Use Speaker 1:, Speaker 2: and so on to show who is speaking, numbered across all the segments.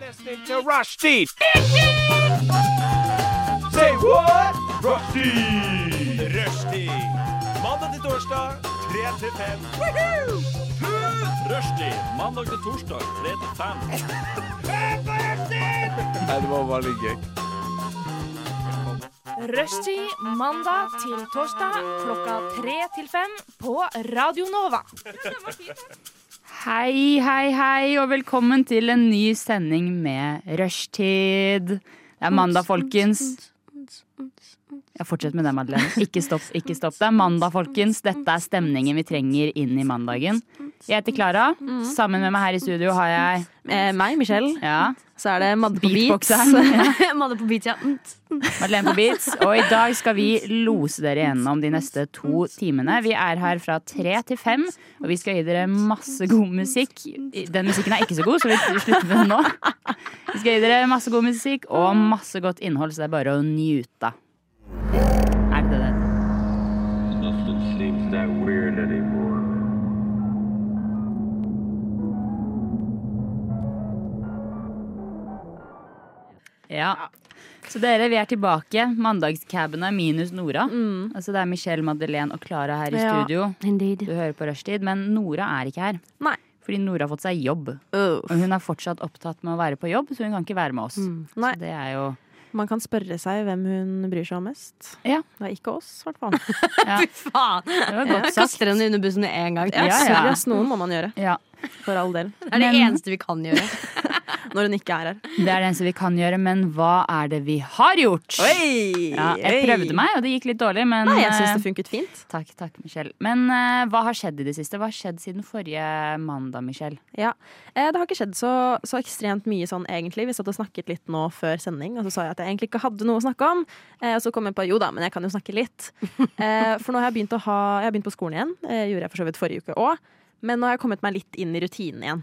Speaker 1: listening to Rushdie. Say what? Rushdie. Rushdie. Mandag til torsdag, 3 til 5. Rushdie. Mandag til torsdag, 3 til 5. Nei, det var veldig gøy.
Speaker 2: Rushtid mandag til torsdag klokka tre til fem på Radio Nova.
Speaker 3: Hei, hei, hei, og velkommen til en ny sending med Rushtid. Det er mandag, folkens. Ja, Fortsett med det, Madeleine. Ikke stopp, ikke stopp. Det er mandag, folkens. Dette er stemningen vi trenger inn i mandagen. Jeg heter Klara. Sammen med meg her i studio har jeg
Speaker 4: Eh, meg, Michelle.
Speaker 3: ja,
Speaker 4: Så er det Madde på beats.
Speaker 3: Beatboxeren.
Speaker 4: Madde på beats, ja. Mm.
Speaker 3: Madeleine på beats. Og i dag skal vi lose dere gjennom de neste to timene. Vi er her fra tre til fem, og vi skal gi dere masse god musikk. Den musikken er ikke så god, så vi slutter med den nå. Vi skal gi dere masse god musikk og masse godt innhold, så det er bare å nyte. Er det det?
Speaker 5: Nothing seems that weird anymore.
Speaker 3: Ja. Så dere, vi er tilbake. Mandagscabene minus Nora. Altså Det er Michelle, Madeleine og Klara her i
Speaker 4: Mm. Ja.
Speaker 3: studio.
Speaker 4: Indeed.
Speaker 3: Du hører på rushtid, men Nora er ikke her.
Speaker 4: Nei.
Speaker 3: Fordi Nora har fått seg jobb. Og
Speaker 4: Uff.
Speaker 3: hun er fortsatt opptatt med å være på jobb, så hun kan ikke være med oss.
Speaker 4: Nei.
Speaker 3: Så det er jo
Speaker 6: Man kan spørre seg hvem hun bryr seg om mest.
Speaker 3: Ja.
Speaker 6: Det er ikke oss, i hvert fall.
Speaker 4: Faen!
Speaker 3: Det var godt
Speaker 4: Jeg
Speaker 3: sagt.
Speaker 4: kaster henne under bussen med en gang.
Speaker 3: Ja, ja.
Speaker 6: Sorry, ass, noen må man gjøre,
Speaker 3: Ja,
Speaker 6: for all del.
Speaker 4: Det er det
Speaker 3: Men-
Speaker 4: eneste vi kan gjøre.
Speaker 6: Når hun ikke er her.
Speaker 3: Det er det eneste vi kan gjøre, men hva er det vi har gjort? Ja, jeg prøvde meg, og det gikk litt dårlig, men
Speaker 6: Nei, jeg syns
Speaker 3: eh,
Speaker 6: det funket fint.
Speaker 3: Takk, takk, Michelle. Men eh, hva har skjedd i det siste? Hva har skjedd siden forrige mandag, Michelle?
Speaker 6: Ja. Eh, Det har ikke skjedd så, så ekstremt mye sånn, egentlig. Vi satt og snakket litt nå før sending, og så sa jeg at jeg egentlig ikke hadde noe å snakke om. Eh, Og så kom jeg på jo da, men jeg kan jo snakke litt. Eh, For nå har jeg begynt, å ha, jeg har begynt på skolen igjen. Eh, Gjorde jeg for så vidt forrige uke òg. Men nå har jeg kommet meg litt inn i rutinen igjen.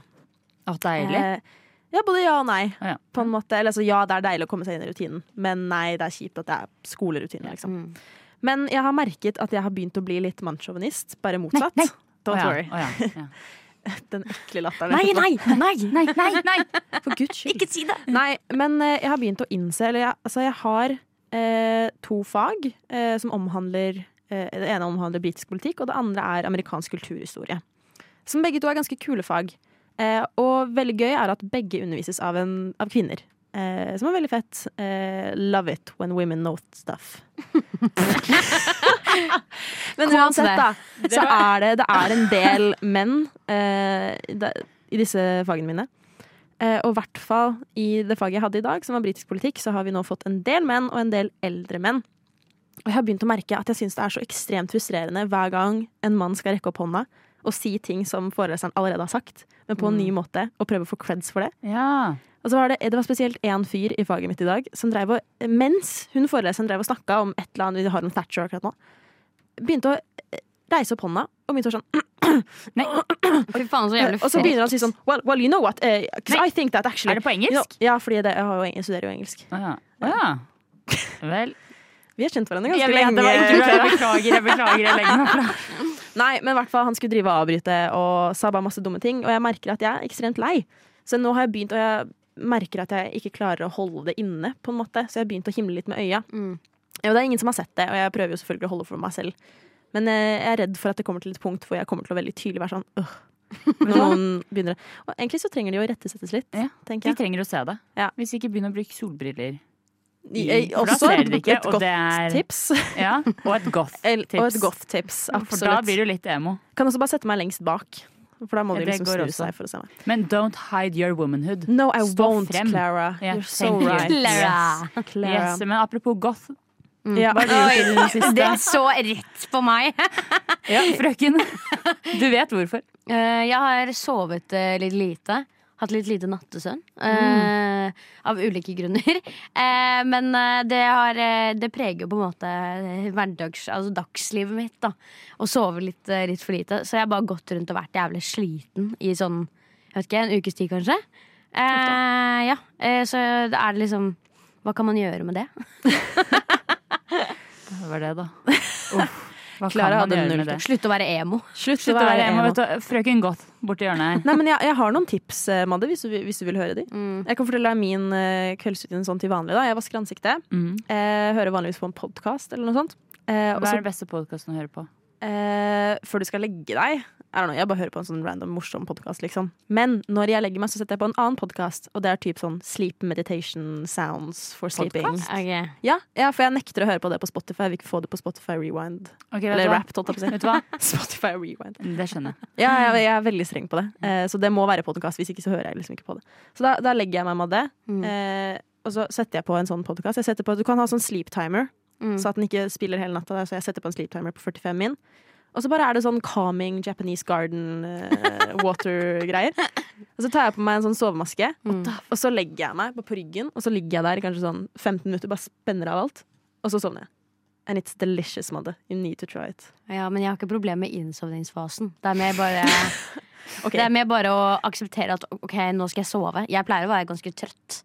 Speaker 3: Å, deilig.
Speaker 6: Eh, ja, både ja og nei.
Speaker 3: Å, ja.
Speaker 6: På en måte. Eller, altså, ja, det er deilig å komme seg inn i rutinen, men nei, det er kjipt at det er skolerutine. Liksom.
Speaker 3: mm.
Speaker 6: Men jeg har merket at jeg har begynt å bli litt mannssjåvinist. Bare motsatt.
Speaker 3: nei.
Speaker 6: Don't
Speaker 3: Å ja,
Speaker 6: worry.
Speaker 3: å ja, ja.
Speaker 6: Den ekle latteren.
Speaker 4: Nei,
Speaker 6: etterpå.
Speaker 4: nei, nei!
Speaker 3: Nei, nei, nei!
Speaker 6: For guds skyld.
Speaker 4: Ikke si det!
Speaker 6: Nei, men eh, jeg har begynt å innse Eller jeg, altså, jeg har eh, to fag eh, som omhandler eh, Det ene omhandler britisk politikk, og det andre er amerikansk kulturhistorie. Som begge to er ganske kule fag. Eh, og veldig gøy er at begge undervises av, en, av kvinner. Eh, som er veldig fett. Eh, love it when women know stuff. Men
Speaker 4: Kos
Speaker 6: uansett,
Speaker 4: deg.
Speaker 6: da, så er det, det er en del menn eh, det, i disse fagene mine. Eh, og i hvert fall i det faget jeg hadde i dag, som var britisk politikk, så har vi nå fått en del menn og en del eldre menn. Og jeg har begynt å merke at jeg syns det er så ekstremt frustrerende hver gang en mann skal rekke opp hånda og si ting som foreleseren allerede har sagt, men på en ny måte, og prøve å få creds for det.
Speaker 3: Ja.
Speaker 6: Og så var det, det var spesielt én fyr i faget mitt i dag som drev og, mens hun foreleseren drev og snakka om et eller annet vi har om Thatcher akkurat nå, begynte å eh, reise opp hånda og begynte å sånn
Speaker 4: Fy faen, så jævlig
Speaker 6: Og så begynner han å
Speaker 4: frekt.
Speaker 6: si sånn Well, well you know what? eh, 'cause I think that actually
Speaker 3: Er det på engelsk?
Speaker 6: You know- ja, fordi det, jeg, har jo, jeg studerer jo engelsk.
Speaker 3: Å ja. Å ja. Vel.
Speaker 6: Vi har kjent hverandre
Speaker 3: Jeg
Speaker 6: ganske
Speaker 3: vet,
Speaker 6: lenge.
Speaker 3: det var ikke bra. Jeg beklager, jeg beklager. Jeg legger meg fra.
Speaker 6: Nei, men i hvert fall han skulle drive og avbryte og sa bare masse dumme ting. Og jeg merker at jeg er ekstremt lei. Så nå har jeg begynt, og jeg merker at jeg ikke klarer å holde det inne, på en måte. Så jeg har begynt å himle litt med øya.
Speaker 3: Mm.
Speaker 6: Og det er ingen som har sett det, og jeg prøver jo selvfølgelig å holde for meg selv. Men eh, jeg er redd for at det kommer til et punkt hvor jeg kommer til å veldig tydelig være sånn øh. Når noen begynner Og egentlig så trenger de jo å rettesettes litt,
Speaker 3: Ja,
Speaker 6: tenker
Speaker 3: Vi
Speaker 6: jeg.
Speaker 3: trenger å se det.
Speaker 6: Ja.
Speaker 3: Hvis ikke begynn å bruke solbriller.
Speaker 6: Eh,
Speaker 3: For da
Speaker 6: Også
Speaker 3: ser
Speaker 6: et,
Speaker 3: de det ikke,
Speaker 6: et
Speaker 3: og
Speaker 6: godt
Speaker 3: det er-
Speaker 6: tips.
Speaker 3: Ja, Og et
Speaker 6: El-
Speaker 3: goth-tips.
Speaker 6: Og et godt tips,
Speaker 3: For da
Speaker 6: absolutt.
Speaker 3: blir du litt emo.
Speaker 6: Kan også bare sette meg lengst bak. For da må
Speaker 3: Ja,
Speaker 6: de
Speaker 3: det
Speaker 6: liksom
Speaker 3: går
Speaker 6: snu
Speaker 3: også.
Speaker 6: seg for å se meg.
Speaker 3: Men don't hide your womanhood.
Speaker 6: No, I
Speaker 3: Stå
Speaker 6: won't,
Speaker 3: frem.
Speaker 6: Clara.
Speaker 3: Ja,
Speaker 6: You're so
Speaker 3: thank you.
Speaker 6: right.
Speaker 4: Clara.
Speaker 6: Clara.
Speaker 3: Yes, Mm. men apropos goth.
Speaker 6: Ja.
Speaker 3: Hva driver du til den siste?
Speaker 4: Det er så rett på meg.
Speaker 3: Ja, frøken. Du vet hvorfor.
Speaker 4: Eh, jeg har sovet eh, litt lite. Hatt litt lite nattesøvn. eh, Av ulike grunner. Eh, men eh, det, har, eh, det preger jo på en måte eh, hverdags, altså dagslivet mitt. da Å sove litt, eh, litt for lite. Så jeg har bare gått rundt og vært jævlig sliten i sånn jeg vet ikke, en ukes tid, kanskje. Eh, ja, eh, Så er det liksom Hva kan man gjøre med det?
Speaker 3: Det var det, da. Hva kan
Speaker 6: Klara
Speaker 3: man
Speaker 6: hadde
Speaker 3: gjøre
Speaker 6: null
Speaker 3: med det?
Speaker 4: Slutt å være emo.
Speaker 6: Slutt,
Speaker 3: Slutt å være emo, vet du. Frøken Godt borti hjørnet her.
Speaker 6: Nei, men jeg, jeg har noen tips, eh, Madde, hvis, du vil- hvis du vil høre de.
Speaker 4: Mm.
Speaker 6: Jeg kan fortelle deg min eh, kveldsrutin sånn til vanlig. da Jeg vasker ansiktet.
Speaker 3: Mm.
Speaker 6: Eh, hører vanligvis på en podkast eller noe sånt. Eh, og
Speaker 3: Hva
Speaker 6: så
Speaker 3: er den beste podkasten å høre på?
Speaker 6: eh, før du skal legge deg I don't know, Jeg bare hører på en sånn random morsom podkast, liksom. Men når jeg legger meg, så setter jeg på en annen podkast, og det er typ sånn Sleep Meditation Sounds for Sleeping.
Speaker 4: Ok.
Speaker 6: Ja, ja, for jeg nekter å høre på det på Spotify. Jeg vil ikke få det på Spotify Rewind.
Speaker 3: Ok, vet,
Speaker 6: Eller
Speaker 3: du hva?
Speaker 6: Wrapped, holdt jeg på å si.
Speaker 3: vet du hva?
Speaker 6: Spotify Rewind.
Speaker 3: Det skjønner jeg.
Speaker 6: Ja, jeg, jeg er veldig streng på det. Eh, så det må være podkast. Hvis ikke så hører jeg liksom ikke på det. Så da, da legger jeg meg med det. Eh, og så setter jeg på en sånn podkast. Du kan ha sånn sleep timer, så at den ikke spiller hele natta. Så jeg setter på en sleep timer på 45 min. Og så bare er det sånn calming Japanese garden eh, water-greier. Og så tar jeg på meg en sånn sovemaske, og, da, og så legger jeg meg på på ryggen. Og så ligger jeg der i kanskje sånn 15 minutter, bare spenner av alt. Og så sovner jeg. And it's delicious, Madde. You need to try it.
Speaker 4: Ja, men jeg har ikke problem med innsovningsfasen. Det er mer bare,
Speaker 6: Ok.
Speaker 4: det er mer bare å akseptere at ok, nå skal jeg sove. Jeg pleier å være ganske trøtt.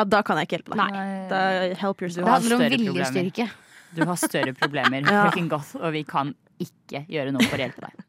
Speaker 6: Ja, da kan jeg ikke hjelpe deg. Da, help
Speaker 3: Du
Speaker 6: yourself.
Speaker 4: Det
Speaker 3: har
Speaker 4: handler om
Speaker 3: større problemer.
Speaker 4: viljestyrke.
Speaker 3: Du har større problemer,
Speaker 6: Ja.
Speaker 3: frøken Goth, og vi kan ikke gjøre noe for å hjelpe deg.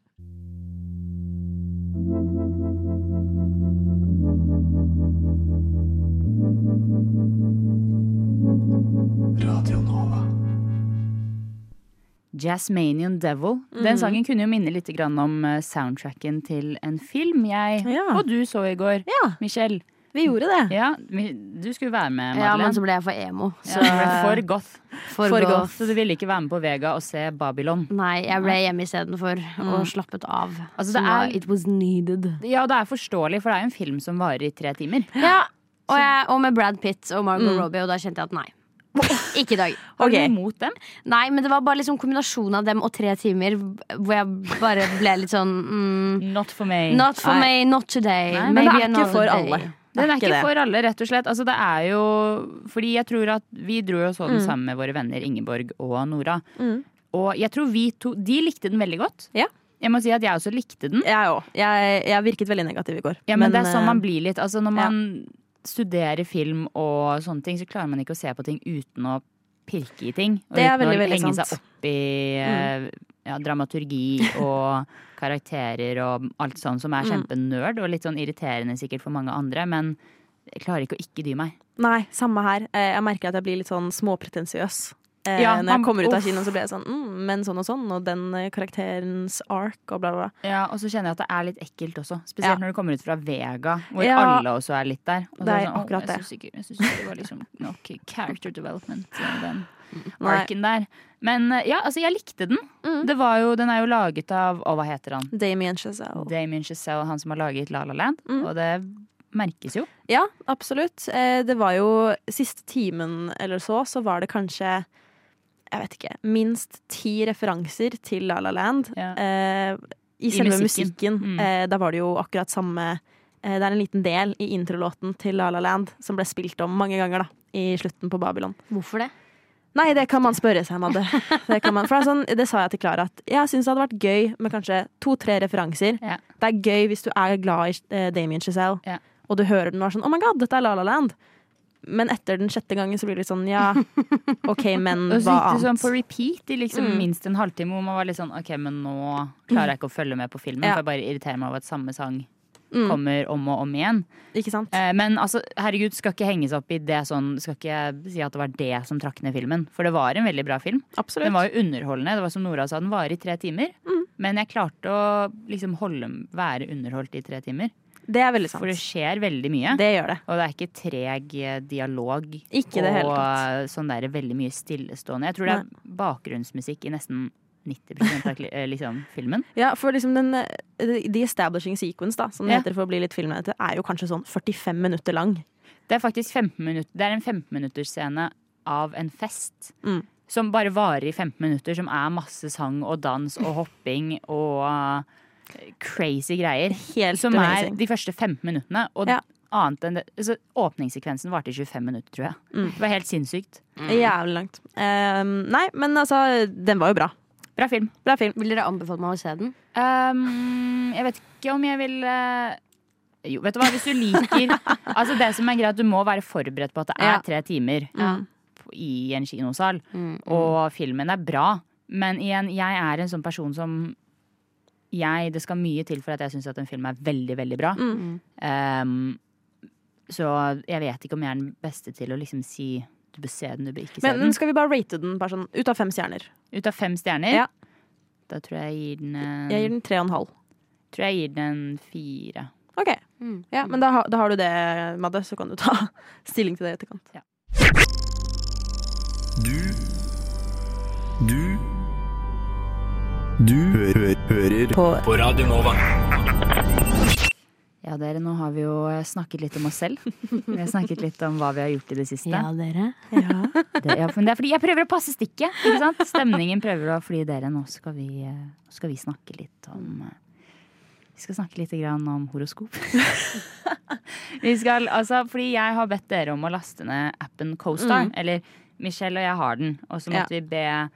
Speaker 3: Jasmanian Devil. Den sangen kunne jo minne litt grann om eh, soundtracken til en film jeg
Speaker 6: Ja.
Speaker 3: og du så i går.
Speaker 6: Ja.
Speaker 3: Michelle,
Speaker 6: Vi gjorde det.
Speaker 3: ja, mi- du skulle være med,
Speaker 4: Ja, men så
Speaker 3: Madeleine.
Speaker 4: ble jeg for emo. Så
Speaker 3: Ja, du ble for goth.
Speaker 4: for
Speaker 6: for
Speaker 4: gå-
Speaker 6: goth.
Speaker 3: Så du ville ikke være med på Vega og se Babylon?
Speaker 4: Nei, jeg ble hjemme istedenfor og slappet av.
Speaker 3: Altså, det
Speaker 4: Som var
Speaker 3: er-
Speaker 4: It was needed.
Speaker 3: Ja, det er forståelig, for det er jo en film som varer i tre timer.
Speaker 4: Ja, og, jeg, og med Brad Pitt og Margot Robbie, og da kjente jeg at nei. Ikke i dag.
Speaker 3: Har
Speaker 6: Ok.
Speaker 3: du noe imot dem?
Speaker 4: Nei, men det var bare liksom kombinasjonen av dem og tre timer hvor jeg bare ble litt sånn mm,
Speaker 3: Not for me.
Speaker 4: Not for me, not today.
Speaker 3: Nei,
Speaker 6: Men det
Speaker 4: Maybe
Speaker 6: er ikke
Speaker 4: another
Speaker 6: for
Speaker 4: day.
Speaker 6: alle.
Speaker 3: Ah, Den er ikke
Speaker 6: ikke det.
Speaker 3: for alle, rett og slett. Altså, det er jo Fordi jeg tror at vi dro jo og så den
Speaker 6: Mm.
Speaker 3: sammen med våre venner Ingeborg og Nora. Og jeg tror vi to De likte den veldig godt.
Speaker 6: Ja.
Speaker 3: Jeg må si at jeg også likte den.
Speaker 6: Jeg òg. Jeg, jeg virket veldig negativ i går.
Speaker 3: Ja, men, det
Speaker 6: eh,
Speaker 3: er sånn man blir litt. Altså, når man studerer film og sånne ting, så klarer man ikke å se på ting uten å pirke i ting. Og
Speaker 6: Det er
Speaker 3: uten
Speaker 6: veldig,
Speaker 3: å
Speaker 6: veldig
Speaker 3: henge
Speaker 6: sant. Mm.
Speaker 3: seg opp i eh, ja, dramaturgi og karakterer og alt sånt som
Speaker 6: Mm.
Speaker 3: er kjempenerd og litt sånn irriterende sikkert for mange andre, men jeg klarer ikke å ikke dy meg.
Speaker 6: Nei, samme her. Eh, Jeg merker at jeg blir litt sånn småpretensiøs. Eh,
Speaker 3: Ja,
Speaker 6: Når
Speaker 3: man-
Speaker 6: jeg kommer ut av
Speaker 3: uff.
Speaker 6: kinoen, så blir jeg sånn mm, Men sånn og sånn, og den eh, karakterens ark og bla, bla, bla.
Speaker 3: Ja, Og så kjenner jeg at det er litt ekkelt også.
Speaker 6: Ja.
Speaker 3: Spesielt når du kommer ut fra Vega, hvor
Speaker 6: Ja.
Speaker 3: alle også er litt der. Og så
Speaker 6: Det er
Speaker 3: sånn, «Å,
Speaker 6: akkurat det.»
Speaker 3: Jeg syns ikke, jeg synes ikke det var liksom nok character development i den
Speaker 6: Nei. Mm.
Speaker 3: arken der. Men eh, ja, altså, jeg likte den. Det var jo, den er jo laget av Å, hva heter han?
Speaker 6: Damien Chazelle.
Speaker 3: Damien Chazelle, han som har laget La La Land.
Speaker 6: Mm.
Speaker 3: Og det merkes jo.
Speaker 6: Ja, absolutt. Eh, Det var jo siste timen eller så, så var det kanskje jeg vet ikke, minst ti referanser til La La Land
Speaker 3: Ja.
Speaker 6: eh, i selve
Speaker 3: musikken.
Speaker 6: musikken.
Speaker 3: Mm.
Speaker 6: Eh, da var det jo akkurat samme eh, Det er en liten del i introlåten til La La Land som ble spilt om mange ganger da, i slutten på Babylon.
Speaker 4: Hvorfor det?
Speaker 6: Nei, det kan man spørre seg, Madde. Det, kan man, for det, er sånn, det sa jeg til Klara, at jeg syns det hadde vært gøy med kanskje to-tre referanser.
Speaker 3: Ja.
Speaker 6: Det er gøy hvis du er glad i eh, Damien Chazelle,
Speaker 3: Ja.
Speaker 6: og du hører den og er sånn 'Oh my god, dette er La La Land'. Men etter den sjette gangen så blir det litt sånn ja, OK, men
Speaker 3: Og så
Speaker 6: hva
Speaker 3: gikk det sånn
Speaker 6: annet? Mm.
Speaker 3: på repeat i liksom minst en halvtime, hvor man var litt sånn OK, men nå klarer jeg ikke å følge med på filmen,
Speaker 6: Ja.
Speaker 3: for jeg bare irriterer meg over at samme sang
Speaker 6: Mm.
Speaker 3: kommer om og om igjen.
Speaker 6: Ikke sant?
Speaker 3: Eh, Men altså, herregud, skal ikke henges opp i det sånn Skal ikke si at det var det som trakk ned filmen. For det var en veldig bra film. Den
Speaker 6: Absolutt. Mm.
Speaker 3: var jo underholdende. Det var som Nora sa, den varer i tre timer. Men jeg klarte å liksom holde, være underholdt i tre timer.
Speaker 6: Det er veldig
Speaker 3: For det
Speaker 6: sant.
Speaker 3: skjer veldig mye.
Speaker 6: Det gjør det.
Speaker 3: Og det er ikke treg eh, dialog.
Speaker 6: Ikke det hele
Speaker 3: og
Speaker 6: tatt.
Speaker 3: eh, sånn der veldig mye stillestående. Jeg tror det er bakgrunnsmusikk i nesten 90 av kli- eh, liksom, filmen.
Speaker 6: Ja, for liksom den eh, The establishing sequence, da, som det
Speaker 3: Ja.
Speaker 6: heter for å bli litt filmete, er jo kanskje sånn 45 minutter lang.
Speaker 3: Det er faktisk 15 minutter, det er en 15-minuttersscene av en fest.
Speaker 6: Mm.
Speaker 3: Som bare varer i 15 minutter, som er masse sang og dans og hopping og eh, crazy greier.
Speaker 6: Helt
Speaker 3: som
Speaker 6: amazing.
Speaker 3: er de første 15 minuttene. Og
Speaker 6: Ja.
Speaker 3: annet enn det, altså, åpningssekvensen varte i 25 minutter, tror jeg.
Speaker 6: Mm.
Speaker 3: Det var helt sinnssykt.
Speaker 6: Jævlig langt. Eh, nei, men altså, den var jo bra.
Speaker 3: Bra film.
Speaker 6: Bra film.
Speaker 4: Vil dere anbefale meg å se den?
Speaker 3: Ehm, jeg vet ikke om jeg vil eh, Jo, vet du hva, hvis du liker Altså Det som er greit, du må være forberedt på at det er
Speaker 4: Ja.
Speaker 3: tre timer
Speaker 4: Ja.
Speaker 6: Mm,
Speaker 3: i en kinosal. Og filmen er bra, Men igjen, jeg er en sånn person som jeg, Det skal mye til for at jeg syns at en film er veldig, veldig bra.
Speaker 6: Mm.
Speaker 3: Ehm, så jeg vet ikke om jeg er den beste til å liksom si du bør se den, du bør ikke se
Speaker 6: Men skal vi bare rate den bare sånn, ut av fem stjerner?
Speaker 3: den. Ut av fem stjerner,
Speaker 6: Ja.
Speaker 3: da tror jeg jeg gir den en,
Speaker 6: Jeg gir den tre og en halv.
Speaker 3: tror jeg gir den en fire.
Speaker 6: Ok,
Speaker 4: Mm.
Speaker 6: ja, Men da, har- da har du det, Madde, så kan du ta stilling til det i etterkant.
Speaker 7: Du Du Du hø hø hører på. på Radio Nova.
Speaker 3: Ja, dere, nå har vi jo eh, snakket litt om oss selv. Vi har snakket litt om hva vi har gjort i det siste.
Speaker 4: Ja, dere.
Speaker 3: Det, ja, men det er fordi jeg prøver å passe stikket. Ikke sant? Stemningen prøver å fly dere. Nå skal vi, eh, nå skal vi snakke litt om eh, Vi skal snakke litt grann om horoskop. vi skal, altså, fordi jeg har bedt dere om å laste ned appen CoStar.
Speaker 4: Mm.
Speaker 3: Eller Michelle og jeg har den. Og så
Speaker 6: Ja.
Speaker 3: måtte vi be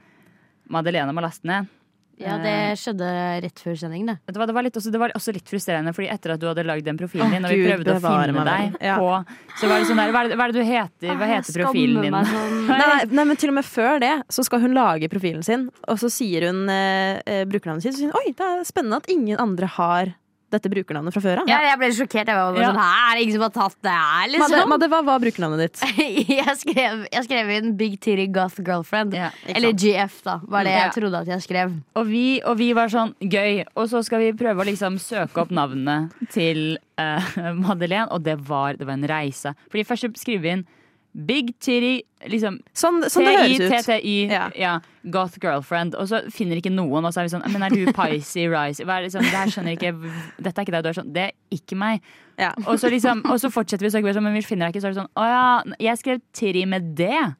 Speaker 3: Madeleine om å laste ned.
Speaker 4: Ja,
Speaker 6: Eh.
Speaker 4: det skjedde rett før sending, det.
Speaker 3: Vet du hva, Det var, litt, også, det var også litt frustrerende, Fordi etter at du hadde lagd den profilen din, og vi
Speaker 6: Gud,
Speaker 3: prøvde å
Speaker 6: bevare
Speaker 3: finne
Speaker 6: meg
Speaker 3: deg
Speaker 6: vel. Ja.
Speaker 3: på Så var det sånn der Hva er det, hva er det du heter? Hva
Speaker 4: Jeg
Speaker 3: heter profilen
Speaker 4: skammer
Speaker 3: din?
Speaker 4: meg sånn.
Speaker 6: Nei, nei, nei, men til og med før det så skal hun lage profilen sin, og så sier hun eh, eh, brukernavnet sitt. Så sier hun oi, det er spennende at ingen andre har dette brukernavnet fra før av.
Speaker 4: Ja, jeg ble sjokkert. Jeg var bare
Speaker 3: Ja.
Speaker 4: sånn, Hæ, er det ingen som har tatt det her,
Speaker 6: Madde,
Speaker 3: Sånn.
Speaker 4: liksom?
Speaker 6: Madde, hva var brukernavnet ditt?
Speaker 4: jeg, skrev, jeg skrev inn Big Titty Goth Girlfriend.
Speaker 3: Ja, ikke
Speaker 4: Eller GF, da. Var det
Speaker 3: Ja.
Speaker 4: jeg trodde at jeg skrev.
Speaker 3: Og vi, og vi var sånn gøy, og så skal vi prøve å liksom søke opp navnet til eh, Madeleine, og det var, det var en reise. Fordi først så skriver vi inn Big Titty, liksom
Speaker 6: Sånn, sånn det høres ut.
Speaker 3: T-I-T-T-Y,
Speaker 6: Ja.
Speaker 3: ja, Goth Girlfriend, og så finner ikke noen, og så er vi sånn Men er du Pisces, Rice? Hva er det, liksom, det her skjønner jeg ikke, dette er ikke deg, du er sånn Det er ikke meg.
Speaker 6: Ja.
Speaker 3: Og så, liksom, og så fortsetter vi å søke, men vi finner deg ikke, så er det sånn Å ja, jeg skrev Titty med det.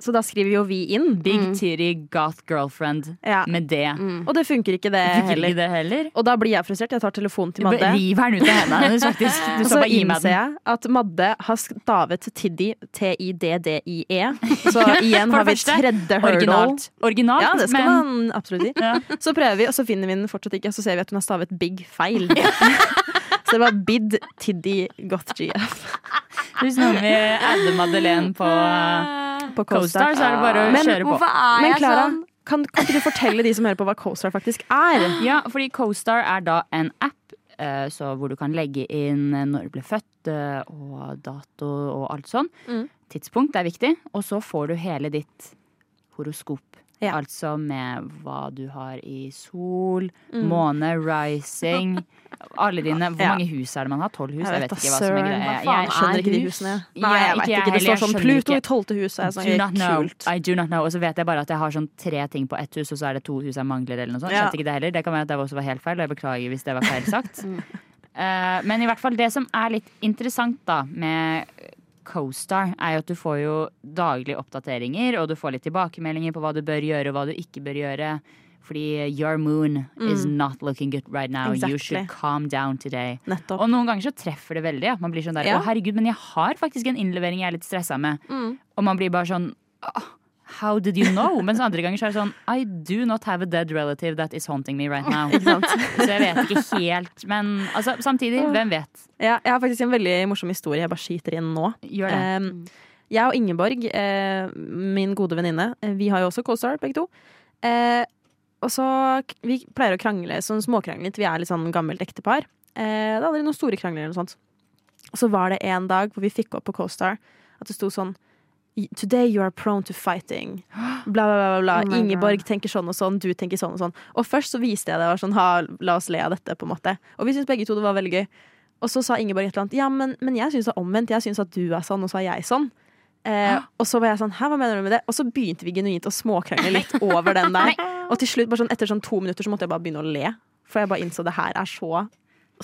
Speaker 6: Så da skriver jo vi inn.
Speaker 3: Big Titty Goth Girlfriend
Speaker 6: Mm. Ja.
Speaker 3: med det.
Speaker 6: Og det funker ikke, det
Speaker 3: Fikk ikke
Speaker 6: heller.
Speaker 3: det heller.
Speaker 6: Og da blir jeg frustrert. Jeg tar telefonen til Madde.
Speaker 3: Riv den ut av hendene hennes, faktisk. Du
Speaker 6: Og
Speaker 3: skal
Speaker 6: så
Speaker 3: bare gi meg
Speaker 6: innser
Speaker 3: den.
Speaker 6: jeg at Madde har stavet Tiddi T-I-D-D-I-E. E. Så igjen
Speaker 3: For det
Speaker 6: har vi
Speaker 3: første,
Speaker 6: tredje hurdle.
Speaker 3: Originalt. Originalt,
Speaker 6: Ja, det skal
Speaker 3: men
Speaker 6: man absolutt si.
Speaker 3: Ja.
Speaker 6: Så prøver vi, og så finner vi den fortsatt ikke. Og så ser vi at hun har stavet big feil. så det var bid tiddy goth gf
Speaker 3: hvis noen vil adde Madeleine på
Speaker 6: på
Speaker 3: CoStar,
Speaker 6: CoStar.
Speaker 3: så er det bare å
Speaker 6: Men
Speaker 3: kjøre
Speaker 4: Hvorfor
Speaker 3: på.
Speaker 4: er
Speaker 6: Men
Speaker 4: jeg
Speaker 6: Klara,
Speaker 4: sånn?
Speaker 6: kan, kan ikke du fortelle de som hører på, hva CoStar faktisk er?
Speaker 3: Ja, fordi CoStar er da en app eh, så hvor du kan legge inn eh, når du ble født, eh, og dato og alt sånn.
Speaker 6: Mm.
Speaker 3: Tidspunkt er viktig. Og så får du hele ditt horoskop.
Speaker 6: Ja.
Speaker 3: Altså med hva du har i sol, måne, rising Alle dine Hvor
Speaker 6: Mm. Ja.
Speaker 3: mange hus er det man har? Tolv hus?
Speaker 6: Jeg
Speaker 3: Jeg vet,
Speaker 6: vet da
Speaker 3: ikke hva som er
Speaker 6: søren.
Speaker 3: greia.
Speaker 4: Hva
Speaker 3: Jeg-
Speaker 4: faen
Speaker 6: Jeg skjønner
Speaker 4: er
Speaker 6: ikke de
Speaker 4: hus?
Speaker 6: husene.
Speaker 3: Nei,
Speaker 6: Nei, jeg
Speaker 3: ikke
Speaker 6: vet
Speaker 3: jeg
Speaker 6: ikke. Det
Speaker 3: heller.
Speaker 6: står sånn
Speaker 3: Jeg skjønner
Speaker 6: Pluto
Speaker 3: ikke.
Speaker 6: i tolvte hus. Og jeg er
Speaker 3: Do
Speaker 6: sånn,
Speaker 3: not know.
Speaker 6: kult.
Speaker 3: I do not know. Og så vet jeg bare at jeg har sånn tre ting på ett hus, og så er det to hus jeg mangler. eller noe sånt.
Speaker 6: Ja.
Speaker 3: Skjønte ikke Det heller. Det kan være at det også var helt feil, og jeg beklager hvis det var feil sagt. Eh, men i hvert fall det som er litt interessant da med CoStar, er jo at du får jo daglige oppdateringer, og du får litt tilbakemeldinger på hva du bør gjøre og hva du ikke bør gjøre. Fordi your moon is not looking good right now. You
Speaker 6: Mm. Exactly.
Speaker 3: should calm down today.
Speaker 6: Nettopp.
Speaker 3: Og noen ganger så treffer det veldig. At man blir sånn der
Speaker 6: Ja. Mm.
Speaker 3: Å, herregud, men jeg har faktisk en innlevering jeg er litt stressa med. Og man blir bare sånn «Åh, How did you know? Mens andre ganger så er det sånn I do not have a dead relative that is haunting me right now. så jeg vet ikke helt. Men altså, samtidig, hvem vet?
Speaker 6: Ja, jeg har faktisk en veldig morsom historie jeg bare skyter inn nå.
Speaker 3: Gjør det.
Speaker 6: Ehm, jeg og Ingeborg, eh, min gode venninne, eh, vi har jo også CoStar, begge to. Eh, og så k- Vi pleier å krangle sånn småkranglet. Vi er litt sånn gammelt ektepar. Eh, det er aldri noen store krangler eller noe sånt. Og så var det en dag hvor vi fikk opp på CoStar at det sto sånn Today you are prone to fighting. Bla, bla, bla. bla.
Speaker 4: Oh my
Speaker 6: Ingeborg tenker sånn og sånn, du tenker sånn og sånn. Og først så viste jeg det og var sånn, ha, la oss le av dette, på en måte. Og vi syntes begge to det var veldig gøy. Og så sa Ingeborg et eller annet. Ja, men, men jeg syns det er omvendt. Jeg syns at du er sånn, og så er jeg sånn. Eh, og så var jeg sånn, hæ, hva mener du med det? Og så begynte vi genuint å småkrangle litt over den der. Og til slutt, bare sånn, etter sånn to minutter, så måtte jeg bare begynne å le. For jeg bare innså det her er så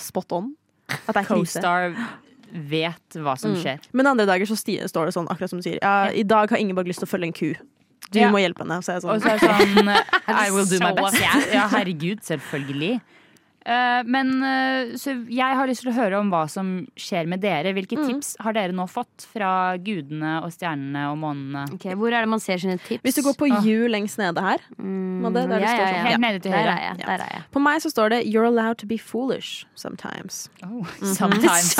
Speaker 6: spot on. At det er krise.
Speaker 3: CoStar
Speaker 6: Mm.
Speaker 3: vet hva som skjer.
Speaker 6: Men andre dager så sti, står det sånn, akkurat som du sier. Ja, I dag har Ingeborg lyst til å følge en ku. Du
Speaker 3: Ja.
Speaker 6: må hjelpe henne. Så er jeg
Speaker 3: Og
Speaker 6: sånn,
Speaker 3: så er det sånn I will do my
Speaker 4: so
Speaker 3: best. Ja, herregud, selvfølgelig. Eh, men eh, så jeg har lyst til å høre om hva som skjer med dere. Hvilke tips har dere nå fått fra gudene og stjernene og månene?
Speaker 4: Ok, hvor er det man ser sine tips? Mm,
Speaker 6: Hvis du
Speaker 3: Ah.
Speaker 6: går på U lengst nede her, Madde, der det
Speaker 4: ja,
Speaker 6: står
Speaker 4: ja, ja.
Speaker 6: sånn.
Speaker 3: Helt nede til
Speaker 4: Der
Speaker 3: høyre.
Speaker 4: er jeg. Der er jeg.
Speaker 6: På meg så står det 'You're allowed to be foolish sometimes'.
Speaker 3: Oh, sometimes.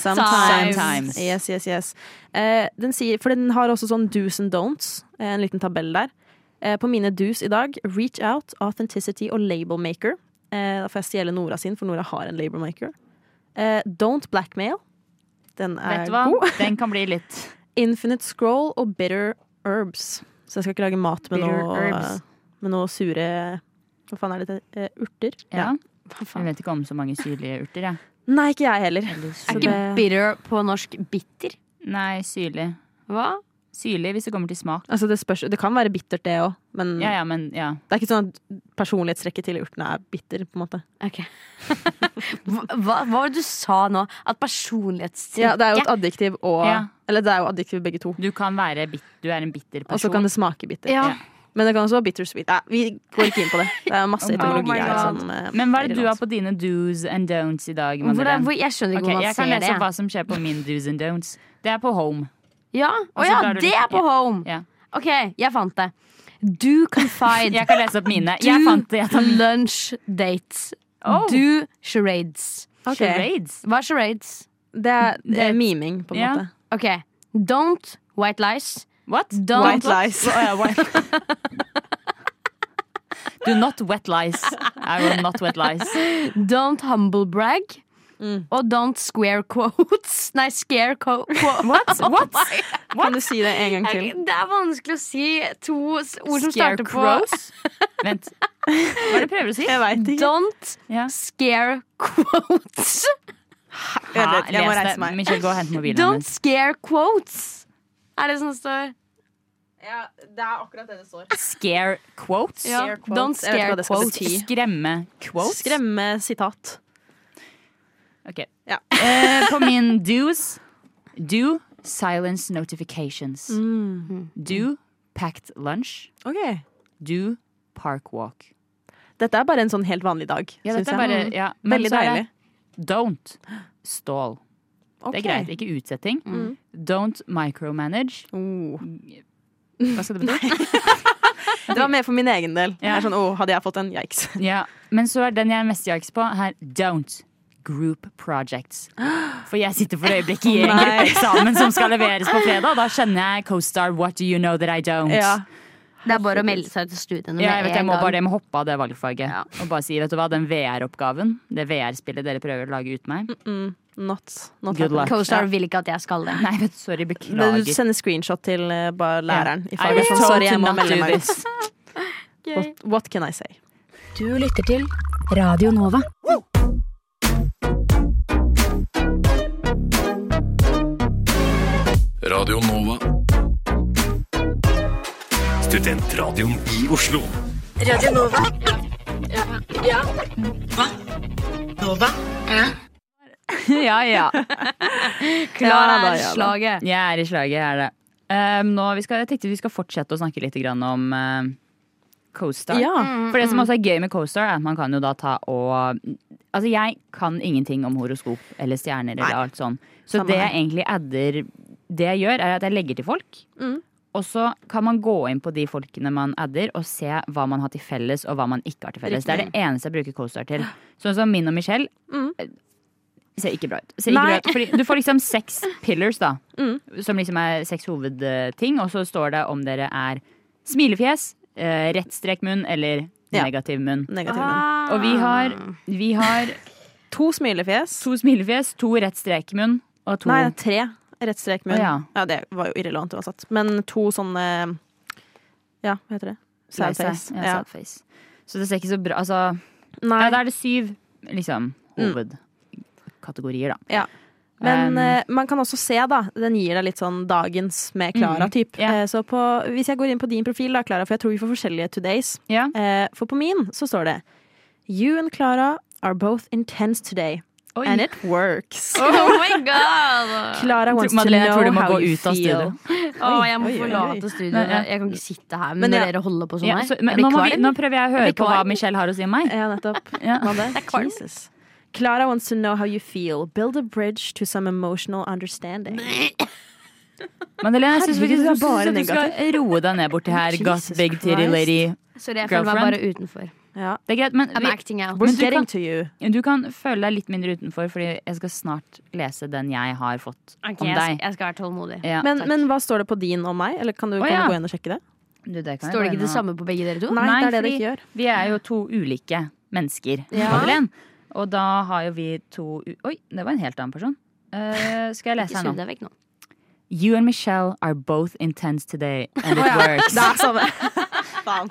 Speaker 6: Sometimes.
Speaker 3: Sometimes.
Speaker 6: Yes, yes, yes. Eh, den sier, for den har også sånn do's and don'ts, eh, en liten tabell der. Eh, På mine do's i dag Reach Out, Authenticity og Label Maker. Eh, Da får jeg stjele Nora sin, for Nora har en Label Maker. Eh, Don't Blackmail. Den er
Speaker 3: Vet du hva?
Speaker 6: god.
Speaker 3: Den kan bli litt
Speaker 6: Infinite Scroll og Bitter Herbs. Så jeg skal ikke lage mat med,
Speaker 3: Bitter
Speaker 6: noe,
Speaker 3: herbs.
Speaker 6: med noe sure Hva faen er det? det- eh, Urter?
Speaker 3: Ja.
Speaker 4: Hva
Speaker 3: Jeg
Speaker 4: faen?
Speaker 3: vet ikke om så mange syrlige urter, jeg.
Speaker 6: Nei, ikke jeg heller.
Speaker 3: Eller
Speaker 4: Er
Speaker 3: syr-
Speaker 4: ikke
Speaker 6: det-
Speaker 4: bitter på norsk bitter?
Speaker 3: Nei, syrlig.
Speaker 4: Hva?
Speaker 3: Syrlig hvis det kommer til smak.
Speaker 6: Altså, det, spørs, det kan være bittert, det òg, men
Speaker 3: Ja, ja, men ja.
Speaker 6: det er ikke sånn at personlighetstrekket til urtene er bitter. på en måte
Speaker 4: Ok. hva, hva hva var det du sa nå? At personlighetstrekket
Speaker 6: Ja, Det er jo et adjektiv og
Speaker 3: Ja.
Speaker 6: Eller det er jo adjektiv begge to.
Speaker 3: Du kan være bit Du er en bitter
Speaker 6: Og så
Speaker 3: person.
Speaker 6: kan det smake bitter.
Speaker 4: Ja.
Speaker 6: Men det kan også være bittersweet. Nei, vi går ikke inn på det. Det er masse
Speaker 3: Oh my
Speaker 6: etymologi
Speaker 3: God.
Speaker 6: her. Som, eh,
Speaker 3: Men hva er det du har
Speaker 6: relevant.
Speaker 3: på dine do's and don'ts i dag?
Speaker 4: Hvor er,
Speaker 3: Madeleine?
Speaker 4: hvor, jeg skjønner
Speaker 3: Ok,
Speaker 4: ikke
Speaker 3: jeg
Speaker 4: hvordan
Speaker 3: kan
Speaker 4: man ser
Speaker 3: lese
Speaker 4: det.
Speaker 3: opp hva som skjer på min do's and don'ts. Det er på home.
Speaker 4: Ja,
Speaker 3: Og
Speaker 4: Å
Speaker 3: så
Speaker 4: ja,
Speaker 3: drar du
Speaker 4: det
Speaker 3: litt-
Speaker 4: er på
Speaker 3: ja.
Speaker 4: home!
Speaker 3: Ja.
Speaker 4: Ok, jeg fant det. Do confide.
Speaker 3: Jeg kan lese opp mine. Jeg fant det. Jeg
Speaker 4: Do
Speaker 3: tar mine.
Speaker 4: lunch dates.
Speaker 3: Oh.
Speaker 4: Do charades.
Speaker 6: Ok.
Speaker 3: Charades.
Speaker 4: Hva er charades?
Speaker 6: Det er, det er
Speaker 3: Det-
Speaker 6: miming, på en
Speaker 3: Ja.
Speaker 6: måte.
Speaker 4: Ok, don't white lies.
Speaker 3: What?
Speaker 4: Don't- White
Speaker 6: lies.
Speaker 3: Å, ja, white. Do not wet lies. I will not wet lies.
Speaker 4: Don't humble brag.
Speaker 6: Mm.
Speaker 4: Og don't square quotes. Nei, scare co quotes. Oh
Speaker 3: What? What?
Speaker 6: Kan du si det en gang til?
Speaker 4: Det er vanskelig å si to s- ord som
Speaker 3: Scare
Speaker 4: starter på
Speaker 3: crows? Vent. Hva er det du prøver å si?
Speaker 6: Jeg veit ikke.
Speaker 4: Don't
Speaker 3: Ja.
Speaker 4: scare quotes.
Speaker 6: Vent
Speaker 3: Ja,
Speaker 6: litt, jeg må
Speaker 3: les det.
Speaker 6: reise meg.
Speaker 3: Michelle, gå og hent mobilen
Speaker 4: Don't
Speaker 3: hennes.
Speaker 4: scare quotes. Er det som står?
Speaker 6: det er akkurat det det står.
Speaker 3: Scare quotes?
Speaker 4: Ja.
Speaker 6: Scare quotes.
Speaker 4: Don't
Speaker 6: Jeg vet ikke hva
Speaker 4: scare
Speaker 6: det skal
Speaker 4: quotes.
Speaker 6: bety.
Speaker 3: Skremme quotes?
Speaker 6: Skremme sitat.
Speaker 3: Ok.
Speaker 6: Ja.
Speaker 3: Eh, på min do's Do silence notifications.
Speaker 6: Mm.
Speaker 3: Do packed lunch. Do park walk.
Speaker 6: Dette er bare en sånn helt vanlig dag.
Speaker 3: Ja,
Speaker 6: synes
Speaker 3: dette er
Speaker 6: jeg. Mm.
Speaker 3: bare ja, men
Speaker 6: Veldig
Speaker 3: så er det
Speaker 6: deilig.
Speaker 3: Don't stall.
Speaker 6: Ok.
Speaker 3: Det er greit, ikke utsetting. Don't micromanage.
Speaker 6: Oh.
Speaker 3: Hva skal det bety?
Speaker 6: Det var mer for min egen del.
Speaker 3: Ja.
Speaker 6: Jeg er sånn, oh, hadde jeg fått en yikes.
Speaker 3: ja, men så er den jeg er mest jags på, her don't. Group projects. For jeg sitter for øyeblikket i en
Speaker 6: Nei.
Speaker 3: gruppeeksamen som skal leveres på fredag. og Da skjønner jeg CoStar, what do you know that I don't?
Speaker 6: Ja.
Speaker 4: Det er bare å melde seg til studiene
Speaker 3: Ja, jeg,
Speaker 4: med
Speaker 3: vet, jeg
Speaker 4: en
Speaker 3: må
Speaker 4: gang.
Speaker 3: bare jeg må hoppe av det valgfaget
Speaker 4: Ja.
Speaker 3: og bare si vet du hva, den VR-oppgaven, det VR-spillet dere prøver å lage ut meg
Speaker 6: Not, not
Speaker 3: Good luck.
Speaker 6: happening.
Speaker 4: CoStar vil ikke at jeg skal det.
Speaker 3: Nei, vet du, sorry,
Speaker 6: Men Du
Speaker 3: beklager.
Speaker 6: sender screenshot til eh, bare læreren i
Speaker 3: I
Speaker 6: faget.
Speaker 3: was
Speaker 6: Sånn,
Speaker 3: told
Speaker 6: sorry,
Speaker 3: to
Speaker 6: jeg må
Speaker 3: not
Speaker 6: melde
Speaker 3: do
Speaker 6: meg ut.
Speaker 3: this.
Speaker 6: What, what can I say?
Speaker 8: Du lytter til Radio Nova.
Speaker 7: Radio Nova.
Speaker 1: Studentradioen i Oslo.
Speaker 3: ja, ja.
Speaker 4: Klar
Speaker 6: Ja da,
Speaker 4: er
Speaker 6: ja da.
Speaker 4: slaget.
Speaker 3: Jeg er i slaget, jeg er det. Um, nå, vi skal, jeg tenkte vi skal fortsette å snakke litt grann om uh, CoStar.
Speaker 6: Ja.
Speaker 3: For det som også er gøy med CoStar, er at man kan jo da ta og Altså, jeg kan ingenting om horoskop eller stjerner eller alt sånn. Så
Speaker 6: Samme
Speaker 3: det
Speaker 6: her.
Speaker 3: jeg egentlig adder Det jeg gjør, er at jeg legger til folk. Og så kan man gå inn på de folkene man adder, og se hva man har til felles, og hva man ikke har til felles. Det er det eneste jeg bruker CoStar til. Sånn som min og Michelle. eh, Ser ikke bra ut. Ser ikke bra
Speaker 6: Nei. Mm.
Speaker 3: ut. Fordi du får liksom seks pillars, da. Som liksom er seks hovedting. Og så står det om dere er smilefjes, eh, rett strek munn eller
Speaker 6: Ja. Ah.
Speaker 3: negativ munn.
Speaker 6: Negativ munn.
Speaker 3: Og vi har, vi har
Speaker 6: To smilefjes.
Speaker 3: to smilefjes, to rett strek munn og to
Speaker 6: Nei, det er tre. Rett strek munn.
Speaker 3: Å,
Speaker 6: Ja.
Speaker 3: ja.
Speaker 6: det var jo irrelevant uansett. Men to sånne Ja, hva heter det? Sad
Speaker 3: Nei,
Speaker 6: face.
Speaker 3: Ja,
Speaker 6: Ja.
Speaker 3: sad face. Så det ser ikke så bra Altså,
Speaker 6: Nei. Mm.
Speaker 3: ja, da er det syv liksom hovedkategorier, da.
Speaker 6: Ja. Men
Speaker 3: Um,
Speaker 6: eh, man kan også se, da. Den gir deg litt sånn dagens med Klara. typ
Speaker 3: Mm, ja.
Speaker 6: Eh, så på, hvis jeg går inn på din profil, da, Klara, for jeg tror vi får forskjellige todays.
Speaker 3: Ja.
Speaker 6: Eh, for på min så står det You and Klara are both intense today.
Speaker 3: Oi.
Speaker 6: And it works.
Speaker 4: Oh my god!
Speaker 6: Klara wants to
Speaker 3: Madeleine, jeg tror
Speaker 6: know
Speaker 3: du må
Speaker 6: how
Speaker 3: gå
Speaker 6: you
Speaker 3: ut av
Speaker 6: feel.
Speaker 3: studioet.
Speaker 4: Å, jeg må
Speaker 6: oi, oi, oi.
Speaker 4: forlate
Speaker 3: Nei, ja.
Speaker 4: studioet. Jeg kan ikke sitte her
Speaker 6: Men
Speaker 4: men når
Speaker 6: ja.
Speaker 4: dere holder på sånn
Speaker 3: Ja,
Speaker 4: her.
Speaker 3: så, men,
Speaker 4: Jeg
Speaker 3: nå,
Speaker 4: blir
Speaker 3: må vi,
Speaker 4: kvalm.
Speaker 3: nå prøver jeg å høre
Speaker 4: Jeg blir
Speaker 3: på hva
Speaker 4: kvalm.
Speaker 3: Michelle har å si om meg.
Speaker 6: Ja, nettopp.
Speaker 3: Ja.
Speaker 6: Hva det? Jesus. Clara wants to know how you feel. Build a bridge to some emotional understanding.
Speaker 3: Madeleine, jeg syns faktisk
Speaker 6: Herregud, du er
Speaker 3: jeg synes
Speaker 6: bare
Speaker 3: at du skal roe deg ned borti her.
Speaker 6: Jesus
Speaker 3: Got big titty
Speaker 6: Christ.
Speaker 3: lady.
Speaker 4: Sorry, jeg føler meg
Speaker 3: Girlfriend?
Speaker 4: bare utenfor.
Speaker 6: Ja.
Speaker 3: Det er greit, men
Speaker 4: I'm
Speaker 3: vi,
Speaker 4: acting out.
Speaker 3: Men
Speaker 6: We're
Speaker 3: du
Speaker 6: getting
Speaker 3: kan-
Speaker 6: to you.
Speaker 3: Du kan føle deg litt mindre utenfor, Fordi jeg skal snart lese den jeg har fått
Speaker 4: Ok,
Speaker 3: om
Speaker 4: jeg,
Speaker 3: deg.
Speaker 4: jeg skal være tålmodig.
Speaker 3: Ja.
Speaker 6: Men,
Speaker 4: takk.
Speaker 6: men hva står det på din om meg? Eller kan du,
Speaker 3: Å,
Speaker 6: kan
Speaker 3: ja.
Speaker 6: du gå inn og sjekke det?
Speaker 3: Du, det kan jeg
Speaker 4: Står det
Speaker 3: gå inn
Speaker 4: ikke det
Speaker 3: og-
Speaker 4: samme på begge dere to?
Speaker 6: Nei, det er det det
Speaker 3: fordi
Speaker 6: ikke gjør.
Speaker 3: Vi er jo to ulike mennesker,
Speaker 4: Ja.
Speaker 3: Madeleine. Og da har jo vi to u Oi, det var en helt annen person. Eh, skal jeg lese
Speaker 4: Ikke
Speaker 3: her
Speaker 4: sug
Speaker 3: nå?
Speaker 4: deg vekk nå.
Speaker 3: You and Michelle are both intense today, and it works.
Speaker 6: Det er samme. Faen.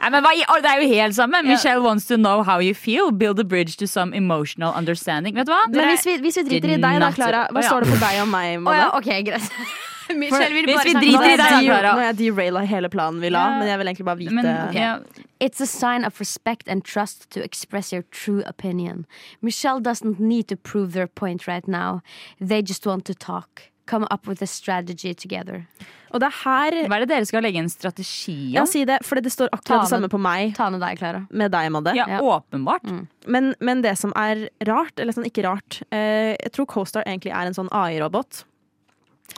Speaker 3: Nei, men hva, i- å, det er jo helt samme! Michelle wants to know how you feel. Build a bridge to some emotional understanding. Vet du hva?
Speaker 6: Men
Speaker 3: Dere-
Speaker 6: hvis vi, hvis vi driter i deg da,
Speaker 3: Did not-
Speaker 6: Klara.
Speaker 3: Å,
Speaker 6: Hva
Speaker 3: ja.
Speaker 6: står det på deg og meg?
Speaker 4: Å ja,
Speaker 6: Madde?
Speaker 4: ok, greit. Michelle vil
Speaker 3: hvis
Speaker 4: bare
Speaker 3: vi
Speaker 6: Nå
Speaker 4: snakke
Speaker 3: driter
Speaker 4: om
Speaker 3: i
Speaker 6: har jeg
Speaker 4: det.
Speaker 3: deg,
Speaker 6: de-
Speaker 3: Klara.
Speaker 6: Nå har jeg deraila hele planen vi la,
Speaker 3: Ja.
Speaker 6: men jeg vil egentlig bare vite
Speaker 3: Men, ja,
Speaker 4: It's a sign of respect and trust to express your true opinion. Michelle doesn't need to prove their point right now. They just want to talk. Come up with a strategy together.
Speaker 6: Og det er her
Speaker 3: hva er det dere skal legge en strategi
Speaker 6: Ja,
Speaker 3: om?
Speaker 6: si det, for det står
Speaker 4: Ta
Speaker 6: akkurat det
Speaker 4: med-
Speaker 6: samme på meg
Speaker 4: Ta med deg, Klara.
Speaker 6: med deg, Madde.
Speaker 3: Ja,
Speaker 4: Ja.
Speaker 3: åpenbart.
Speaker 6: Men, men det som er rart, eller sånn ikke rart eh, Jeg tror CoStar egentlig er en sånn AI-robot.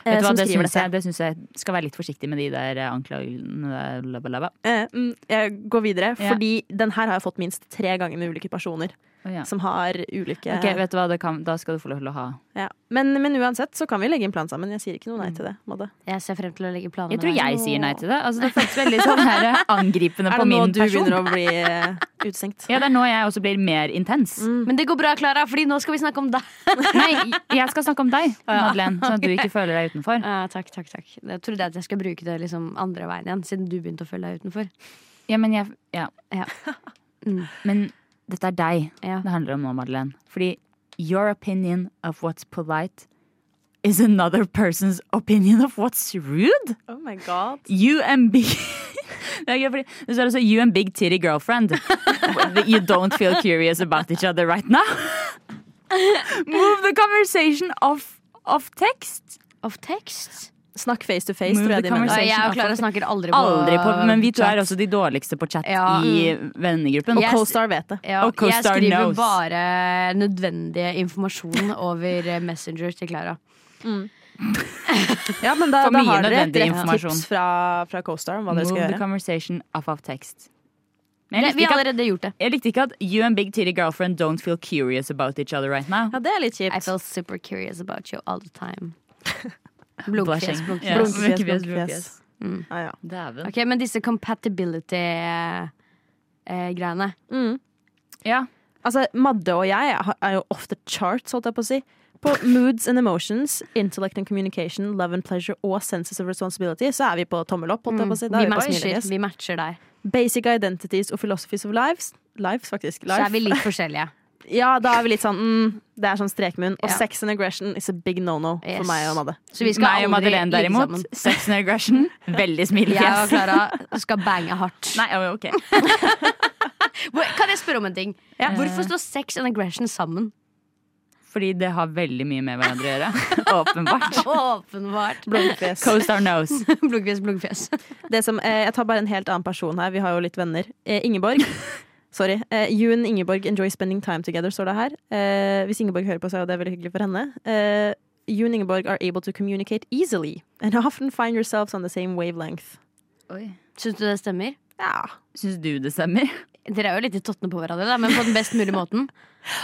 Speaker 3: Vet
Speaker 6: eh,
Speaker 3: du hva,
Speaker 6: som
Speaker 3: det
Speaker 6: skriver
Speaker 3: syns
Speaker 6: dette.
Speaker 3: jeg, det synes jeg skal være litt forsiktig med de der eh, anklagene blablabla.
Speaker 6: Eh, mm, jeg går videre,
Speaker 3: Ja.
Speaker 6: fordi den her har jeg fått minst tre ganger med ulike personer.
Speaker 3: Å, ja.
Speaker 6: Som har ulike
Speaker 3: Ok, vet du hva, det kan, Da skal du få lov til å ha
Speaker 6: ja. men, men uansett så kan vi legge en plan sammen. Jeg sier ikke noe nei
Speaker 3: Mm.
Speaker 6: til det. Madde.
Speaker 4: Jeg ser frem til å legge planer
Speaker 3: Jeg
Speaker 4: med
Speaker 3: tror
Speaker 4: deg.
Speaker 3: jeg sier nei til det. Altså, det føles veldig sånn her eh, angripende
Speaker 6: Er
Speaker 3: på
Speaker 6: det nå
Speaker 3: min
Speaker 6: du
Speaker 3: person.
Speaker 6: begynner å bli eh, utestengt?
Speaker 3: Ja, Det er nå jeg også blir mer intens.
Speaker 6: Mm.
Speaker 4: Men det går bra, Klara, Fordi nå skal vi snakke om deg.
Speaker 3: Nei, jeg skal snakke om deg, Madeleine, sånn at du ikke føler deg utenfor.
Speaker 4: Ja, takk, takk, takk. Jeg trodde at jeg skal bruke det liksom andre veien igjen, siden du begynte å følge deg utenfor.
Speaker 3: Ja, men jeg Ja.
Speaker 4: Ja. Mm.
Speaker 3: Men dette er deg
Speaker 4: Ja.
Speaker 3: det handler om nå, Madeleine. Fordi your opinion of what's polite is another person's opinion of what's rude.
Speaker 6: Oh my god.
Speaker 3: You and big Det er gøy, fordi det står altså You and big titty girlfriend That You don't feel curious about each other right now Move the conversation off, off text
Speaker 4: Av tekst?
Speaker 6: Snakk face to face,
Speaker 3: Move
Speaker 6: tror
Speaker 3: the
Speaker 6: jeg de mener.
Speaker 3: conversation.
Speaker 4: jeg og Klara snakker aldri på
Speaker 3: Aldri på, men vi to
Speaker 4: chat.
Speaker 3: er også de dårligste på chat
Speaker 4: Ja.
Speaker 3: I vennegruppen
Speaker 6: Og
Speaker 4: Yes.
Speaker 6: CoStar vet det.
Speaker 4: Ja,
Speaker 3: Og
Speaker 4: jeg
Speaker 3: CoStar
Speaker 4: skriver
Speaker 3: knows.
Speaker 4: bare nødvendig informasjon over eh, Messenger til Klara.
Speaker 6: Ja, men da,
Speaker 3: For
Speaker 6: da
Speaker 3: mye
Speaker 6: har dere et
Speaker 3: nødvendig
Speaker 6: rett
Speaker 3: informasjon.
Speaker 6: tips fra, fra CoStar om hva dere skal
Speaker 3: Move the
Speaker 6: gjøre.
Speaker 3: conversation off of text Men
Speaker 4: Vi
Speaker 3: jeg likte,
Speaker 4: har
Speaker 3: ikke at,
Speaker 4: allerede gjort det.
Speaker 3: jeg likte ikke at You and big titty girlfriend don't feel curious about each other right now
Speaker 6: Ja, det er litt
Speaker 4: I
Speaker 6: kjipt.
Speaker 4: feel super curious about you all the time.
Speaker 3: Blushing.
Speaker 4: Blunkefjes,
Speaker 3: Ja.
Speaker 4: blunkefjes.
Speaker 6: Blunkefjes,
Speaker 3: Blunkefjes,
Speaker 6: blunkefjes. Ah, Ja, ja.
Speaker 3: Dæven
Speaker 4: Mm. Ok, Men disse eh, compatibility-greiene
Speaker 6: Mm.
Speaker 3: ja.
Speaker 6: Altså, Madde og jeg har- er jo off the charts, holdt jeg på å si. På moods and emotions, intellect and communication, love and pleasure og senses of responsibility, så er vi på tommel opp. holdt jeg på å si. Da
Speaker 4: Mm. vi,
Speaker 6: er vi på
Speaker 4: matcher,
Speaker 6: smilegress.
Speaker 4: vi matcher der.
Speaker 6: Basic identities og philosophies of lives. Lives, faktisk.
Speaker 4: Så er vi
Speaker 6: Life.
Speaker 4: litt forskjellige.
Speaker 6: Ja, da er vi litt sånn mm, Det er sånn strekmunn. Og
Speaker 4: Ja.
Speaker 6: sex and aggression is a big no-no for
Speaker 4: Yes.
Speaker 6: meg og Madde.
Speaker 4: Så vi skal
Speaker 3: Meg og
Speaker 4: aldri
Speaker 3: Madeleine
Speaker 4: ligge
Speaker 3: derimot
Speaker 4: sammen.
Speaker 3: Sex and aggression Veldig smilefjes
Speaker 4: Jeg og Klara skal bange hardt.
Speaker 3: Nei, ja, ok
Speaker 4: Hvor- Kan jeg spørre om en ting? Hvorfor står sex and aggression sammen?
Speaker 3: Fordi det har veldig mye med hverandre å gjøre. Åpenbart.
Speaker 4: Åpenbart.
Speaker 6: Blomfjes.
Speaker 3: Coastar knows.
Speaker 4: Blunkefjes, blunkefjes.
Speaker 6: Det som, eh, jeg tar bare en helt annen person her. Vi har jo litt venner. Eh, Ingeborg. Sorry. Eh, you and Ingeborg enjoy spending time together, står det her. Eh, hvis Ingeborg hører på, så er jo det veldig hyggelig for henne. Eh, you and Ingeborg are able to communicate easily and often find yourselves on the same wavelength.
Speaker 4: Syns du det stemmer?
Speaker 6: Ja.
Speaker 3: Syns du det stemmer?
Speaker 4: Dere er jo litt i tottene på hverandre, da, men på den best mulige måten.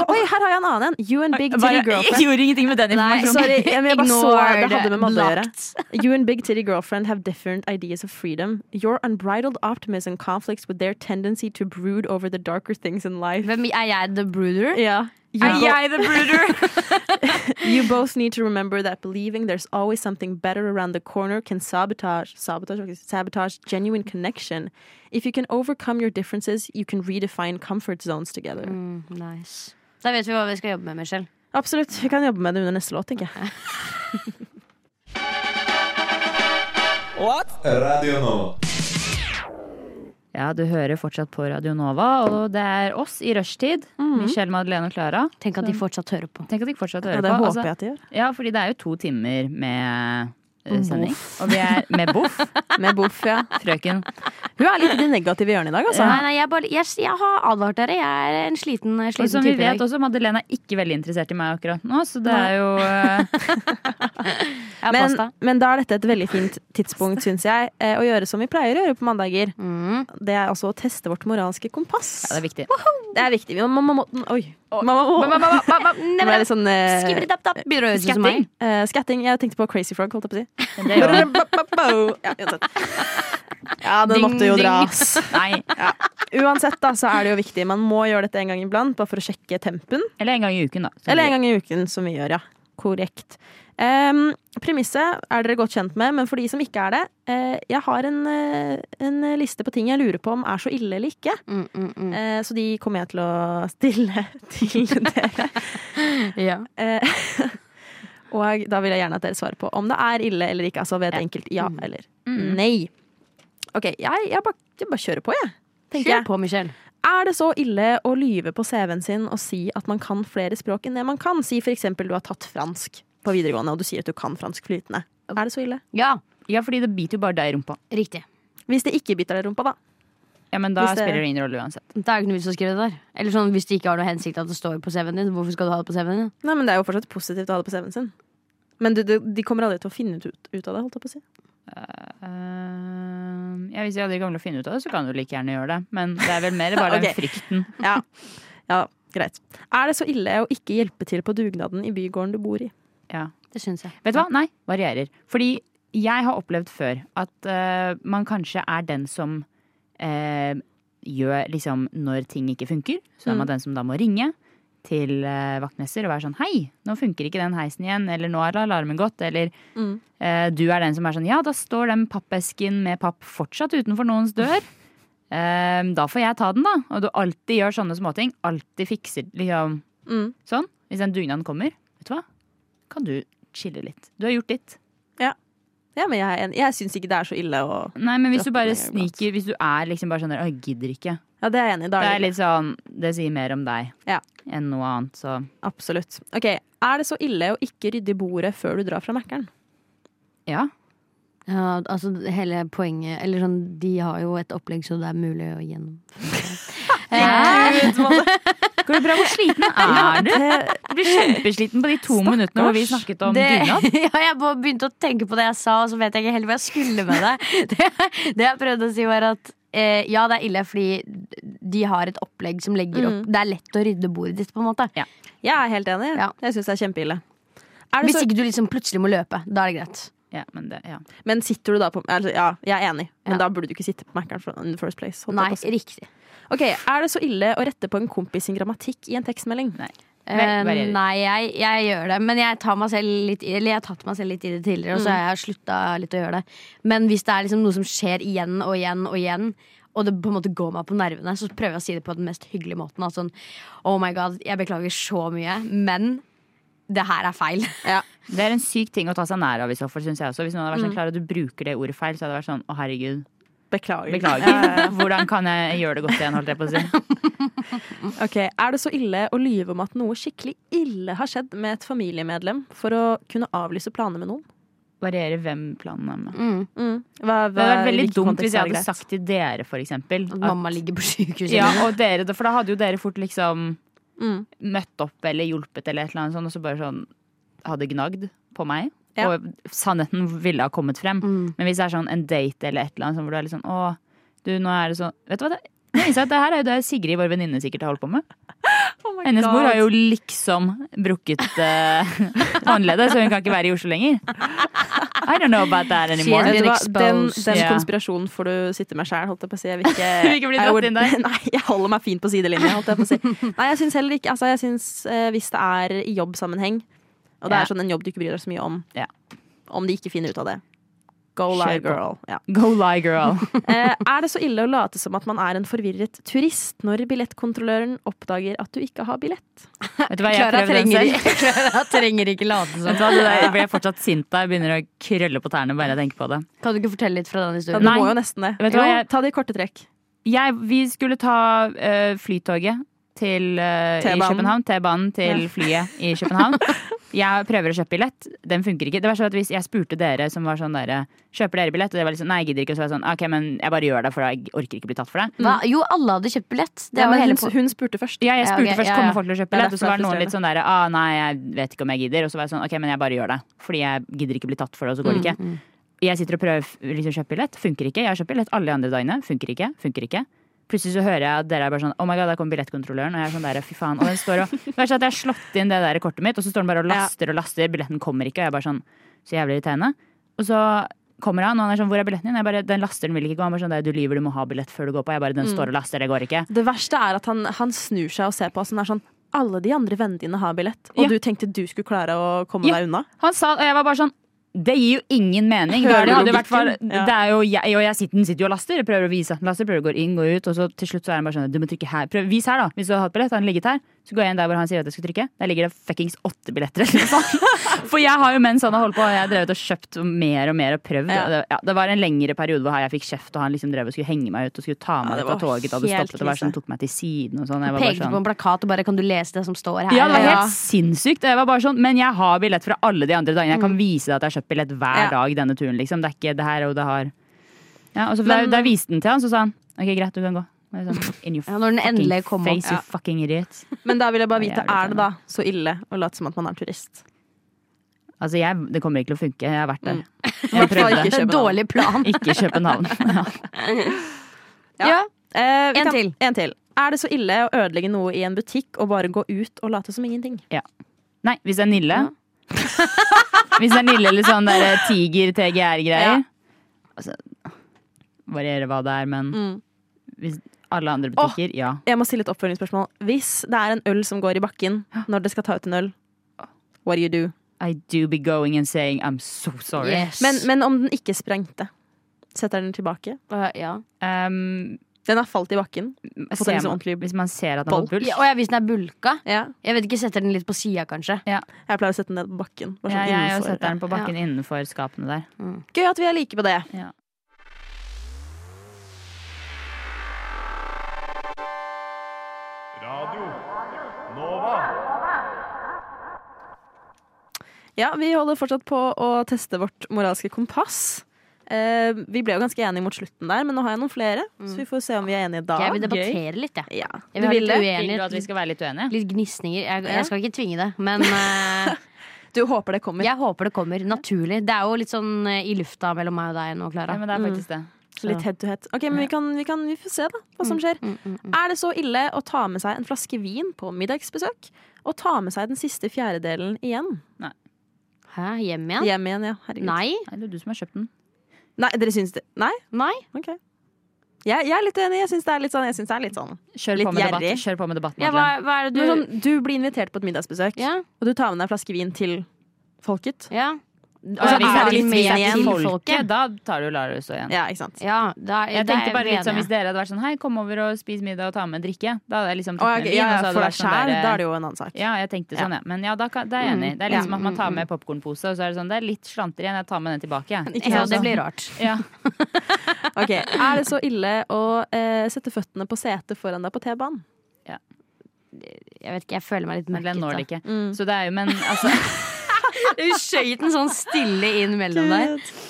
Speaker 6: Oi, her har jeg en annen en! You and Big Titty
Speaker 3: Bare- jeg
Speaker 6: Girlfriend.
Speaker 3: gjorde ingenting med den
Speaker 4: Nei,
Speaker 3: informasjonen.
Speaker 6: Sorry, jeg, men jeg bare så
Speaker 4: Ignore
Speaker 6: det hadde med Madde å gjøre.
Speaker 4: Blocked.
Speaker 6: You and Big Titty Girlfriend have different ideas of freedom. Your unbridled optimism conflicts with their tendency to brood over the darker things in life.
Speaker 4: Hvem er jeg, the brooder?
Speaker 6: Ja. You
Speaker 3: Er
Speaker 6: go-
Speaker 3: jeg the brooder?
Speaker 6: You both need to remember that believing there's always something better around the corner can sabotage sabotage okay, sabotage genuine connection. If you can overcome your differences, you can redefine comfort zones together.
Speaker 4: Mm, nice. Da vet vi hva vi skal jobbe med, Michelle.
Speaker 6: Absolutt. Vi kan jobbe med det under neste låt, tenker jeg.
Speaker 1: Radio Nova.
Speaker 3: Ja, du hører fortsatt på Radio Nova, og det er oss i rushtid. Michelle, Madeleine og Klara.
Speaker 4: Tenk at de fortsatt hører på.
Speaker 3: Tenk at de fortsatt
Speaker 6: Ja,
Speaker 3: hører
Speaker 6: det
Speaker 3: på. altså.
Speaker 6: håper jeg at de gjør.
Speaker 3: ja, fordi det er jo to timer med eh, sending. Og vi er med boff,
Speaker 6: Med Boff, ja.
Speaker 3: frøken.
Speaker 6: Hun er litt i det negative hjørnet i dag, altså.
Speaker 4: Nei, nei, jeg, bare, jeg, jeg har advart dere. Jeg er en sliten, eh,
Speaker 3: Og
Speaker 4: sliten
Speaker 3: som vi
Speaker 4: type i
Speaker 3: vet
Speaker 4: dag.
Speaker 3: også, Madeleine er ikke veldig interessert i meg akkurat nå, så det er jo eh,
Speaker 4: Jeg har
Speaker 6: Men,
Speaker 4: pasta.
Speaker 6: men da er dette et veldig fint tidspunkt, syns jeg, eh, å gjøre som vi pleier å gjøre på mandager.
Speaker 4: Mm.
Speaker 6: Det er altså å teste vårt moralske kompass.
Speaker 3: Ja, det er viktig.
Speaker 6: Det er viktig. Man må, man må, oi. Man må,
Speaker 4: Ba, ba, ba, ba,
Speaker 6: Nå ble
Speaker 4: ba.
Speaker 6: det sånn eh,
Speaker 4: Skibidi-dap-dap. Begynner å høres ut som meg.
Speaker 6: Eh, skatting. Jeg tenkte på Crazy Frog, holdt jeg på å si.
Speaker 3: Men det gjør man.
Speaker 6: Ja, uansett. Ja, den
Speaker 4: Ding,
Speaker 6: måtte jo
Speaker 4: ding.
Speaker 6: dras.
Speaker 3: Nei.
Speaker 6: Uansett da, så er det jo viktig. Man må gjøre dette en gang iblant, bare for å sjekke tempen.
Speaker 3: Eller en gang i uken, da. Så
Speaker 6: Eller en gang i uken, som vi gjør, ja. Korrekt. Ehm, premisset er dere godt kjent med, men for de som ikke er det eh, Jeg har en, eh, en liste på ting jeg lurer på om er så ille eller ikke.
Speaker 4: Mm, mm, mm.
Speaker 6: Eh, så de kommer jeg til å stille til dere.
Speaker 4: Ja.
Speaker 6: Eh, og da vil jeg gjerne at dere svarer på om det er ille eller ikke. Altså ved et enkelt ja Mm. eller nei. OK, jeg, jeg, bare, jeg bare kjører på, jeg. tenker jeg.
Speaker 4: Kjør på, Michelle.
Speaker 6: Er det så ille å lyve på CV-en sin og si at man kan flere språk enn det man kan? Si for eksempel du har tatt fransk på videregående, og du sier at du kan fransk flytende. Er det så ille?
Speaker 4: Ja,
Speaker 3: Ja, fordi det biter jo bare deg i rumpa.
Speaker 4: riktig.
Speaker 6: Hvis det ikke biter deg i rumpa, da.
Speaker 3: Ja, men da
Speaker 6: Hvis det-
Speaker 3: spiller det ingen rolle uansett.
Speaker 4: Det er jo ikke noe vits å skrive det der. Eller sånn, Hvis det ikke har noe hensikt at det står på CV-en din, hvorfor skal du ha det på CV-en din?
Speaker 6: Nei, men det er jo fortsatt positivt å ha det på CV-en sin. Men du, du, de kommer aldri til å finne ut, ut av det, holdt jeg på å si.
Speaker 3: Ehm, ja, hvis vi aldri kommer til å finne ut av det, så kan du like gjerne gjøre det. Men det er vel mer bare
Speaker 6: Ok.
Speaker 3: den frykten.
Speaker 6: Ja. ja, greit. Er det så ille å ikke hjelpe til på dugnaden i bygården du bor i?
Speaker 3: Ja.
Speaker 4: Det syns jeg.
Speaker 3: Vet du hva? Nei, varierer. Fordi jeg har opplevd før at eh, man kanskje er den som eh, gjør liksom når ting ikke funker. Så er man den som da må ringe til eh, vaktmester og være sånn hei, nå funker ikke den heisen igjen, eller nå har alarmen gått, eller
Speaker 6: Mm.
Speaker 3: eh, du er den som er sånn ja, da står den pappesken med papp fortsatt utenfor noens dør. Eh, da får jeg ta den, da. Og du alltid gjør sånne småting. Alltid fikser liksom
Speaker 6: Mm.
Speaker 3: sånn. Hvis den dugnaden kommer, vet du hva, kan du chille litt. Du har gjort ditt.
Speaker 6: Ja, men jeg, er enig. jeg syns ikke det er så ille å
Speaker 3: Nei, men hvis du
Speaker 6: Droppe
Speaker 3: bare
Speaker 6: det iblant.
Speaker 3: sniker Hvis du er liksom bare sånn der, «Å, jeg gidder ikke.
Speaker 6: Ja, det er jeg enig i. Da
Speaker 3: Det
Speaker 6: er
Speaker 3: er
Speaker 6: det
Speaker 3: litt sånn Det sier mer om deg
Speaker 6: Ja.
Speaker 3: enn noe annet, så
Speaker 6: Absolutt. Ok, Er det så ille å ikke rydde i bordet før du drar fra Mækkern?
Speaker 3: ja.
Speaker 4: Ja, altså hele poenget Eller sånn, de har jo et opplegg så det er mulig å gjennom. Eh,
Speaker 3: Går det bra? Hvor sliten er du? Du blir kjempesliten på de to minuttene hvor vi
Speaker 6: Stakkars.
Speaker 3: snakket om
Speaker 4: det,
Speaker 3: dugnad.
Speaker 4: ja, jeg bare begynte å tenke på det jeg sa, og så vet jeg ikke helt hva jeg skulle med det. Det, det jeg prøvde å si, var at eh, ja, det er ille fordi de har et opplegg som legger opp
Speaker 6: Mm.
Speaker 4: Det er lett å rydde bordet ditt, på en måte.
Speaker 6: Jeg er helt enig.
Speaker 4: Ja.
Speaker 6: Jeg syns det er kjempeille. Er det
Speaker 4: Hvis
Speaker 6: så,
Speaker 4: ikke du liksom plutselig må løpe. Da er det greit.
Speaker 3: Ja, men det, ja.
Speaker 6: men sitter du da på altså, Ja, jeg er enig, men
Speaker 4: Ja.
Speaker 6: da burde du ikke sitte på Mækkern for- in the first place. holdt
Speaker 4: Nei,
Speaker 6: jeg på å si.
Speaker 4: riktig.
Speaker 6: Ok, Er det så ille å rette på en kompis sin grammatikk i en tekstmelding?
Speaker 4: Eh,
Speaker 3: Varierer.
Speaker 4: nei, jeg, jeg gjør det, men jeg tar meg selv litt i- Eller jeg har tatt meg selv litt i det tidligere, og
Speaker 3: Mm.
Speaker 4: så har jeg slutta litt å gjøre det. Men hvis det er liksom noe som skjer igjen og igjen og igjen, og det på en måte går meg på nervene, så prøver jeg å si det på den mest hyggelige måten. Altså sånn, oh my god, jeg beklager så mye, men det her er feil.
Speaker 3: det er en syk ting å ta seg nær av i så fall, syns jeg også. Hvis noen hadde vært sånn klar at du bruker det ordet feil, så hadde det vært sånn å herregud,
Speaker 6: Beklager. Eh,
Speaker 3: beklager. Hvordan kan jeg gjøre det godt igjen, holdt jeg på å si.
Speaker 6: Ok, Er det så ille å lyve om at noe skikkelig ille har skjedd med et familiemedlem for å kunne avlyse planer med noen?
Speaker 3: Varierer hvem planen er med.
Speaker 4: Mm.
Speaker 6: Hva,
Speaker 3: Det hadde vært
Speaker 6: i
Speaker 3: veldig
Speaker 6: hvilken
Speaker 3: dumt
Speaker 6: kontekst
Speaker 3: hvis jeg
Speaker 6: er det
Speaker 3: hadde
Speaker 6: greit?
Speaker 3: sagt til dere, for eksempel,
Speaker 4: At
Speaker 3: at
Speaker 4: mamma ligger på sykehuset.
Speaker 3: Ja, og dere, for da hadde jo dere fort liksom
Speaker 6: Mm.
Speaker 3: møtt opp eller hjulpet eller et eller annet sånt, og så bare sånn hadde gnagd på meg.
Speaker 6: Ja.
Speaker 3: Og sannheten ville ha kommet frem.
Speaker 4: Mm.
Speaker 3: Men hvis det er sånn en date eller et eller annet sånn, hvor du er litt sånn Å, du, nå er det sånn Vet du hva, det, jeg innser at det her er jo det Sigrid, vår venninne, sikkert har holdt på med.
Speaker 6: Oh my
Speaker 3: Hennes mor
Speaker 6: God.
Speaker 3: har jo liksom brukket eh, håndleddet, så hun kan ikke være i Oslo lenger. I don't know about that anymore.
Speaker 4: She's
Speaker 6: Vet du hva, den,
Speaker 4: exposed.
Speaker 6: den
Speaker 3: Ja.
Speaker 6: konspirasjonen får du sitte med sjæl, holdt jeg på å si. Jeg vil ikke,
Speaker 3: vil ikke bli dratt
Speaker 6: I would-
Speaker 3: inn der?
Speaker 6: Nei, jeg holder meg fint på sidelinja, holdt jeg på å si. Nei, jeg syns heller ikke altså, jeg synes, eh, Hvis det er i jobbsammenheng, og det
Speaker 3: Ja.
Speaker 6: er sånn en jobb du ikke bryr deg så mye om,
Speaker 3: Ja.
Speaker 6: om de ikke finner ut av det. Go
Speaker 3: Kjør
Speaker 6: lie,
Speaker 3: på.
Speaker 6: girl. Ja.
Speaker 3: Go lie, girl.
Speaker 6: Eh, er det så ille å late som at man er en forvirret turist når billettkontrolløren oppdager at du ikke har billett?
Speaker 3: Vet du hva, jeg
Speaker 4: Klara
Speaker 3: prøvde den selv.
Speaker 4: trenger, Clara trenger ikke late
Speaker 3: Vet
Speaker 4: som.
Speaker 3: du hva, det der, jeg blir fortsatt sint av. Jeg begynner å krølle på tærne bare jeg tenker på det.
Speaker 4: Kan du ikke fortelle litt fra den
Speaker 6: Ja,
Speaker 4: historien?
Speaker 6: du
Speaker 3: Nei.
Speaker 6: må jo nesten det.
Speaker 3: Vet du hva,
Speaker 6: Jo,
Speaker 3: jeg-
Speaker 6: ta det i korte trekk.
Speaker 3: Jeg, vi skulle ta eh, flytoget til eh, i
Speaker 6: T-banen.
Speaker 3: København. T-banen til
Speaker 6: Ja.
Speaker 3: flyet i København. Jeg prøver å kjøpe billett. Den funker ikke. Det var sånn at Hvis jeg spurte dere som var sånn der, kjøper dere billett, og det var liksom nei, jeg gidder ikke, og så var jeg sånn ok, men jeg bare gjør det, for jeg orker ikke bli tatt for det.
Speaker 4: Hva? Jo, alle hadde kjøpt billett. Det
Speaker 6: Ja,
Speaker 4: var
Speaker 6: men
Speaker 4: hele
Speaker 6: hun,
Speaker 4: po-
Speaker 6: hun spurte først.
Speaker 3: Ja, jeg
Speaker 4: Ja,
Speaker 3: spurte
Speaker 4: ok,
Speaker 3: først
Speaker 4: ja, ja.
Speaker 3: kommer folk til å kjøpe
Speaker 6: Det er
Speaker 3: billett, og så
Speaker 6: derfor
Speaker 3: var
Speaker 6: det er
Speaker 3: noen litt sånn der ah, nei, jeg vet ikke om jeg gidder. Og så var jeg sånn ok, men jeg bare gjør det. Fordi jeg gidder ikke bli tatt for det, og så går det ikke. Jeg sitter og prøver å liksom, kjøpe billett, funker ikke. Jeg har kjøpt billett alle de andre dagene, funker ikke. funker ikke Plutselig så hører jeg at dere er bare sånn Oh my god, der kom billettkontrolløren. Og jeg er sånn der, fy faen. Og den står og Det er sånn at jeg har slått inn det der kortet mitt, og så står den bare og laster og laster. Billetten kommer ikke, og jeg er bare sånn Så jævlig irriterende. Og så kommer han, og han er sånn 'hvor er billetten din?' Jeg bare 'den lasteren vil ikke gå'. Han bare sånn 'du lyver, du må ha billett før du går på'. Jeg bare 'den står og laster, det går ikke'.
Speaker 6: Det verste er at han, han snur seg og ser på oss og er sånn Alle de andre vennene dine har billett, og
Speaker 3: Ja.
Speaker 6: du tenkte du skulle klare å komme
Speaker 3: Ja.
Speaker 6: deg unna.
Speaker 3: Han sa, og jeg var bare sånn det gir jo ingen mening.
Speaker 6: Hører
Speaker 3: Det hadde jo
Speaker 6: logikken.
Speaker 3: vært for,
Speaker 6: Ja.
Speaker 3: det er jo jeg, og jeg sitter, den sitter jo og laster. Jeg Prøver å vise at den laster, prøver å gå inn, gå ut. Og så til slutt så er han bare sånn Du må trykke her. Prøv, vis her, da. Hvis du hadde hatt billett, hadde den ligget her. Så går jeg inn der hvor han sier at jeg skal trykke. Der ligger det fuckings åtte billetter. eller noe sånt. For jeg har jo mens han har holdt på, jeg har drevet og kjøpt mer og mer og prøvd.
Speaker 6: Ja.
Speaker 3: Og Det, ja, det var en lengre periode hvor jeg fikk kjeft, og han liksom drev og skulle henge meg ut og skulle ta
Speaker 6: Ja,
Speaker 3: meg
Speaker 6: det
Speaker 3: ut av
Speaker 6: var
Speaker 3: toget da det
Speaker 6: helt
Speaker 3: stoppet. Det var sånn,
Speaker 6: krise.
Speaker 3: tok meg til siden og sånn. Jeg var bare
Speaker 4: Pekte
Speaker 3: sånn
Speaker 4: på en plakat og bare 'kan du lese det som står her'?
Speaker 3: ja, det var helt
Speaker 6: Ja.
Speaker 3: sinnssykt. Jeg var bare sånn, men jeg har billett fra alle de andre dagene. Jeg kan vise deg at jeg har kjøpt billett hver
Speaker 6: Mm. Ja.
Speaker 3: dag denne turen. Liksom. Det er ikke det her og det har ja, og så da,
Speaker 6: Men-
Speaker 3: da jeg viste den til han, så sa han OK, greit, du kan gå. Og jeg Sånn, In your
Speaker 4: Ja, når den
Speaker 3: fucking
Speaker 4: endelig kom opp.
Speaker 3: face, you fucking idiot.
Speaker 6: Men da vil jeg bare
Speaker 3: Det er
Speaker 6: vite,
Speaker 3: jævlig
Speaker 6: er det da så ille å late som at man er turist?
Speaker 3: Altså, jeg, det kommer ikke til å funke. Jeg har vært der.
Speaker 6: Mm.
Speaker 3: Jeg prøvde.
Speaker 6: Ikke
Speaker 4: Det er
Speaker 6: København.
Speaker 4: dårlig plan.
Speaker 3: Ikke København. Ja.
Speaker 6: Ja.
Speaker 4: Ja.
Speaker 6: Eh, vi
Speaker 4: En
Speaker 6: kan-
Speaker 4: til.
Speaker 6: en til. Er det så ille å ødelegge noe i en butikk og bare gå ut og late som ingenting?
Speaker 3: Nei, hvis det er Nille. Hvis det er Nille eller sånn der tiger-TGR-greier.
Speaker 6: Ja.
Speaker 3: Altså, varierer hva det er, men
Speaker 6: Mm.
Speaker 3: hvis alle andre butikker, ja.
Speaker 6: Jeg må stille et oppfølgingsspørsmål. Hvis det er en øl som går i bakken når dere skal ta ut en øl, what do you do?
Speaker 3: I do be going and saying I'm so sorry.
Speaker 4: Yes.
Speaker 6: Men, men om den ikke sprengte, setter den tilbake?
Speaker 4: Øh, ja.
Speaker 3: Um,
Speaker 6: Den har falt i bakken. fått en
Speaker 3: ser
Speaker 6: liksom
Speaker 3: man,
Speaker 6: ordentlig
Speaker 3: hvis man ser at den
Speaker 6: boll.
Speaker 3: har fått puls.
Speaker 4: ja. Og jeg, hvis den er bulka
Speaker 6: Ja.
Speaker 4: Jeg vet ikke, Setter den litt på sida, kanskje.
Speaker 6: Jeg pleier å sette den ned på bakken. Bare
Speaker 3: Ja,
Speaker 6: sånn
Speaker 3: jeg
Speaker 6: innenfor.
Speaker 3: setter den på bakken innenfor skapene der.
Speaker 6: Gøy at vi er like på det.
Speaker 3: Ja.
Speaker 1: Radio Nova.
Speaker 6: Ja, Vi holder fortsatt på å teste vårt moralske kompass. Eh, vi ble jo ganske enige mot slutten der, men nå har jeg noen flere. Så vi får se om vi er enige da.
Speaker 4: Mm. Jeg vil debattere litt, jeg.
Speaker 6: Ja.
Speaker 4: Jeg
Speaker 6: Du
Speaker 4: vil ha
Speaker 6: vil
Speaker 4: litt
Speaker 6: det?
Speaker 3: Vil du at vi
Speaker 4: uenighet.
Speaker 3: skal være litt uenige?
Speaker 4: Litt gnisninger. Jeg,
Speaker 6: Ja.
Speaker 4: jeg skal ikke tvinge det, men øh,
Speaker 6: Du håper det kommer.
Speaker 4: jeg håper det kommer naturlig. Det er jo litt sånn øh, i lufta mellom meg og deg nå,
Speaker 3: Ja,
Speaker 4: Klara.
Speaker 3: men det
Speaker 6: Mm.
Speaker 3: er faktisk det.
Speaker 6: Litt head to head. Ok, men vi, kan, vi, kan, vi får se da, hva
Speaker 3: Mm,
Speaker 6: som skjer. Er det så ille å ta med seg en flaske vin på middagsbesøk? Og ta med seg den siste fjerdedelen igjen?
Speaker 4: Hæ, hjem igjen?
Speaker 6: Hjem igjen, ja. Herregud.
Speaker 4: Nei?
Speaker 3: Nei, det er du som har kjøpt den.
Speaker 6: Nei, dere syns det Nei?
Speaker 4: Nei?
Speaker 6: Ok. Jeg, jeg er litt enig. Jeg syns det er litt sånn. Jeg synes det er litt sånn.
Speaker 3: Kjør
Speaker 6: Litt
Speaker 3: på med debatt.
Speaker 6: gjerrig.
Speaker 3: Kjør på med debatt
Speaker 4: Ja, hva,
Speaker 3: Madeleine.
Speaker 4: hva er det
Speaker 6: Men
Speaker 4: du
Speaker 6: sånn, du blir invitert på et middagsbesøk,
Speaker 4: Ja,
Speaker 6: og du tar med deg en flaske vin til folket.
Speaker 4: ja.
Speaker 3: Altså,
Speaker 6: Ja,
Speaker 3: hvis
Speaker 6: vi
Speaker 3: det
Speaker 6: tar
Speaker 3: er litt
Speaker 6: litt
Speaker 3: hvis det
Speaker 6: mer
Speaker 3: er
Speaker 6: igjen.
Speaker 3: til folket, da tar du Larus og igjen.
Speaker 6: Ja, ikke sant?
Speaker 4: Ja, da,
Speaker 3: Jeg
Speaker 4: da er
Speaker 3: tenkte bare
Speaker 4: vi
Speaker 3: litt sånn
Speaker 4: enige.
Speaker 3: Hvis dere hadde vært sånn Hei, kom over og spis middag og ta med en drikke. Da hadde jeg liksom
Speaker 6: Å,
Speaker 3: tatt med
Speaker 6: ok,
Speaker 3: vin.
Speaker 6: ja,
Speaker 3: og så hadde
Speaker 6: ja, for
Speaker 3: det
Speaker 6: deg
Speaker 3: vært sånn
Speaker 6: sjæl,
Speaker 3: der-
Speaker 6: da er det jo Mm. en annen sak.
Speaker 3: Ja, jeg tenkte sånn, ja. Men ja, da, kan- da er jeg enig. Det er litt som at man tar med popkornpose, og så er det sånn, det er litt slanter igjen, jeg tar med den tilbake, jeg.
Speaker 6: Ikke
Speaker 4: Ja,
Speaker 6: sant?
Speaker 4: det blir rart.
Speaker 3: Ja.
Speaker 6: Ok, Er det så ille å eh, sette føttene på setet foran deg på T-banen?
Speaker 4: Jeg vet ikke, jeg føler meg litt
Speaker 3: Men den når det
Speaker 4: møkkete.
Speaker 3: ikke.
Speaker 6: Mm.
Speaker 3: Så det er jo, men altså
Speaker 4: Hun skøyt den sånn stille inn mellom
Speaker 3: Eh,
Speaker 4: der.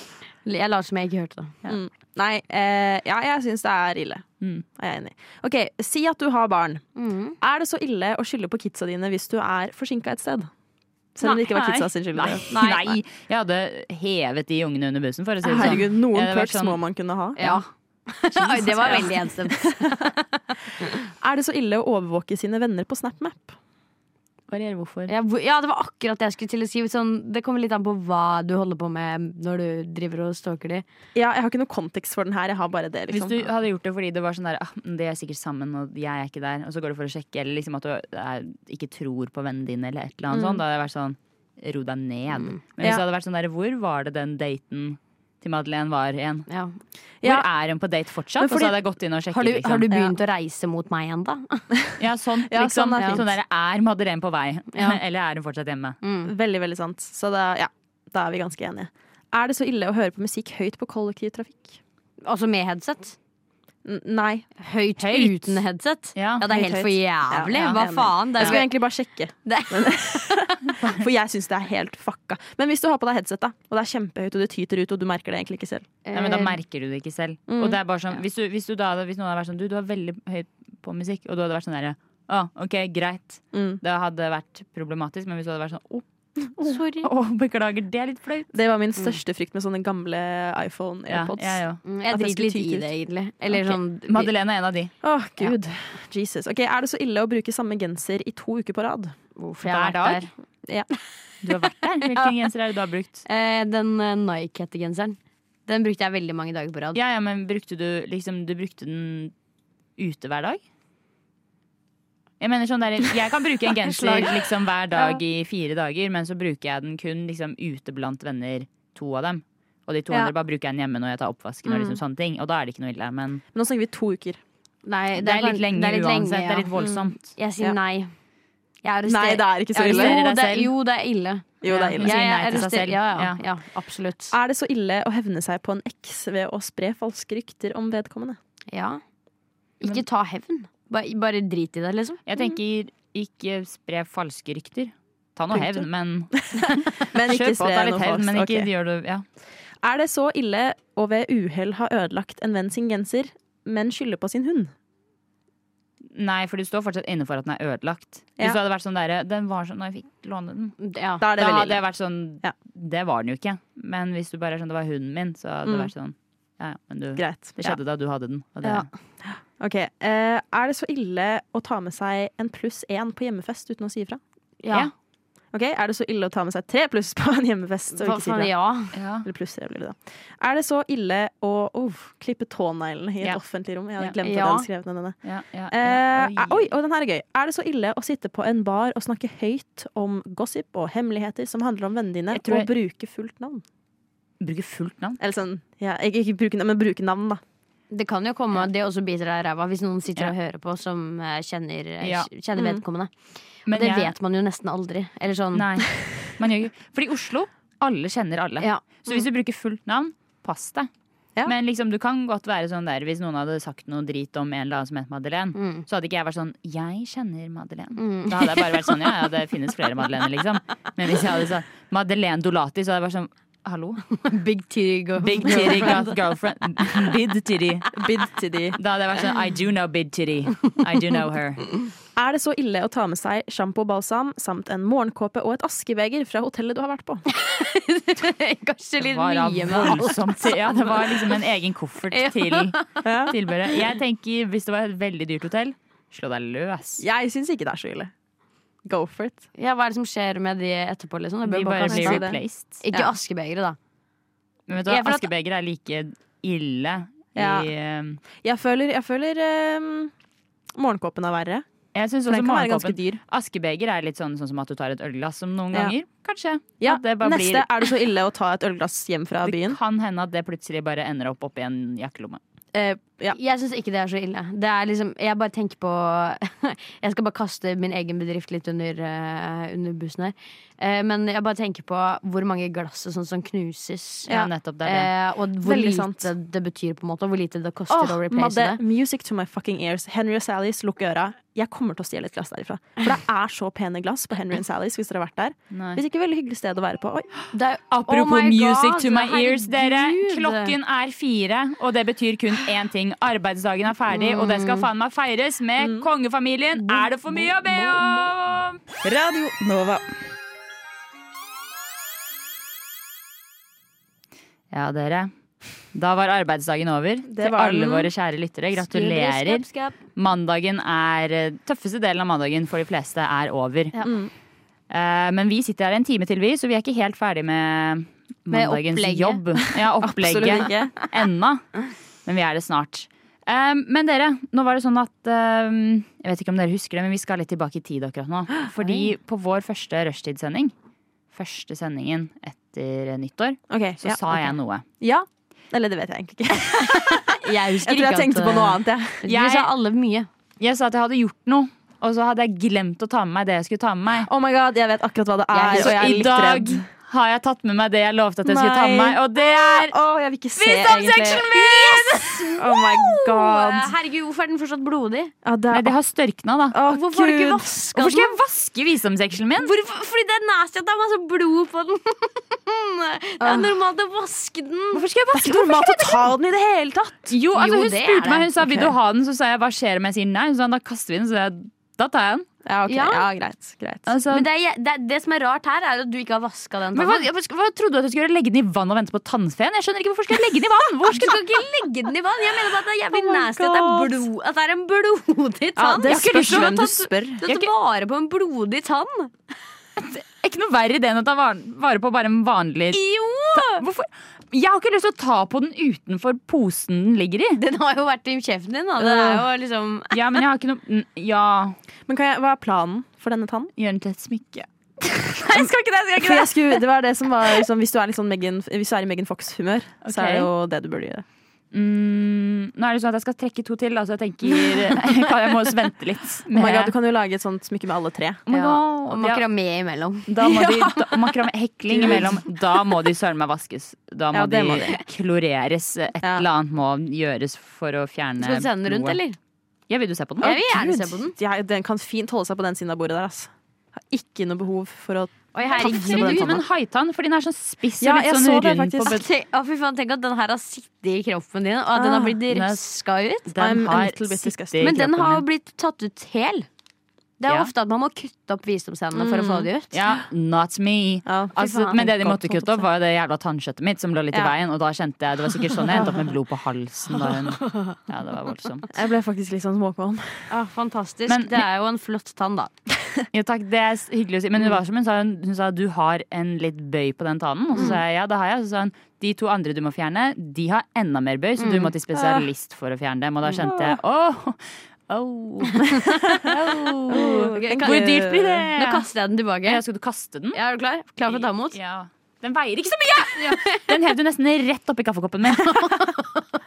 Speaker 4: Jeg later som jeg ikke hørte det.
Speaker 6: Mm. Nei, eh, ja, jeg syns det er ille.
Speaker 3: Mm.
Speaker 6: Er jeg enig. i. Ok, Si at du har barn.
Speaker 4: Mhm.
Speaker 6: Er det så ille å skylde på kidsa dine hvis du er forsinka et sted? Selv om det ikke var
Speaker 3: Nei.
Speaker 6: kidsa sin skyld.
Speaker 3: Nei.
Speaker 4: Nei.
Speaker 3: Nei. Jeg hadde hevet de ungene under bussen, for å si det sånn.
Speaker 6: Herregud, noen
Speaker 3: Ja, det var
Speaker 6: perks
Speaker 3: sånn-
Speaker 6: må man kunne ha.
Speaker 4: Ja. Oi, det var veldig enstemt.
Speaker 6: Er det så ille å overvåke sine venner på SnapMap?
Speaker 3: Varierer hvorfor.
Speaker 4: Ja, hvor- ja, det var akkurat det jeg skulle til å si. Sånn, det kommer litt an på hva du holder på med når du driver og stalker de.
Speaker 6: Ja, Jeg har ikke noe kontekst for den her. Jeg har bare det
Speaker 3: Hvis
Speaker 6: liksom
Speaker 3: du hadde gjort det fordi det var sånn der ah, De er sikkert sammen, og jeg er ikke der, og så går du for å sjekke, eller liksom at du er, ikke tror på vennene dine, eller et eller annet sånt, da hadde jeg vært sånn Ro deg ned. Men hvis
Speaker 6: Mm. Ja.
Speaker 3: det hadde vært sånn der Hvor var det den daten til Madeleine var igjen?
Speaker 4: Ja.
Speaker 3: Hvor
Speaker 6: Ja.
Speaker 3: er hun på date fortsatt?
Speaker 6: Men
Speaker 3: og
Speaker 6: fordi-
Speaker 3: så hadde jeg gått inn og sjekket.
Speaker 4: Har, du,
Speaker 3: liksom.
Speaker 4: har du begynt å reise mot meg igjen, da?
Speaker 3: Ja, sånn,
Speaker 6: Ja,
Speaker 3: liksom.
Speaker 6: sånn
Speaker 3: sånn,
Speaker 6: er fint.
Speaker 3: der, er Madeleine på vei?
Speaker 4: Ja.
Speaker 3: Eller er hun fortsatt hjemme?
Speaker 6: Mm. Veldig, veldig sant. Så da, ja, da er vi ganske enige. Er det så ille å høre på musikk høyt på kollektivtrafikk?
Speaker 4: Altså med headset?
Speaker 6: N nei.
Speaker 4: Høyt,
Speaker 3: Høyt.
Speaker 4: uten headset?
Speaker 3: Ja,
Speaker 4: det er
Speaker 6: høyt,
Speaker 4: helt for
Speaker 6: høyt.
Speaker 4: jævlig.
Speaker 3: Ja, ja,
Speaker 4: Hva
Speaker 6: enig.
Speaker 4: faen? Det
Speaker 6: Jeg skulle
Speaker 4: er,
Speaker 6: egentlig bare sjekke.
Speaker 4: Det-
Speaker 6: Men- For jeg syns det er helt fucka. Men hvis du har på deg headset, da, og det er kjempehøyt, og det tyter ut, og du merker det egentlig ikke selv.
Speaker 3: Nei, men Da merker du det ikke selv. Og det er bare sånn, hvis, du, hvis, du da, hadde- hvis noen hadde vært sånn Du, du er veldig høy på musikk, og du hadde vært sånn derre Å, ok, greit.
Speaker 6: Mm.
Speaker 3: Det hadde vært problematisk, men hvis du hadde vært sånn Å,
Speaker 4: sorry.
Speaker 3: å, beklager, det er litt flaut.
Speaker 6: Det var min største frykt med sånne gamle iPhone-airpods.
Speaker 3: Mm. Ja, jeg òg.
Speaker 4: Mm,
Speaker 6: At
Speaker 4: Jeg
Speaker 6: jeg
Speaker 4: driter
Speaker 6: skulle
Speaker 4: litt i
Speaker 6: tyte ut.
Speaker 4: det, egentlig. Eller
Speaker 3: Ok.
Speaker 4: sånn
Speaker 3: Madeleine er en av de.
Speaker 6: Åh, gud. Jesus. Ok, Er det så ille å bruke samme genser i to uker på rad?
Speaker 4: Hvorfor jeg
Speaker 3: Hver
Speaker 4: har vært
Speaker 3: dag?
Speaker 4: der.
Speaker 6: Ja.
Speaker 3: Du har vært der. Hvilken genser er det du har brukt?
Speaker 4: Eh, Den eh, Nike-hettegenseren. Den brukte jeg veldig mange dager på rad.
Speaker 3: Ja, ja, men brukte du liksom Du brukte den ute hver dag? Jeg mener sånn der, jeg kan bruke en genser liksom hver dag i fire dager, men så bruker jeg den kun liksom ute blant venner, to av dem. Og de to
Speaker 6: Ja.
Speaker 3: andre bare bruker jeg den hjemme når jeg tar oppvasken. Og liksom sånne ting Og da er det ikke noe ille. Men
Speaker 6: Men nå snakker vi to uker.
Speaker 4: Nei,
Speaker 3: det er litt lenge
Speaker 4: det er litt lenge,
Speaker 3: uansett. Det
Speaker 4: ja. Mm.
Speaker 3: er litt voldsomt.
Speaker 4: Jeg sier
Speaker 6: Ja.
Speaker 4: nei. Jeg arresterer-
Speaker 6: Nei, det er ikke så
Speaker 4: Jeg
Speaker 6: ille.
Speaker 3: arresterer
Speaker 4: Jo,
Speaker 3: deg
Speaker 4: det,
Speaker 3: selv.
Speaker 4: jo, det er ille.
Speaker 6: Jo, det er
Speaker 3: Ja.
Speaker 6: ille.
Speaker 3: sier nei til seg
Speaker 4: arresterer-
Speaker 3: selv.
Speaker 4: Ja, ja,
Speaker 3: Ja.
Speaker 4: ja, absolutt.
Speaker 6: Er det så ille å hevne seg på en eks ved å spre falske rykter om vedkommende?
Speaker 4: Ja. Ikke ta hevn. Bare, bare drit i det, liksom.
Speaker 3: Jeg tenker, ikke spre falske rykter. Ta noe
Speaker 6: Punktum.
Speaker 3: hevn, men
Speaker 6: Men
Speaker 3: Kjør på, ta
Speaker 6: noe
Speaker 3: litt hevn,
Speaker 6: falskt.
Speaker 3: men ikke
Speaker 6: Ok.
Speaker 3: gjør det ja.
Speaker 6: Er det så ille å ved uhell ha ødelagt en venn sin genser, men skylde på sin hund?
Speaker 3: Nei, for du står fortsatt inne for at den er ødelagt.
Speaker 6: Ja.
Speaker 3: Hvis du hadde vært sånn derre Den var sånn da jeg fikk låne den.
Speaker 4: Ja.
Speaker 6: Da er det
Speaker 3: Da
Speaker 6: veldig
Speaker 3: hadde
Speaker 6: ille.
Speaker 3: jeg vært sånn
Speaker 6: Ja.
Speaker 3: Det var den jo ikke. Men hvis du bare er sånn Det var hunden min, så hadde det
Speaker 6: Mm.
Speaker 3: vært sånn Ja, ja, men du
Speaker 6: Greit.
Speaker 3: Det skjedde da du hadde den. Og det,
Speaker 4: Ja.
Speaker 6: Ja. Ok. Eh, er det så ille å ta med seg en pluss én på hjemmefest uten å si ifra?
Speaker 4: Ja.
Speaker 6: Ok, Er det så ille å ta med seg tre pluss på en hjemmefest og
Speaker 4: Hva
Speaker 6: ikke si
Speaker 4: faen,
Speaker 6: ifra?
Speaker 4: ja.
Speaker 3: ja.
Speaker 6: Eller pluss tre blir det da. Er det så ille å uff, klippe tåneglene i et
Speaker 3: Ja.
Speaker 6: offentlig rom? Jeg hadde
Speaker 3: Ja.
Speaker 6: glemt at jeg
Speaker 4: Ja.
Speaker 6: hadde skrevet ned denne.
Speaker 3: ja, ja,
Speaker 6: Eh,
Speaker 3: ja.
Speaker 6: oi, og den her er gøy. Er det så ille å sitte på en bar og snakke høyt om gossip og hemmeligheter som handler om vennene dine,
Speaker 3: Jeg tror
Speaker 6: og bruke fullt navn?
Speaker 3: Bruker fullt navn.
Speaker 6: Eller sånn, ja, ikke, ikke bruke navn, men bruke navn, da.
Speaker 4: Det kan jo komme, det også biter deg i ræva hvis noen sitter
Speaker 3: Ja.
Speaker 4: og hører på som eh, kjenner, eh,
Speaker 3: Ja.
Speaker 4: kjenner
Speaker 6: Mm.
Speaker 4: vedkommende. Men det vet man jo nesten aldri. Eller sånn.
Speaker 3: Nei. Man gjør ikke Fordi i Oslo, alle kjenner alle.
Speaker 4: Ja.
Speaker 3: Så hvis du bruker fullt navn, pass deg.
Speaker 6: Ja.
Speaker 3: Men liksom, du kan godt være sånn der hvis noen hadde sagt noe drit om en eller annen som het Madeleine.
Speaker 4: Mm.
Speaker 3: Så hadde ikke jeg vært sånn 'jeg kjenner Madeleine'.
Speaker 4: Mm.
Speaker 3: Da hadde jeg bare vært sånn, ja, ja, det finnes flere Madeleine, liksom. Men hvis jeg hadde sagt Madeleine Dolati, så hadde jeg vært sånn, hallo?
Speaker 4: Big titty go.
Speaker 3: Big titty goth girlfriend. Bid titty.
Speaker 6: Bid til de.
Speaker 3: Da hadde jeg vært sånn, I do know bid titty. I do know her.
Speaker 6: Er det så ille å ta med seg sjampo og balsam samt en morgenkåpe og et askebeger fra hotellet du har vært på?
Speaker 4: Kanskje
Speaker 3: Det
Speaker 4: litt
Speaker 3: var da
Speaker 4: mye med alt.
Speaker 3: voldsomt. Ja, det var liksom en egen koffert
Speaker 4: Ja.
Speaker 3: til tilbudet. Jeg tenker, hvis det var et veldig dyrt hotell, slå deg løs.
Speaker 6: Jeg syns ikke det er så ille. Go for it.
Speaker 4: Ja, hva er det som skjer med de etterpå? Liksom? Det bør
Speaker 3: De bare
Speaker 4: kaste.
Speaker 3: blir
Speaker 6: si det.
Speaker 3: replaced.
Speaker 4: Ikke
Speaker 6: Ja.
Speaker 4: askebegeret, da.
Speaker 3: Men vet du hva,
Speaker 4: Jeg føler at-
Speaker 3: askebeger er like ille i
Speaker 6: Ja.
Speaker 3: eh,
Speaker 6: Jeg føler, jeg føler ehm, morgenkåpen er verre.
Speaker 3: Jeg syns
Speaker 6: For
Speaker 3: også
Speaker 6: den kan være ganske
Speaker 3: morgenkåpen
Speaker 6: dyr.
Speaker 3: Askebeger er litt sånn, sånn som at du tar et ølglass som noen
Speaker 6: Ja.
Speaker 3: ganger. Kanskje.
Speaker 6: Ja,
Speaker 3: At det bare
Speaker 6: Neste
Speaker 3: blir-
Speaker 6: er det så ille å ta et ølglass hjem fra byen.
Speaker 3: Det kan hende at det plutselig bare ender opp oppi en jakkelomme.
Speaker 6: Eh, ja.
Speaker 4: Jeg syns ikke det er så ille. Det er liksom, jeg bare tenker på Jeg skal bare kaste min egen bedrift litt under, eh, under bussen her. Eh, men jeg bare tenker på hvor mange glass og sånt som knuses.
Speaker 3: Ja, nettopp det er det.
Speaker 4: Eh, og hvor
Speaker 6: Veldig
Speaker 4: lite
Speaker 6: sant.
Speaker 4: det betyr, på en måte. Og hvor lite det koster
Speaker 6: Åh,
Speaker 4: å replace
Speaker 6: Madde,
Speaker 4: det.
Speaker 6: music to my fucking ears. Henry og Sallys, lukk øra. Jeg kommer til å stjele et glass derifra. For det er så pene glass på Henry og Sallys hvis dere har vært der.
Speaker 3: Nei.
Speaker 6: Hvis ikke veldig hyggelig sted å være på. Oi.
Speaker 4: det er,
Speaker 3: Apropos
Speaker 4: Oh my
Speaker 3: music
Speaker 4: God,
Speaker 3: to my ears, dere.
Speaker 4: herregud.
Speaker 3: Klokken er fire, og det betyr kun én ting. Arbeidsdagen er ferdig, og det skal faen meg feires med kongefamilien. Er det for mye å be om?
Speaker 6: Radio Nova.
Speaker 3: Ja, dere. Da var arbeidsdagen over. Til
Speaker 6: var
Speaker 3: alle
Speaker 6: den.
Speaker 3: våre kjære lyttere, gratulerer. Mandagen er eh, Tøffeste delen av mandagen for de fleste er over.
Speaker 4: Ja.
Speaker 3: Eh, men vi sitter her en time til, vi, så vi er ikke helt ferdig med
Speaker 4: Med
Speaker 3: mandagens
Speaker 4: opplegget.
Speaker 3: jobb. Ja,
Speaker 6: Absolutt
Speaker 3: opplegget
Speaker 6: ikke.
Speaker 3: ennå. Men vi er det snart. Eh, men dere, nå var det sånn at eh, Jeg vet ikke om dere husker det, men vi skal litt tilbake i tid akkurat nå. Fordi på vår første rushtidssending, første sendingen etter nyttår,
Speaker 6: Ok,
Speaker 3: så
Speaker 6: ja,
Speaker 3: sa
Speaker 6: ok.
Speaker 3: jeg noe.
Speaker 6: Ja. Eller det vet jeg egentlig ikke.
Speaker 4: Jeg husker
Speaker 6: Jeg tror
Speaker 4: ikke
Speaker 6: jeg tenkte
Speaker 4: at,
Speaker 6: på noe
Speaker 4: eh,
Speaker 6: annet. Jeg.
Speaker 4: Vi
Speaker 3: Jeg-
Speaker 4: sa alle mye.
Speaker 3: Jeg sa at jeg hadde gjort noe, og så hadde jeg glemt å ta med meg det jeg skulle ta med meg.
Speaker 6: Oh my god, jeg vet akkurat hva det er,
Speaker 3: Så
Speaker 6: og jeg er
Speaker 3: i
Speaker 6: litt
Speaker 3: dag
Speaker 6: redd.
Speaker 3: har jeg tatt med meg det jeg lovte at jeg skulle ta med
Speaker 6: Nei.
Speaker 3: meg, og det er
Speaker 6: Å, jeg vil ikke se,
Speaker 3: visdomsseksjonen
Speaker 6: egentlig.
Speaker 3: min!
Speaker 6: Oh my god.
Speaker 4: Herregud, hvorfor er den fortsatt blodig?
Speaker 6: Ja, det
Speaker 3: Nei,
Speaker 6: er,
Speaker 3: det har størkna, da.
Speaker 6: Å,
Speaker 4: Hvorfor har du ikke
Speaker 6: Gud.
Speaker 4: vaska
Speaker 3: Hvorfor skal
Speaker 4: den?
Speaker 3: jeg vaske visdomsseksjonen min?
Speaker 4: Hvorfor? Fordi det er nasty at det er masse blod på den. det er normalt å vaske den.
Speaker 3: Hvorfor skal jeg
Speaker 6: Det er ikke normalt å ta den i det hele tatt.
Speaker 3: Jo, altså,
Speaker 4: Jo,
Speaker 3: hun
Speaker 4: det er
Speaker 3: spurte meg,
Speaker 4: det.
Speaker 3: hun sa vil du
Speaker 6: Ok.
Speaker 3: ha den, så sa jeg hva skjer om jeg sier nei? Hun sa da kaster vi den, så jeg, da tar jeg den.
Speaker 6: Ja, ok.
Speaker 4: Ja.
Speaker 6: ja greit. greit.
Speaker 3: Altså,
Speaker 4: Men det, er, det, er, det som er rart her, er at du ikke har vaska den.
Speaker 3: men hva,
Speaker 4: Tanne.
Speaker 3: hva, hva trodde du at jeg skulle gjøre? Legge den i vann og vente på tannfeen? Jeg skjønner ikke hvorfor skal jeg legge den i vann? Hvor
Speaker 4: Du
Speaker 3: skal
Speaker 4: skal ikke legge den i vann. Jeg mener bare at det er jævlig
Speaker 6: Oh my
Speaker 4: nasty at det er,
Speaker 6: God.
Speaker 4: blod, at det er en blodig
Speaker 6: Ja,
Speaker 4: tann.
Speaker 6: det
Speaker 3: Jeg har ikke lyst
Speaker 6: spørs
Speaker 3: til å
Speaker 6: hvem
Speaker 3: ta-
Speaker 6: du spør.
Speaker 4: Du
Speaker 3: jeg
Speaker 4: har
Speaker 3: har
Speaker 4: tatt vare på en blodig tann.
Speaker 3: Ikke noe verre i det enn å ta var- vare på bare en vanlig
Speaker 4: Jo!
Speaker 3: Hvorfor? Jeg har ikke lyst til å ta på den utenfor posen den ligger i.
Speaker 4: Den har jo vært i kjeften din, da. Det er jo liksom
Speaker 3: Ja, men jeg har ikke noe mm, Ja,
Speaker 6: Men kan jeg, hva er planen for denne tannen?
Speaker 3: gjør den til et smykke.
Speaker 6: Nei, jeg skal ikke det! For jeg skulle, det var det som var liksom, Hvis du er, litt sånn Megan, hvis du er i Megan Fox-humør, så er det jo det du burde gjøre.
Speaker 3: Mm, nå er det sånn at jeg skal trekke to til, da, så jeg tenker kan Jeg må også vente litt.
Speaker 6: Oh my God, du kan jo lage et sånt smykke med alle tre.
Speaker 3: Oh my
Speaker 4: ja,
Speaker 3: God.
Speaker 4: Og
Speaker 3: Ja.
Speaker 4: makramé imellom.
Speaker 3: Da må de, da, og makramé- hekling imellom. Da må de søren meg vaskes. Da må,
Speaker 6: Ja, det
Speaker 3: de,
Speaker 6: må de.
Speaker 3: kloreres. Et
Speaker 6: Ja.
Speaker 3: eller annet må gjøres for å fjerne
Speaker 4: Skal du sende den rundt,
Speaker 3: blodet.
Speaker 4: eller?
Speaker 3: Ja, vil du se på den?
Speaker 4: Jeg vil gjerne se på den.
Speaker 6: Jeg, den kan fint holde seg på den siden av bordet der. Ass. Har ikke noe behov for å
Speaker 4: Oi,
Speaker 6: Se på den
Speaker 3: Herregud,
Speaker 6: tanna.
Speaker 3: men haitann, for den er sånn spiss og
Speaker 6: Ja,
Speaker 3: litt
Speaker 6: jeg
Speaker 3: sånn
Speaker 6: så det
Speaker 3: rund på
Speaker 6: faktisk.
Speaker 3: bud-
Speaker 4: Å, fy faen, tenk at den her har sittet i kroppen din, og at den har blitt
Speaker 3: den er-
Speaker 4: røska ut.
Speaker 3: Den
Speaker 6: I'm a
Speaker 3: har
Speaker 6: little bit
Speaker 3: sittet
Speaker 6: disgusted.
Speaker 3: i
Speaker 4: Men den
Speaker 3: kroppen
Speaker 4: har jo
Speaker 3: min.
Speaker 4: blitt tatt ut hel. Det er
Speaker 3: Ja.
Speaker 4: ofte at man må kutte opp visdomstennene for å få de ut.
Speaker 3: Ja, not me.
Speaker 6: Ja.
Speaker 3: Altså,
Speaker 4: faen,
Speaker 3: men det de
Speaker 6: godt
Speaker 3: måtte
Speaker 6: holdt
Speaker 3: kutte opp,
Speaker 6: på å
Speaker 3: var jo det jævla tannkjøttet mitt som lå litt i
Speaker 6: Ja.
Speaker 3: veien. Og da kjente jeg, Det var sikkert sånn jeg endte opp med blod på halsen. Da hun, ja, det var voldsomt.
Speaker 6: Jeg ble faktisk litt sånn småkvalm.
Speaker 4: Ah, fantastisk.
Speaker 3: Men-
Speaker 4: det er jo en flott tann, da.
Speaker 3: Jo, takk, det er s- hyggelig å si. Men hun, var som hun, sa, hun, hun sa du har en litt bøy på den tannen.
Speaker 6: Mm.
Speaker 3: Og så sa jeg ja, det har jeg. Og så sa hun de to andre du må fjerne, de har enda mer bøy, så du må
Speaker 6: Mm.
Speaker 3: til
Speaker 6: Ah.
Speaker 3: spesialist for å fjerne dem. Og da kjente jeg åh, åh, åh.
Speaker 4: Ok, kan-
Speaker 3: Hvor dyrt blir det?
Speaker 4: Nå kaster jeg den tilbake.
Speaker 3: Ja, skal du kaste den?
Speaker 4: Ja, er du klar? Klar for å ta imot?
Speaker 3: Ja. Den veier ikke så mye! Den hev du nesten rett oppi kaffekoppen min.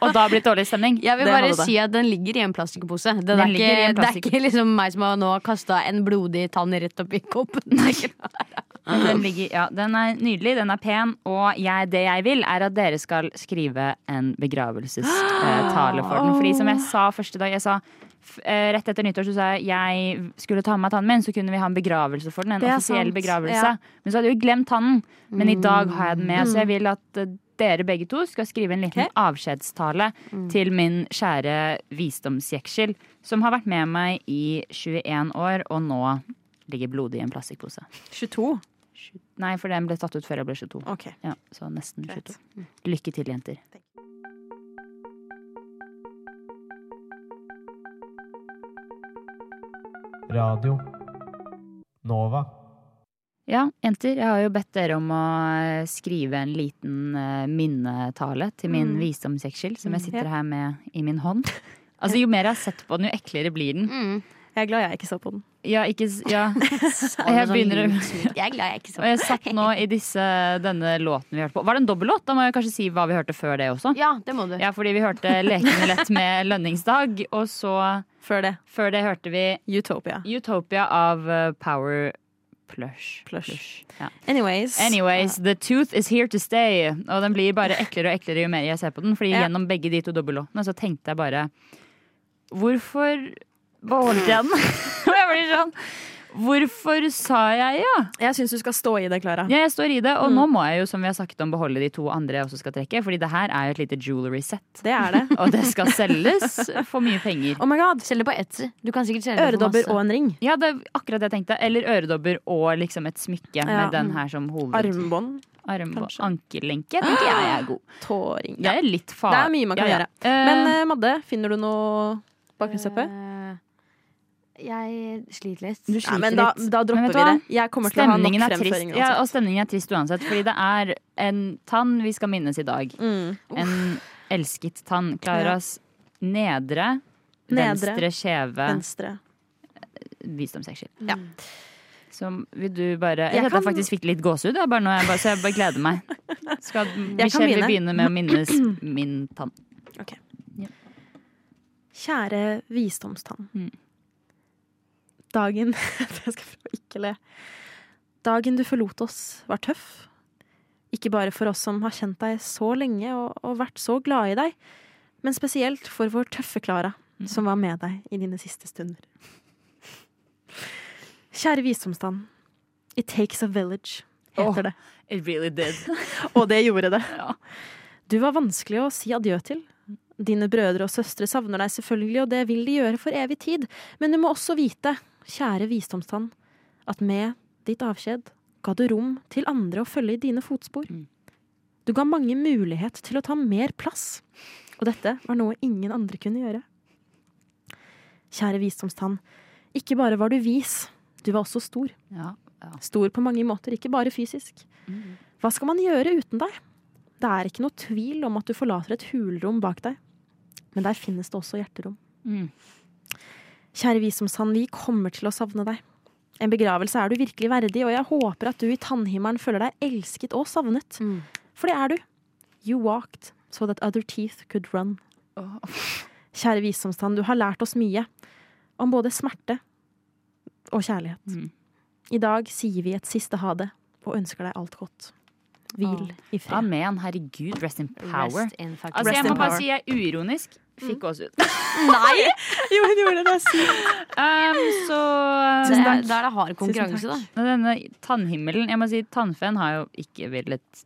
Speaker 3: Og da blir det dårlig stemning.
Speaker 4: Jeg vil
Speaker 6: Det
Speaker 4: bare
Speaker 6: hadde det.
Speaker 4: si at den ligger i en plastikkpose. Den,
Speaker 3: Den
Speaker 4: er
Speaker 3: ligger i
Speaker 4: ikke,
Speaker 3: en
Speaker 4: det er
Speaker 3: plastikk-
Speaker 4: ikke liksom meg som har nå kasta en blodig tann rett opp i koppen.
Speaker 3: Den, ligger, ja, den er nydelig, den er pen, og jeg, det jeg vil, er at dere skal skrive en begravelsestale for den. Fordi som jeg sa første dag jeg sa, f- eh, Rett etter nyttår så sa jeg jeg skulle ta med meg tannen min, så kunne vi ha en begravelse for den. En
Speaker 6: Det er
Speaker 3: offisiell
Speaker 6: sant,
Speaker 3: begravelse.
Speaker 6: ja.
Speaker 3: Men så hadde jeg jo glemt tannen. Men i dag har jeg den med, så jeg
Speaker 6: Mm.
Speaker 3: vil at eh, dere begge to skal skrive en liten avskjedstale
Speaker 6: Mm.
Speaker 3: til min kjære visdomsjeksel, som har vært med meg i 21 år, og nå ligger blodig i en plastikkpose.
Speaker 6: 22.
Speaker 3: Nei, for den ble tatt ut før jeg ble 22.
Speaker 6: Ok.
Speaker 3: Ja, så nesten
Speaker 6: Greit. Mm.
Speaker 3: 22. Lykke til, jenter.
Speaker 1: Radio Nova.
Speaker 3: Ja, jenter, jeg har jo bedt dere om å eh, skrive en liten eh, minnetale til min
Speaker 6: Mm.
Speaker 3: visdomsjeksel, som
Speaker 6: Mm.
Speaker 3: jeg sitter her med i min hånd. Altså, Jo mer jeg har sett på den, jo eklere blir den.
Speaker 4: Mm.
Speaker 6: Jeg er glad jeg ikke så på den.
Speaker 3: Ja, ikke s- Ja. Jeg
Speaker 6: sånn
Speaker 3: begynner å
Speaker 4: Jeg er glad jeg ikke
Speaker 3: Og
Speaker 4: så
Speaker 3: jeg satt nå i disse, denne låten vi hørte på. Var det en dobbellåt? Da må jeg kanskje si hva vi hørte før det også.
Speaker 4: Ja, det må du.
Speaker 3: Ja, fordi vi hørte 'Lekende lett med lønningsdag', og så,
Speaker 6: Før det.
Speaker 3: før det hørte vi
Speaker 6: Utopia.
Speaker 3: Utopia av eh, Power Plush.
Speaker 6: Plush.
Speaker 3: Ja.
Speaker 6: Anyways.
Speaker 3: Anyways, The Tooth Is Here To Stay. Og den blir bare eklere og eklere jo mer jeg ser på den. Fordi
Speaker 6: Ja.
Speaker 3: gjennom begge de to dobbellåtene så tenkte jeg bare Hvorfor beholdt jeg den? Og jeg blir sånn Hvorfor sa jeg ja?
Speaker 6: Jeg syns du skal stå i det, Klara.
Speaker 3: Ja, jeg står i det, og
Speaker 6: Mm.
Speaker 3: nå må jeg jo, som vi har sagt om, beholde de to andre jeg også skal trekke. Fordi det her er jo et lite jewelry set.
Speaker 6: Det er det.
Speaker 3: Og det skal selges for mye penger.
Speaker 6: Oh my god.
Speaker 4: Selg det på Etsy. Du kan sikkert selge det for masse.
Speaker 6: Øredobber og en ring.
Speaker 3: Ja, det er akkurat det jeg tenkte. Eller øredobber og liksom et smykke
Speaker 6: Ja.
Speaker 3: med den her som hoved...
Speaker 6: Armbånd.
Speaker 3: Arm og
Speaker 6: kanskje.
Speaker 3: ankellenke tenker jeg er god.
Speaker 6: Tåring.
Speaker 3: Det er litt fa...
Speaker 6: Det er mye man kan gjøre. Men
Speaker 3: Men,
Speaker 6: eh, Madde, finner du noe bakgrunnsstøppe?
Speaker 4: Eh, Jeg sliter litt.
Speaker 3: du sliter
Speaker 6: men da,
Speaker 3: litt.
Speaker 6: da
Speaker 3: Men
Speaker 6: dropper
Speaker 3: vet du
Speaker 6: vi det.
Speaker 3: hva?
Speaker 6: Jeg kommer til å ha nok
Speaker 3: Stemningen er trist.
Speaker 6: fremføringer.
Speaker 3: Ja,
Speaker 6: uansett.
Speaker 3: og stemningen er trist uansett, fordi det er en tann vi skal minnes i dag.
Speaker 6: Mm.
Speaker 3: En elsket tann. Klaras nedre,
Speaker 6: Nedre.
Speaker 3: venstre kjeve
Speaker 6: Venstre.
Speaker 3: visdomsseksjon.
Speaker 6: Ja.
Speaker 3: Som vil du bare
Speaker 6: Jeg
Speaker 3: Jeg, jeg
Speaker 6: kan-
Speaker 3: faktisk fikk litt gåsehud, jeg, bare nå, jeg bare, så jeg bare gleder meg. Skal
Speaker 6: Jeg kan
Speaker 3: Michelle vil begynne
Speaker 6: begynne.
Speaker 3: med å minnes min tann.
Speaker 6: Kjære visdomstann.
Speaker 3: Mm.
Speaker 6: Dagen Jeg skal prøve å ikke le. Dagen du forlot oss, var tøff. Ikke bare for oss som har kjent deg så lenge og, og vært så glade i deg, men spesielt for vår tøffe Klara,
Speaker 3: Mm.
Speaker 6: som var med deg i dine siste stunder. Kjære visdomstann. It takes a village,
Speaker 3: Åh.
Speaker 6: heter det.
Speaker 3: It really did.
Speaker 6: Og det gjorde det.
Speaker 3: Ja.
Speaker 6: Du var vanskelig å si adjø til. Dine brødre og søstre savner deg selvfølgelig, og det vil de gjøre for evig tid. Men du må også vite, kjære visdomstann, at med ditt avskjed ga du rom til andre å følge i dine fotspor.
Speaker 3: Mm.
Speaker 6: Du ga mange mulighet til å ta mer plass, og dette var noe ingen andre kunne gjøre. Kjære visdomstann, ikke bare var du vis, du var også stor.
Speaker 3: Ja. Mm.
Speaker 6: Stor på mange måter, ikke bare fysisk. Hva skal man gjøre uten deg? Det er ikke noe tvil om at du forlater et hulrom bak deg. Men der finnes det også hjerterom.
Speaker 3: Mm.
Speaker 6: Kjære visdomsand, vi kommer til å savne deg. En begravelse er du virkelig verdig, og jeg håper at du i tannhimmelen føler deg elsket og savnet.
Speaker 4: Mm.
Speaker 6: For det er du. You walked so that other teeth could run.
Speaker 3: Åh.
Speaker 6: Kjære visdomstann, du har lært oss mye. Om både smerte og kjærlighet.
Speaker 3: Mm.
Speaker 6: I dag sier vi et siste ha det, og ønsker deg alt godt. Hvil i fred.
Speaker 3: Amen, herregud. Rest in power.
Speaker 4: Rest in fucking
Speaker 3: Altså,
Speaker 4: peace.
Speaker 3: jeg må
Speaker 6: in
Speaker 3: bare
Speaker 6: power. Mm.
Speaker 3: si jeg uironisk fikk oss ut.
Speaker 4: Nei!
Speaker 6: Jo, hun gjorde det, det er sykt.
Speaker 3: Um, så
Speaker 4: Det er, eh, da er det hard konkurranse,
Speaker 6: Tusen
Speaker 4: da.
Speaker 6: takk.
Speaker 3: Men Denne tannhimmelen Jeg må si tannfen har jo ikke villet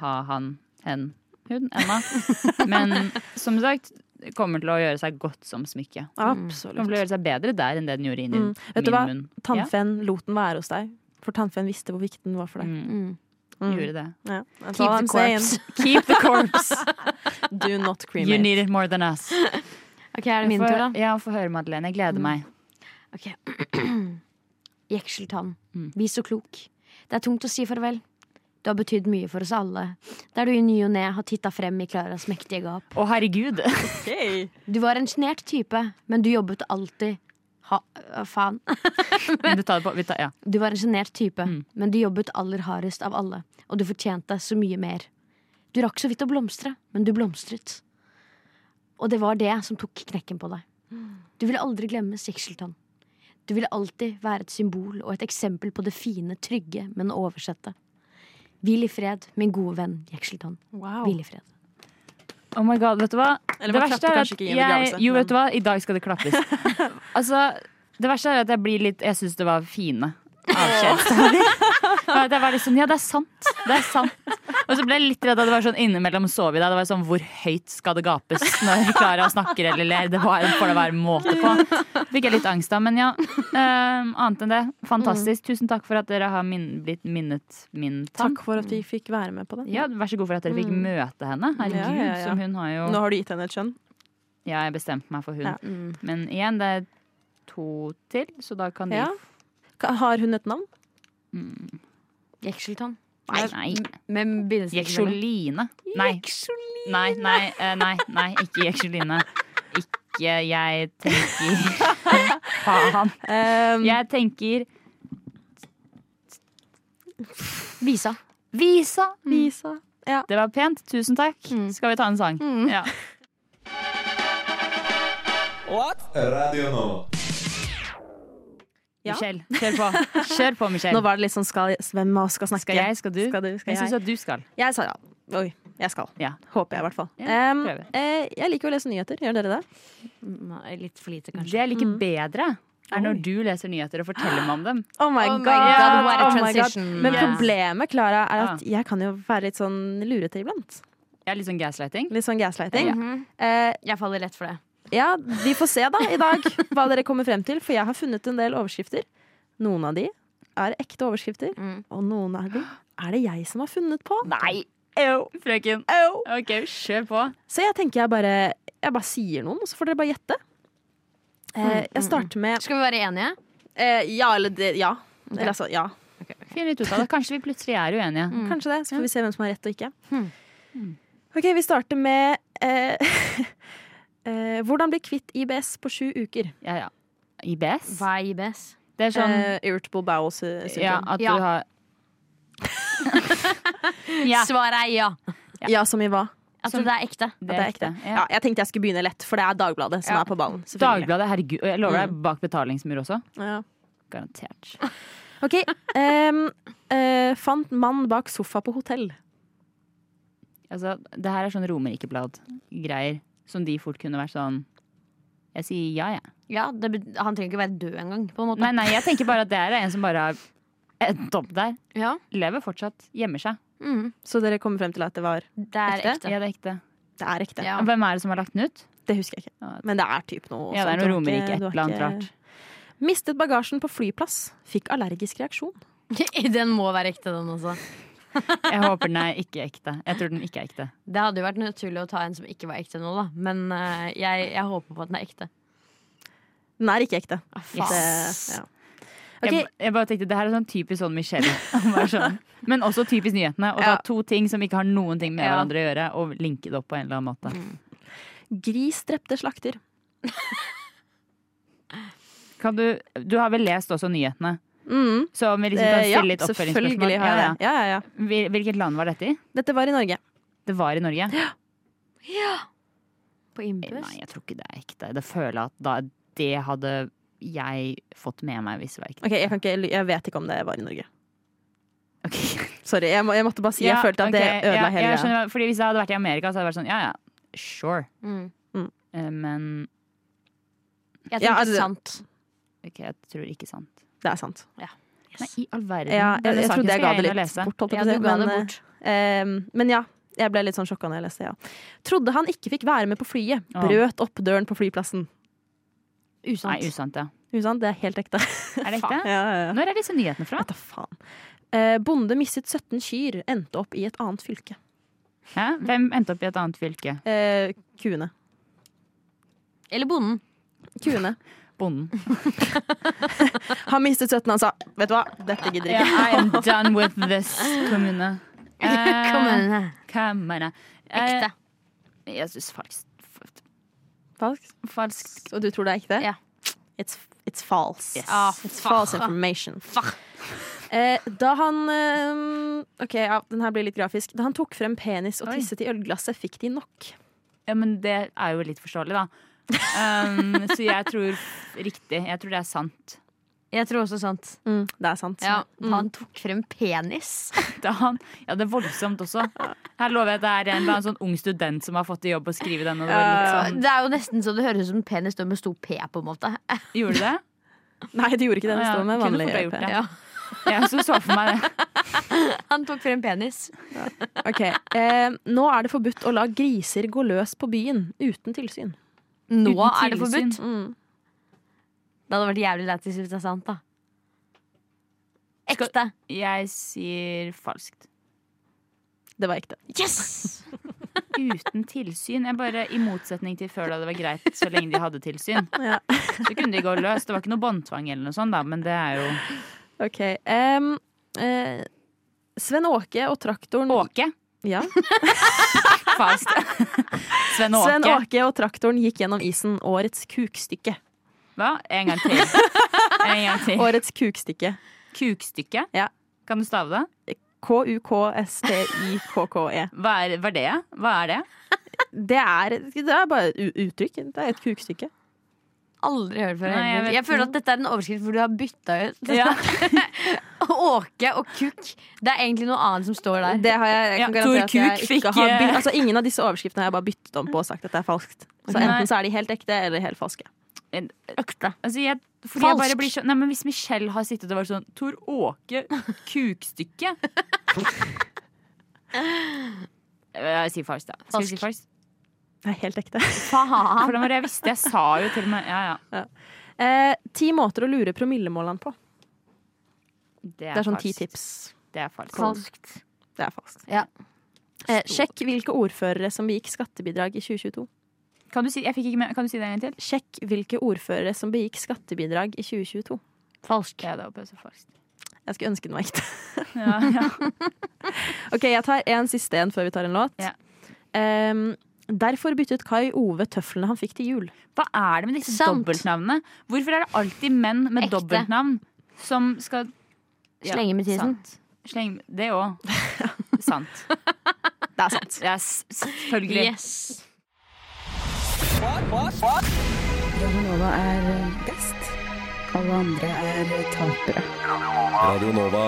Speaker 3: ha han, hen, hun ennå. Men som sagt, det kommer til å gjøre seg godt som smykke. Kommer til å
Speaker 6: Absolutt.
Speaker 3: gjøre seg bedre der enn det den gjorde inni
Speaker 6: Mm. Vet du
Speaker 3: min
Speaker 6: hva?
Speaker 3: munn.
Speaker 6: Tannfen lot den være hos deg, for tannfen visste hvor viktig den var for deg.
Speaker 3: Mm,
Speaker 4: Mm.
Speaker 3: Gjorde det.
Speaker 6: Ja. That's all
Speaker 4: Keep the
Speaker 6: I'm saying.
Speaker 4: corpse.
Speaker 3: Keep the corpse!
Speaker 6: Do not cremate.
Speaker 3: You need it more than us.
Speaker 4: Ok, er det min
Speaker 3: Få-
Speaker 4: tur, da?
Speaker 3: Ja, få høre, Madeleine. Jeg gleder meg.
Speaker 4: Ok Jekseltann, vi så klok. Det er tungt å si farvel. Du har betydd mye for oss alle, der du i ny og ne har titta frem i Klaras mektige gap.
Speaker 3: Å, herregud!
Speaker 6: Ok.
Speaker 4: Du var en sjenert type, men du jobbet alltid ha, hva faen.
Speaker 3: Du tar det på. Vi tar, ja.
Speaker 4: Du var en sjenert type, men du jobbet aller hardest av alle, og du fortjente så mye mer. Du rakk så vidt å blomstre, men du blomstret. Og det var det som tok knekken på deg. Du ville aldri glemmes, Jekseltann. Du ville alltid være et symbol og et eksempel på det fine, trygge, men oversette. Hvil i fred, min gode venn Jekseltann. Hvil i fred.
Speaker 3: Oh my god, vet du hva?
Speaker 6: Eller
Speaker 3: det
Speaker 6: man
Speaker 3: verste
Speaker 6: klapper
Speaker 3: er at
Speaker 6: kanskje ikke i en begravelse,
Speaker 3: Jo,
Speaker 6: men-
Speaker 3: vet du hva? I dag skal det klappes. altså, det verste er at jeg blir litt Jeg syns det var fine avskjedsdager. For Jeg var litt sånn Ja, det er sant. Det er sant. Og så ble jeg litt redd at det var sånn innimellom sov i deg. Det var sånn Hvor høyt skal det gapes når Klara snakker eller ler? Det var, får det være måte på. Fikk jeg litt angst av, men ja. ehm, annet enn det, fantastisk. Tusen takk for at dere har min, blitt minnet min tann.
Speaker 6: Mm. Takk for at vi fikk være med på det.
Speaker 3: Ja, vær så god for at dere fikk møte henne. Herregud,
Speaker 6: Ja, ja, ja.
Speaker 3: som hun har jo
Speaker 6: Nå har du gitt henne et skjønn.
Speaker 3: ja, jeg bestemte meg for hun.
Speaker 6: Ja.
Speaker 3: Men igjen, det er to til, så da kan de
Speaker 6: Ja. Ka- Har hun et navn?
Speaker 4: Jekseltann.
Speaker 3: Nei, nei.
Speaker 4: Med bindestreker.
Speaker 3: Jeksoline. Nei. Nei, nei, eh, nei, nei, ikke Jeksoline. Ikke jeg tenker Faen.
Speaker 6: Um,
Speaker 3: Jeg tenker
Speaker 4: Visa.
Speaker 3: Visa.
Speaker 6: Lisa. Ja.
Speaker 3: Det var pent. Tusen takk.
Speaker 6: Mm.
Speaker 3: Skal vi ta en sang? Ja.
Speaker 1: Radio Nova.
Speaker 6: Ja.
Speaker 3: Michelle, kjør på. Kjør på,
Speaker 6: Nå
Speaker 3: Michelle.
Speaker 6: var det litt sånn skal, hvem av oss skal snakke?
Speaker 3: Skal jeg, skal du?
Speaker 6: Skal du, skal
Speaker 3: jeg syns
Speaker 6: jeg?
Speaker 3: at du skal.
Speaker 6: Jeg sa ja. Oi, jeg skal.
Speaker 3: Ja.
Speaker 6: Håper jeg, i hvert fall.
Speaker 3: Ja,
Speaker 6: Um,
Speaker 3: prøver.
Speaker 6: eh, jeg liker jo å lese nyheter. Gjør dere det?
Speaker 4: Mm, Nei, Litt for lite,
Speaker 3: Det
Speaker 4: kanskje.
Speaker 3: jeg liker bedre, er når du leser nyheter og forteller meg om dem.
Speaker 6: Oh my
Speaker 4: Oh
Speaker 6: god!
Speaker 4: my God, what a
Speaker 6: oh my god.
Speaker 4: transition.
Speaker 6: Men
Speaker 3: Yes.
Speaker 6: problemet Clara, er at jeg kan jo være litt sånn lurete iblant.
Speaker 3: Jeg er litt sånn gaslighting.
Speaker 6: Litt sånn gaslighting.
Speaker 4: Mhm.
Speaker 6: Eh,
Speaker 4: Jeg faller lett for det.
Speaker 6: ja, vi får se da i dag hva dere kommer frem til, for jeg har funnet en del overskrifter. Noen av de er ekte overskrifter,
Speaker 4: Mm.
Speaker 6: og noen av de er det jeg som har funnet på.
Speaker 3: Nei,
Speaker 6: Au,
Speaker 3: frøken.
Speaker 6: au.
Speaker 3: Ok, kjør på.
Speaker 6: Så jeg tenker jeg bare, jeg bare sier noen, og så får dere bare gjette. Eh, jeg starter med
Speaker 4: Skal vi være enige?
Speaker 6: eh, ja eller det, ja. Eller altså ja.
Speaker 3: Finn litt ut av det. Kanskje vi plutselig er uenige.
Speaker 6: Kanskje det. Så får vi se hvem som har rett og ikke. Hmm. Ok, Vi starter med eh, eh, Hvordan bli kvitt IBS på sju uker.
Speaker 3: Ja, ja. IBS?
Speaker 4: Hva er IBS?
Speaker 3: Det er sånn
Speaker 6: Eh, irritable bowel sy- syndrome.
Speaker 3: ja, at
Speaker 4: Ja.
Speaker 3: du har Ja,
Speaker 4: Svaret er ja.
Speaker 6: Ja. som i hva?
Speaker 4: At det er ekte.
Speaker 6: At det er ekte. Ja.
Speaker 3: Ja.
Speaker 6: jeg tenkte jeg skulle begynne lett, for det er Dagbladet som
Speaker 3: Ja.
Speaker 6: er på ballen. selvfølgelig.
Speaker 3: Dagbladet, herregud. Og jeg lover deg, bak betalingsmur også.
Speaker 6: Ja.
Speaker 3: Garantert.
Speaker 6: Ok. em, eh, fant mann bak sofa på hotell.
Speaker 3: Altså, det her er sånn Romerikeblad-greier som de fort kunne vært sånn Jeg sier ja, jeg.
Speaker 4: Ja, det, bet- han trenger ikke være død engang. på en måte.
Speaker 3: Nei, nei, jeg tenker bare at det her er en som bare har endt opp der.
Speaker 4: Ja.
Speaker 3: Lever fortsatt. Gjemmer seg.
Speaker 4: Mm.
Speaker 6: Så dere kommer frem til at det var
Speaker 4: Det er
Speaker 6: Ekte?
Speaker 4: ekte.
Speaker 3: Ja, det er ekte.
Speaker 6: Det er ekte.
Speaker 4: Ja.
Speaker 3: Hvem er det som har lagt den ut?
Speaker 6: Det husker jeg ikke.
Speaker 3: Ja.
Speaker 6: Men det er typ noe
Speaker 3: Ja, det
Speaker 6: sånt.
Speaker 3: er noe
Speaker 6: Du har ikke-
Speaker 3: Romerike, et
Speaker 6: du har
Speaker 3: eller annet
Speaker 6: ikke-
Speaker 3: rart.
Speaker 6: Mistet bagasjen på flyplass. Fikk allergisk reaksjon.
Speaker 4: Den må være ekte, den også.
Speaker 3: Jeg håper den er ikke ekte. Jeg tror den ikke er ekte.
Speaker 4: Det hadde jo vært naturlig å ta en som ikke var ekte nå, da. Men eh, jeg, jeg håper på at den er ekte.
Speaker 6: Den er ikke ekte.
Speaker 4: Ah, faen.
Speaker 6: Det, ja.
Speaker 3: Jeg, jeg bare tenkte, Det her er sånn typisk sånn Michelle. Hun var sånn, Men også typisk nyhetene. Å ta
Speaker 6: Ja.
Speaker 3: to ting som ikke har noen ting med
Speaker 4: Ja.
Speaker 3: hverandre å gjøre, og linke det opp på en eller annen måte.
Speaker 6: Mm. Gris drepte slakter.
Speaker 3: Kan du, du har vel lest også nyhetene?
Speaker 6: Mm.
Speaker 3: Så om vi liksom kan
Speaker 6: Eh, ja,
Speaker 3: stille litt oppfølgingsspørsmål.
Speaker 6: selvfølgelig har jeg
Speaker 3: Ja,
Speaker 6: det. Ja, ja, ja.
Speaker 3: ja. Hvil- Hvilket land var dette i?
Speaker 6: Dette var i Norge.
Speaker 3: Det var i Norge?
Speaker 4: På innpust.
Speaker 3: Nei, jeg tror ikke det er ekte. Det føler jeg at da, det hadde jeg fått med meg hvis det var ekte.
Speaker 6: Ok, jeg, kan ikke, jeg vet ikke om det var i Norge.
Speaker 3: Ok.
Speaker 6: Sorry, jeg, må, jeg måtte bare si jeg
Speaker 3: Ja,
Speaker 6: følte at det
Speaker 3: ok,
Speaker 6: ødela
Speaker 3: ja,
Speaker 6: hele
Speaker 3: jeg skjønner, Fordi Hvis jeg hadde vært i Amerika, så hadde det vært sånn ja ja, sure.
Speaker 4: Mm.
Speaker 3: Eh, Men
Speaker 4: Jeg
Speaker 6: Ja,
Speaker 4: tror
Speaker 6: altså-
Speaker 4: det er sant.
Speaker 3: ok, jeg tror ikke sant.
Speaker 6: Det er sant.
Speaker 3: Nei, i all verden.
Speaker 6: Ja,
Speaker 3: Mm. Denne
Speaker 6: jeg, jeg
Speaker 3: saken
Speaker 6: trodde
Speaker 3: skal
Speaker 6: jeg ga det
Speaker 3: inn og
Speaker 6: litt
Speaker 3: lese.
Speaker 6: bort, holdt jeg
Speaker 4: Ja,
Speaker 6: på å
Speaker 4: du
Speaker 6: si.
Speaker 4: ga det
Speaker 6: men,
Speaker 4: bort.
Speaker 6: eh, ehm, men ja, jeg ble litt sånn sjokka når jeg leste det. Ja. Trodde han ikke fikk være med på flyet.
Speaker 3: Ja.
Speaker 6: Brøt opp døren på flyplassen.
Speaker 3: Nei,
Speaker 4: Usant.
Speaker 3: usant, ja.
Speaker 6: Ikke sant? Det er helt ekte.
Speaker 3: Er det
Speaker 6: Ja,
Speaker 3: ekte?
Speaker 6: ja, ja.
Speaker 3: Når er disse nyhetene fra?
Speaker 6: Vet da faen. Eh, bonde mistet 17 kyr, endte opp i et annet fylke.
Speaker 3: Hæ? Hvem endte opp i et annet fylke?
Speaker 6: Eh, kuene.
Speaker 4: Eller bonden.
Speaker 6: Kuene.
Speaker 3: Bonden.
Speaker 6: Han mistet 17, han sa. Vet du hva, dette gidder
Speaker 3: Yeah,
Speaker 6: jeg ikke.
Speaker 3: I am done with this kommune. Eh,
Speaker 4: Kom igjen.
Speaker 3: kommune. Eh,
Speaker 4: Ekte.
Speaker 3: Jeg syns falskt. f-
Speaker 6: Falskt.
Speaker 3: Falskt.
Speaker 6: Og du tror det er ekte?
Speaker 4: Ja.
Speaker 6: It's, it's false.
Speaker 3: Yes.
Speaker 4: Ah,
Speaker 6: It's
Speaker 4: fa-
Speaker 6: false information. Eh, da han eh, Ok, ja, den her blir litt grafisk. Da han tok frem penis og
Speaker 3: Oi.
Speaker 6: tisset i ølglasset, fikk de nok.
Speaker 3: Ja, men det er jo litt forståelig, da. Um, så jeg tror f- riktig. Jeg tror det er sant.
Speaker 4: Jeg tror også sant.
Speaker 6: Det er sant.
Speaker 4: Ja,
Speaker 6: Mm.
Speaker 4: Han tok frem penis.
Speaker 3: Da han, ja, det er voldsomt også. Her lover jeg at det er en eller annen sånn ung student som har fått i jobb å skrive den. Og det var litt sånn,
Speaker 4: Det er jo nesten så det høres ut som penis står med stor P, på en måte.
Speaker 3: gjorde du det?
Speaker 6: Nei, det gjorde ikke det. Det
Speaker 3: Ja,
Speaker 6: står med
Speaker 3: kunne
Speaker 6: vanlig E
Speaker 3: fort ha gjort
Speaker 6: ølpe.
Speaker 3: det.
Speaker 4: Ja.
Speaker 3: Jeg også så for meg det.
Speaker 4: Han tok frem penis.
Speaker 6: Ok, eh, Nå er det forbudt å la griser gå løs på byen uten tilsyn.
Speaker 4: Nå
Speaker 3: Uten
Speaker 4: er det
Speaker 3: tilsyn.
Speaker 4: forbudt. Det hadde vært jævlig lættis hvis det er sant, da. Ekte.
Speaker 3: Jeg sier falskt.
Speaker 6: Det var ekte.
Speaker 4: Yes!
Speaker 3: Uten tilsyn. Jeg bare, I motsetning til før da det var greit så lenge de hadde tilsyn.
Speaker 6: Ja.
Speaker 3: Så kunne de gå løs. Det var ikke noe båndtvang eller noe sånt, da, men det er jo
Speaker 6: Ok. em, eh, Sven Åke og traktoren
Speaker 3: Åke.
Speaker 6: Ja.
Speaker 3: Falskt. Sven og
Speaker 6: Sven
Speaker 3: Åke.
Speaker 6: Åke og traktoren gikk gjennom isen. Årets kukstykke.
Speaker 3: Hva? En gang til. En gang til.
Speaker 6: Årets kukstykke.
Speaker 3: Kukstykke?
Speaker 6: Ja.
Speaker 3: Kan du stave det?
Speaker 6: K-u-k-s-t-i-k-k-e.
Speaker 3: Hva er, hva er det? Hva er det?
Speaker 6: Det er, det er bare et u- uttrykk. Det er et kukstykke.
Speaker 4: Aldri hørt før.
Speaker 3: Nei, jeg
Speaker 4: jeg,
Speaker 3: vet-
Speaker 4: føler at dette er en overskrift hvor du har bytta ut
Speaker 3: Ja.
Speaker 4: åke og kukk. Det er egentlig noe annet som står der.
Speaker 6: Det har jeg, jeg kan
Speaker 3: Ja,
Speaker 6: garantere
Speaker 3: Tor
Speaker 6: at jeg
Speaker 3: Kuk
Speaker 6: ikke
Speaker 3: fikk,
Speaker 6: har bytt,
Speaker 3: eh,
Speaker 6: altså Ingen av disse overskriftene har jeg bare byttet om på og sagt at det er falskt. Så
Speaker 3: Ok.
Speaker 6: enten så er de helt ekte eller helt falske.
Speaker 4: Ekte.
Speaker 3: Altså, jeg, fordi jeg bare
Speaker 4: Falskt.
Speaker 3: blir så, nei, men hvis Michelle har sittet og vært sånn Tor Åke, kukstykke Jeg sier falskt, da. Skal vi si falskt?
Speaker 6: Det er helt ekte.
Speaker 4: Faen.
Speaker 3: Hvordan var det jeg visste? Jeg sa jo til og med Ja, ja.
Speaker 6: Eh, ti måter å lure promillemålene på.
Speaker 3: Det
Speaker 6: Det er sånn ti
Speaker 3: falskt.
Speaker 6: tips.
Speaker 3: Det er falskt.
Speaker 4: Falskt.
Speaker 6: Det er falskt.
Speaker 4: Ja.
Speaker 6: Eh, sjekk hvilke ordførere som begikk skattebidrag i 2022.
Speaker 3: Kan du si, jeg fikk ikke med, kan du si det en gang til?
Speaker 6: Sjekk hvilke ordførere som begikk skattebidrag i 2022.
Speaker 3: Falskt. Ja, det håper jeg så falskt.
Speaker 6: Jeg skulle ønske den var ekte.
Speaker 3: Ja, ja.
Speaker 6: Ok, Jeg tar en siste en før vi tar en låt.
Speaker 3: Ja.
Speaker 6: Ehm, derfor byttet Kai Ove tøflene han fikk til jul.
Speaker 3: Hva er det med disse
Speaker 4: Sant.
Speaker 3: dobbeltnavnene? Hvorfor er det alltid menn med
Speaker 4: Ekte.
Speaker 3: dobbeltnavn som skal Ja,
Speaker 4: Slenge med tisen.
Speaker 3: sant. Sleng, det òg. sant.
Speaker 6: Det er sant.
Speaker 3: Det er s- selvfølgelig
Speaker 4: Yes.
Speaker 8: Radio Nova er best. Alle andre er tapere.
Speaker 7: Radio Nova.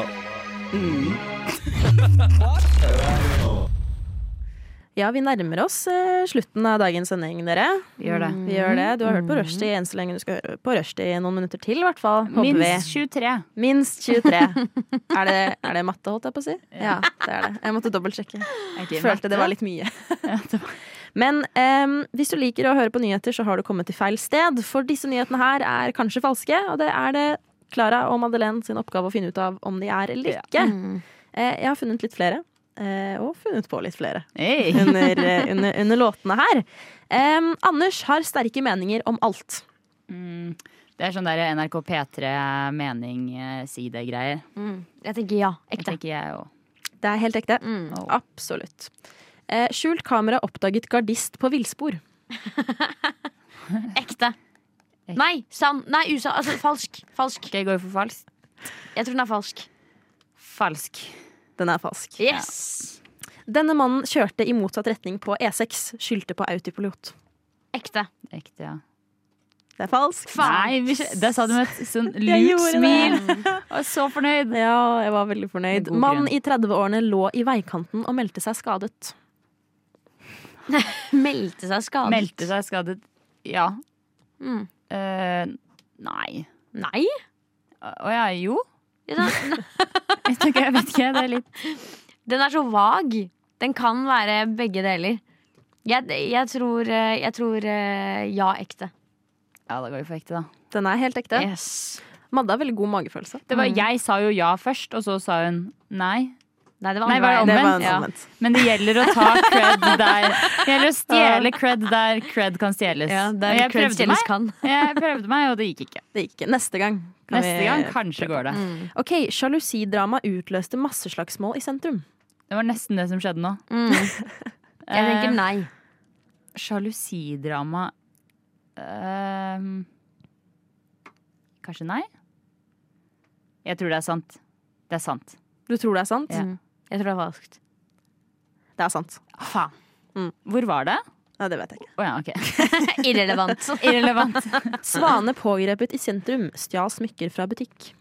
Speaker 6: Ja, vi nærmer oss eh, slutten av dagens sending, dere.
Speaker 3: Vi gjør det.
Speaker 6: Vi gjør det. Du har hørt på Rushdie enn så lenge du skal høre på Rushdie i noen minutter til, i hvert fall. håper vi.
Speaker 3: Minst 23.
Speaker 6: Minst 23. er, det, er det matte, holdt jeg på å si? Ja, det er det. Jeg måtte dobbeltsjekke. Følte det var litt mye. Men em, hvis du liker å høre på nyheter, så har du kommet til feil sted. For disse nyhetene her er kanskje falske, og det er det Klara og Madeleine sin oppgave å finne ut av om de er eller ikke.
Speaker 4: Mm.
Speaker 6: Eh, jeg har funnet litt flere. eh, og funnet på litt flere
Speaker 3: Hey.
Speaker 6: under, eh, under, under låtene her. Em, Anders har sterke meninger om alt.
Speaker 3: Mm, det er sånn der NRK P3 mening eh, si det-greier.
Speaker 4: Mm. Jeg tenker ja.
Speaker 3: Jeg
Speaker 4: Ekte.
Speaker 3: tenker jeg også.
Speaker 6: Det er helt ekte.
Speaker 4: Mm.
Speaker 6: Absolutt. Eh, skjult kamera oppdaget gardist på villspor.
Speaker 4: Ekte. Nei, sann. Nei, usann. Altså, falsk. Falsk.
Speaker 3: Ok, går vi for falsk?
Speaker 4: Jeg tror den er falsk.
Speaker 3: Falsk.
Speaker 6: Den er falsk.
Speaker 4: Yes!
Speaker 6: Denne mannen kjørte i motsatt retning på E6, skyldte på autopilot.
Speaker 4: Ekte.
Speaker 3: Ekte, ja.
Speaker 6: Det er falsk.
Speaker 3: Nei, vi skj- der sa du med et sånn
Speaker 6: Jeg
Speaker 3: lurt
Speaker 6: gjorde
Speaker 3: smil.
Speaker 6: det.
Speaker 3: Jeg var så fornøyd.
Speaker 6: Ja, jeg var veldig fornøyd.
Speaker 3: God grunn.
Speaker 6: Mann i 30-årene lå i veikanten og meldte seg skadet.
Speaker 4: Meldte seg skadet.
Speaker 3: Meldte seg skadet. Ja.
Speaker 4: Mm.
Speaker 3: Eh, nei.
Speaker 4: Nei?
Speaker 3: Å ja, jo.
Speaker 4: Ja, Den,
Speaker 3: Jeg, tenker, jeg vet ikke, det er litt
Speaker 4: den er så vag. Den kan være begge deler. Jeg, jeg tror, eh, jeg tror eh, ja, ekte.
Speaker 3: Ja, da går vi for ekte, da.
Speaker 6: Den er helt ekte.
Speaker 4: Yes.
Speaker 6: Madde har veldig god magefølelse.
Speaker 3: Det var, jeg sa jo ja først, og så sa hun nei.
Speaker 4: Nei, det var
Speaker 3: Nei,
Speaker 4: andre
Speaker 3: var
Speaker 4: veien.
Speaker 3: det
Speaker 6: Det var
Speaker 3: omvendt?
Speaker 6: en
Speaker 3: Ja.
Speaker 6: omvendt.
Speaker 3: Men det gjelder å ta cred der. Det gjelder å stjele cred der cred kan stjeles.
Speaker 4: Ja,
Speaker 3: Og
Speaker 4: der
Speaker 3: jeg
Speaker 4: Craig
Speaker 3: prøvde
Speaker 4: Stelles
Speaker 3: meg.
Speaker 4: kan.
Speaker 3: Jeg prøvde meg, og det gikk ikke.
Speaker 6: Det gikk. Neste gang. kan
Speaker 3: Neste
Speaker 6: vi-
Speaker 3: gang kanskje går det.
Speaker 6: Ok, Sjalusidrama utløste masseslagsmål i sentrum.
Speaker 3: Det var nesten det som skjedde nå. Eh,
Speaker 4: Mm. Jeg tenker nei.
Speaker 3: Sjalusidrama Ehm, Kanskje nei? Jeg tror det er sant. Det er sant.
Speaker 6: Du tror det er sant?
Speaker 3: Ja.
Speaker 4: Jeg tror det er falskt.
Speaker 6: Det er sant.
Speaker 3: Faen. Mm. Hvor var det?
Speaker 6: Nei, det vet jeg ikke.
Speaker 3: Å ja, ok.
Speaker 4: Irrelevant.
Speaker 3: Irrelevant.
Speaker 6: Svane pågrepet i sentrum. Stjal smykker fra butikk.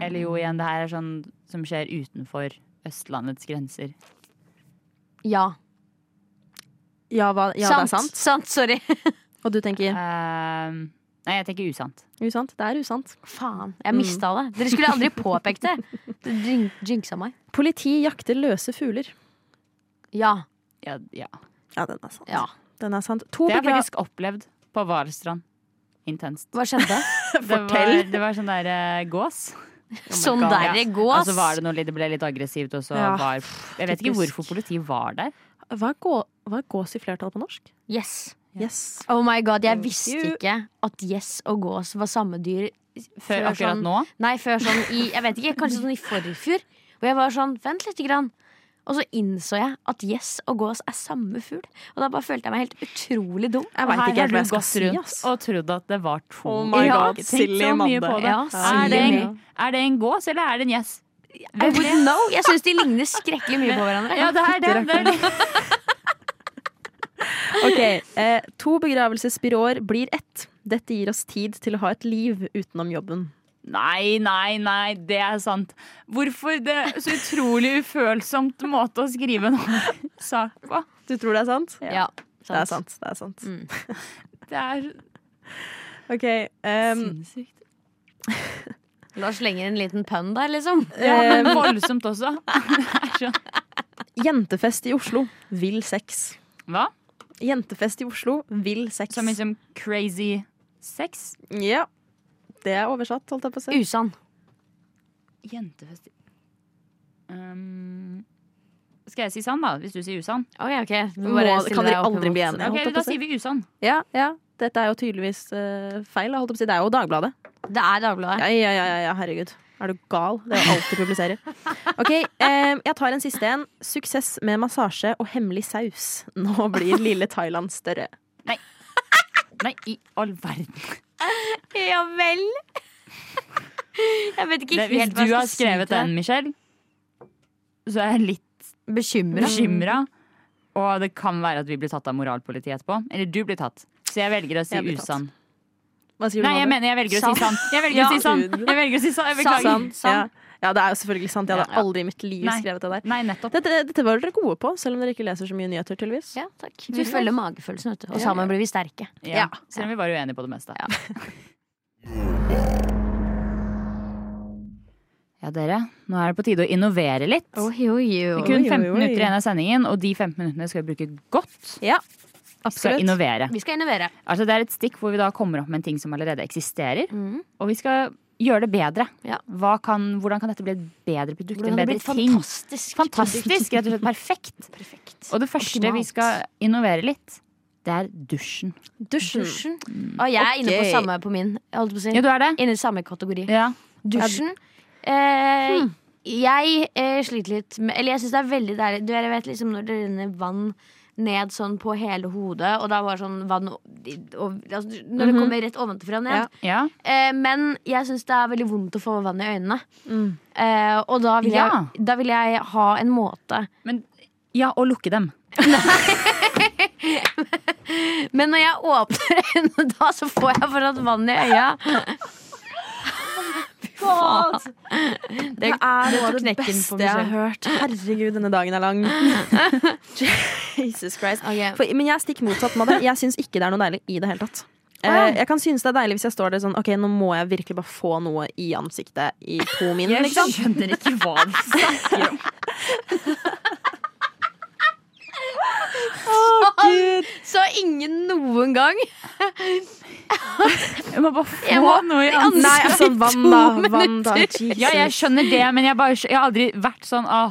Speaker 3: Eller jo, igjen, det her er sånn som skjer utenfor Østlandets grenser.
Speaker 4: Ja.
Speaker 6: Ja, hva, ja det er sant.
Speaker 4: Sant. Sorry.
Speaker 6: Og du tenker
Speaker 3: Ehm, nei, jeg tenker usant.
Speaker 6: usant? Det er usant.
Speaker 4: Faen. Jeg mista det. Dere skulle aldri påpekt det. Du jin- jinxa meg.
Speaker 6: Politi jakter løse fugler.
Speaker 4: Ja.
Speaker 3: Ja, ja.
Speaker 6: Ja, den er sant.
Speaker 4: ja.
Speaker 6: Den er sant. To
Speaker 3: Det har jeg
Speaker 6: begra-
Speaker 3: faktisk opplevd på Valstrand. Intenst.
Speaker 4: Hva skjedde?
Speaker 3: Det
Speaker 6: Fortell.
Speaker 3: var, det var sånn der eh, gås.
Speaker 4: Sånn
Speaker 3: God.
Speaker 4: der
Speaker 3: Ja.
Speaker 4: det gås.
Speaker 3: Og så var det noe litt, det ble litt aggressivt, og så
Speaker 6: Ja,
Speaker 3: var Jeg vet ikke
Speaker 6: typisk.
Speaker 3: hvorfor politiet var der.
Speaker 6: Hva er, gå, hva er gås i flertall på norsk?
Speaker 4: Yes.
Speaker 6: Yes.
Speaker 4: Oh my god, jeg
Speaker 6: Thank
Speaker 4: visste
Speaker 6: you.
Speaker 4: ikke at yes og gås var samme dyr
Speaker 3: Før akkurat
Speaker 4: sånn,
Speaker 3: nå.
Speaker 4: Nei, før sånn i Jeg vet ikke, kanskje sånn i forfjor. Og jeg var sånn, vent lite grann. Og så innså jeg at yes og gås er samme fugl. Og da bare følte jeg meg helt utrolig dum.
Speaker 6: Jeg
Speaker 3: Og
Speaker 6: vet
Speaker 3: her
Speaker 6: ikke helt
Speaker 3: har
Speaker 6: hva
Speaker 3: du
Speaker 6: jeg skal
Speaker 3: gått
Speaker 6: si,
Speaker 3: rundt
Speaker 6: ass.
Speaker 3: og trodd at det var to.
Speaker 6: Oh my
Speaker 3: Jeg har
Speaker 6: God,
Speaker 3: ikke tenkt
Speaker 6: silly
Speaker 3: så mye
Speaker 6: Amanda.
Speaker 3: på det.
Speaker 4: Ja,
Speaker 3: er, det
Speaker 4: silly.
Speaker 3: en, er det en gås, eller er det en gjess?
Speaker 4: I wouldn't know. Jeg syns de ligner skrekkelig mye på hverandre.
Speaker 3: Ja, det er det. det, er det.
Speaker 6: Ok, eh, To begravelsesbyråer blir ett. Dette gir oss tid til å ha et liv utenom jobben.
Speaker 3: Nei, nei, nei, det er sant. Hvorfor det så utrolig ufølsomt måte å skrive en sak på?
Speaker 6: Du tror det er sant?
Speaker 4: Ja,
Speaker 6: Det er sant. det er sant.
Speaker 3: Det er
Speaker 6: Ok, ehm,
Speaker 3: sinnssykt.
Speaker 4: Lars slenger en liten pønn der, liksom.
Speaker 3: Ja, men
Speaker 6: ehm,
Speaker 3: voldsomt også. Det er sånn.
Speaker 6: Jentefest i Oslo. Vill sex.
Speaker 3: Hva?
Speaker 6: Jentefest i Oslo. Vill sex.
Speaker 3: Som liksom crazy sex?
Speaker 6: Ja. Det er oversatt, holdt jeg på å si.
Speaker 4: Usann.
Speaker 3: Jentefest um, Skal jeg si sann, da? Hvis du sier usann?
Speaker 4: Ok, ok. Du
Speaker 6: Må-
Speaker 4: bare stiller
Speaker 6: kan dere
Speaker 4: deg opp
Speaker 6: aldri
Speaker 4: imot-
Speaker 6: bli enige?
Speaker 3: Ok,
Speaker 6: holdt jeg på
Speaker 3: Da
Speaker 6: å si.
Speaker 3: sier vi usann.
Speaker 6: Ja, ja. Dette er jo tydeligvis eh, feil. holdt jeg på å si. Det er jo Dagbladet.
Speaker 4: Det er Dagbladet.
Speaker 6: Ja, ja, ja, ja, ja, herregud. Er du gal? Det er jo alt du publiserer. Ok, eh, jeg tar en siste en. Suksess med massasje og hemmelig saus. Nå blir lille Thailand større.
Speaker 3: Nei, i all verden.
Speaker 4: Ja vel. Jeg vet ikke
Speaker 3: Det, hvis
Speaker 4: helt hva
Speaker 3: du
Speaker 4: jeg
Speaker 3: har
Speaker 4: skal si
Speaker 3: skrevet
Speaker 4: til
Speaker 3: den, Michelle, så er jeg litt
Speaker 4: det. Bekymra.
Speaker 3: bekymra. Og det kan være at vi blir tatt av moralpolitiet etterpå. Eller du blir tatt. Så jeg velger å si
Speaker 6: Jeg blir tatt.
Speaker 3: usann.
Speaker 6: Hva sier du,
Speaker 3: Nei, jeg
Speaker 6: Madde?
Speaker 3: mener jeg velger å si sann. Jeg velger å
Speaker 6: Ja.
Speaker 3: si sann. Jeg velger å si sann. Jeg beklager.
Speaker 6: Sant, Ja. Sånn, ja, det er jo selvfølgelig sant. Jeg hadde
Speaker 3: Ja, ja.
Speaker 6: aldri i mitt liv
Speaker 3: Nei.
Speaker 6: skrevet det der.
Speaker 3: Nei, nettopp.
Speaker 6: Dette, dette var dere gode på, selv om dere ikke leser så mye nyheter, tydeligvis.
Speaker 4: Ja, takk. Vi følger magefølelsen, vet du. Og sammen blir vi sterke.
Speaker 3: Ja. Selv om vi var uenige på det meste. Ja, dere. Nå er det på tide å innovere litt.
Speaker 4: Oi, oi,
Speaker 3: Det er
Speaker 4: oi.
Speaker 3: kun
Speaker 6: oi,
Speaker 3: 15
Speaker 6: oi.
Speaker 3: minutter igjen av sendingen, og de 15 minuttene skal vi bruke godt.
Speaker 6: Ja,
Speaker 3: Vi skal
Speaker 6: absolutt.
Speaker 3: innovere.
Speaker 4: Vi skal innovere.
Speaker 3: Altså, det er et stikk hvor vi da kommer opp med en ting som allerede eksisterer, og vi skal gjøre det bedre.
Speaker 4: Mm. Ja.
Speaker 3: Hva kan, hvordan kan dette bli et bedre produkt? En
Speaker 4: Hvordan det
Speaker 3: bedre
Speaker 4: blir
Speaker 3: ting?
Speaker 4: fantastisk.
Speaker 3: Fantastisk! Rett og slett perfekt.
Speaker 4: Perfekt.
Speaker 3: Og det første vi
Speaker 4: Optimalt.
Speaker 3: skal innovere litt, det er dusjen.
Speaker 6: Dusjen.
Speaker 4: Dusjen. Å, jeg er inne på
Speaker 6: Ok.
Speaker 4: samme på min. Jeg holdt på å si.
Speaker 3: Ja, du er det?
Speaker 4: Inne i samme kategori.
Speaker 3: Ja.
Speaker 4: Dusjen. Eh, jeg eh, sliter litt med Eller jeg syns det er veldig deilig Du jeg vet liksom når det renner vann ned sånn på hele hodet, og da var sånn vann o- i- og, altså, Når det kommer rett ovenfra og ned.
Speaker 6: Ja.
Speaker 3: Ja.
Speaker 4: Eh, men jeg syns det er veldig vondt å få vann i øynene. Eh, og da vil,
Speaker 3: Ja.
Speaker 4: jeg, da vil jeg ha en måte.
Speaker 3: Men, ja, og lukke dem.
Speaker 4: Men når jeg åpner øynene da, så får jeg fortsatt vann i øya.
Speaker 6: Det er noe av det
Speaker 4: knekken
Speaker 6: beste
Speaker 4: på meg
Speaker 6: jeg har
Speaker 4: selv.
Speaker 6: hørt. Herregud, denne dagen er lang. Jesus Christ.
Speaker 4: Ok.
Speaker 6: For, men jeg er stikk motsatt med det. Jeg syns ikke det er noe deilig i det hele tatt. Eh, Jeg kan synes det er deilig hvis jeg står der sånn Ok, nå må jeg virkelig bare få noe i ansiktet i to min. Liksom.
Speaker 3: skjønner ikke hva du snakker om.
Speaker 4: Så ingen noen gang.
Speaker 3: Jeg må bare få
Speaker 4: Jeg må-
Speaker 3: noe i
Speaker 6: Nei,
Speaker 3: ansiktet.
Speaker 6: altså, vann, da. Vann, da. Jesus.
Speaker 3: Ja, jeg skjønner det, men jeg, bare, jeg har aldri vært sånn ah,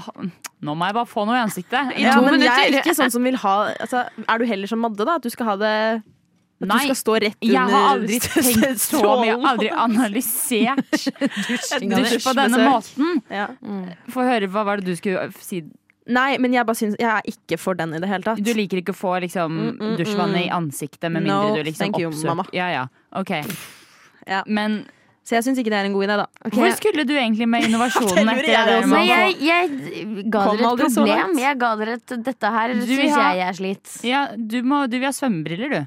Speaker 3: Nå må jeg bare få noe i ansiktet.
Speaker 6: ja,
Speaker 3: Ja,
Speaker 6: men
Speaker 3: men-
Speaker 6: jeg er ikke sånn som vil ha altså, Er du heller som Madde, da? At du skal ha det At
Speaker 3: Nei.
Speaker 6: du skal stå rett under
Speaker 3: Jeg har aldri tenkt så mye, jeg har aldri
Speaker 6: strålen.
Speaker 3: analysert dusj på
Speaker 6: Dusj med
Speaker 3: denne
Speaker 6: seg.
Speaker 3: måten.
Speaker 6: Ja.
Speaker 3: Få høre, hva var det du skulle si?
Speaker 6: Nei, men jeg bare synes Jeg er ikke for den i det hele tatt.
Speaker 3: Du liker ikke å få liksom,
Speaker 6: mm,
Speaker 3: dusjvannet i
Speaker 6: mm.
Speaker 3: ansiktet med
Speaker 6: No,
Speaker 3: mindre du liksom
Speaker 6: thank you, mamma.
Speaker 3: oppsøker Ja, ja. Ok.
Speaker 6: Ja.
Speaker 3: Men
Speaker 6: Så jeg syns ikke det er en god idé, da.
Speaker 3: hvor skulle du egentlig med
Speaker 6: Det
Speaker 3: innovasjonen
Speaker 6: lurer
Speaker 3: etter det
Speaker 6: jeg
Speaker 3: der?
Speaker 6: også
Speaker 3: med
Speaker 4: Nei,
Speaker 3: å
Speaker 4: jeg,
Speaker 3: få-
Speaker 4: jeg ga
Speaker 6: Kom
Speaker 4: dere et
Speaker 6: aldri så
Speaker 4: problem.
Speaker 6: langt.
Speaker 4: Jeg ga dere et Dette
Speaker 3: Du
Speaker 4: her syns
Speaker 3: vil ha-
Speaker 4: jeg jeg er slitt.
Speaker 3: Ja, du, må, du vil ha svømmebriller, du.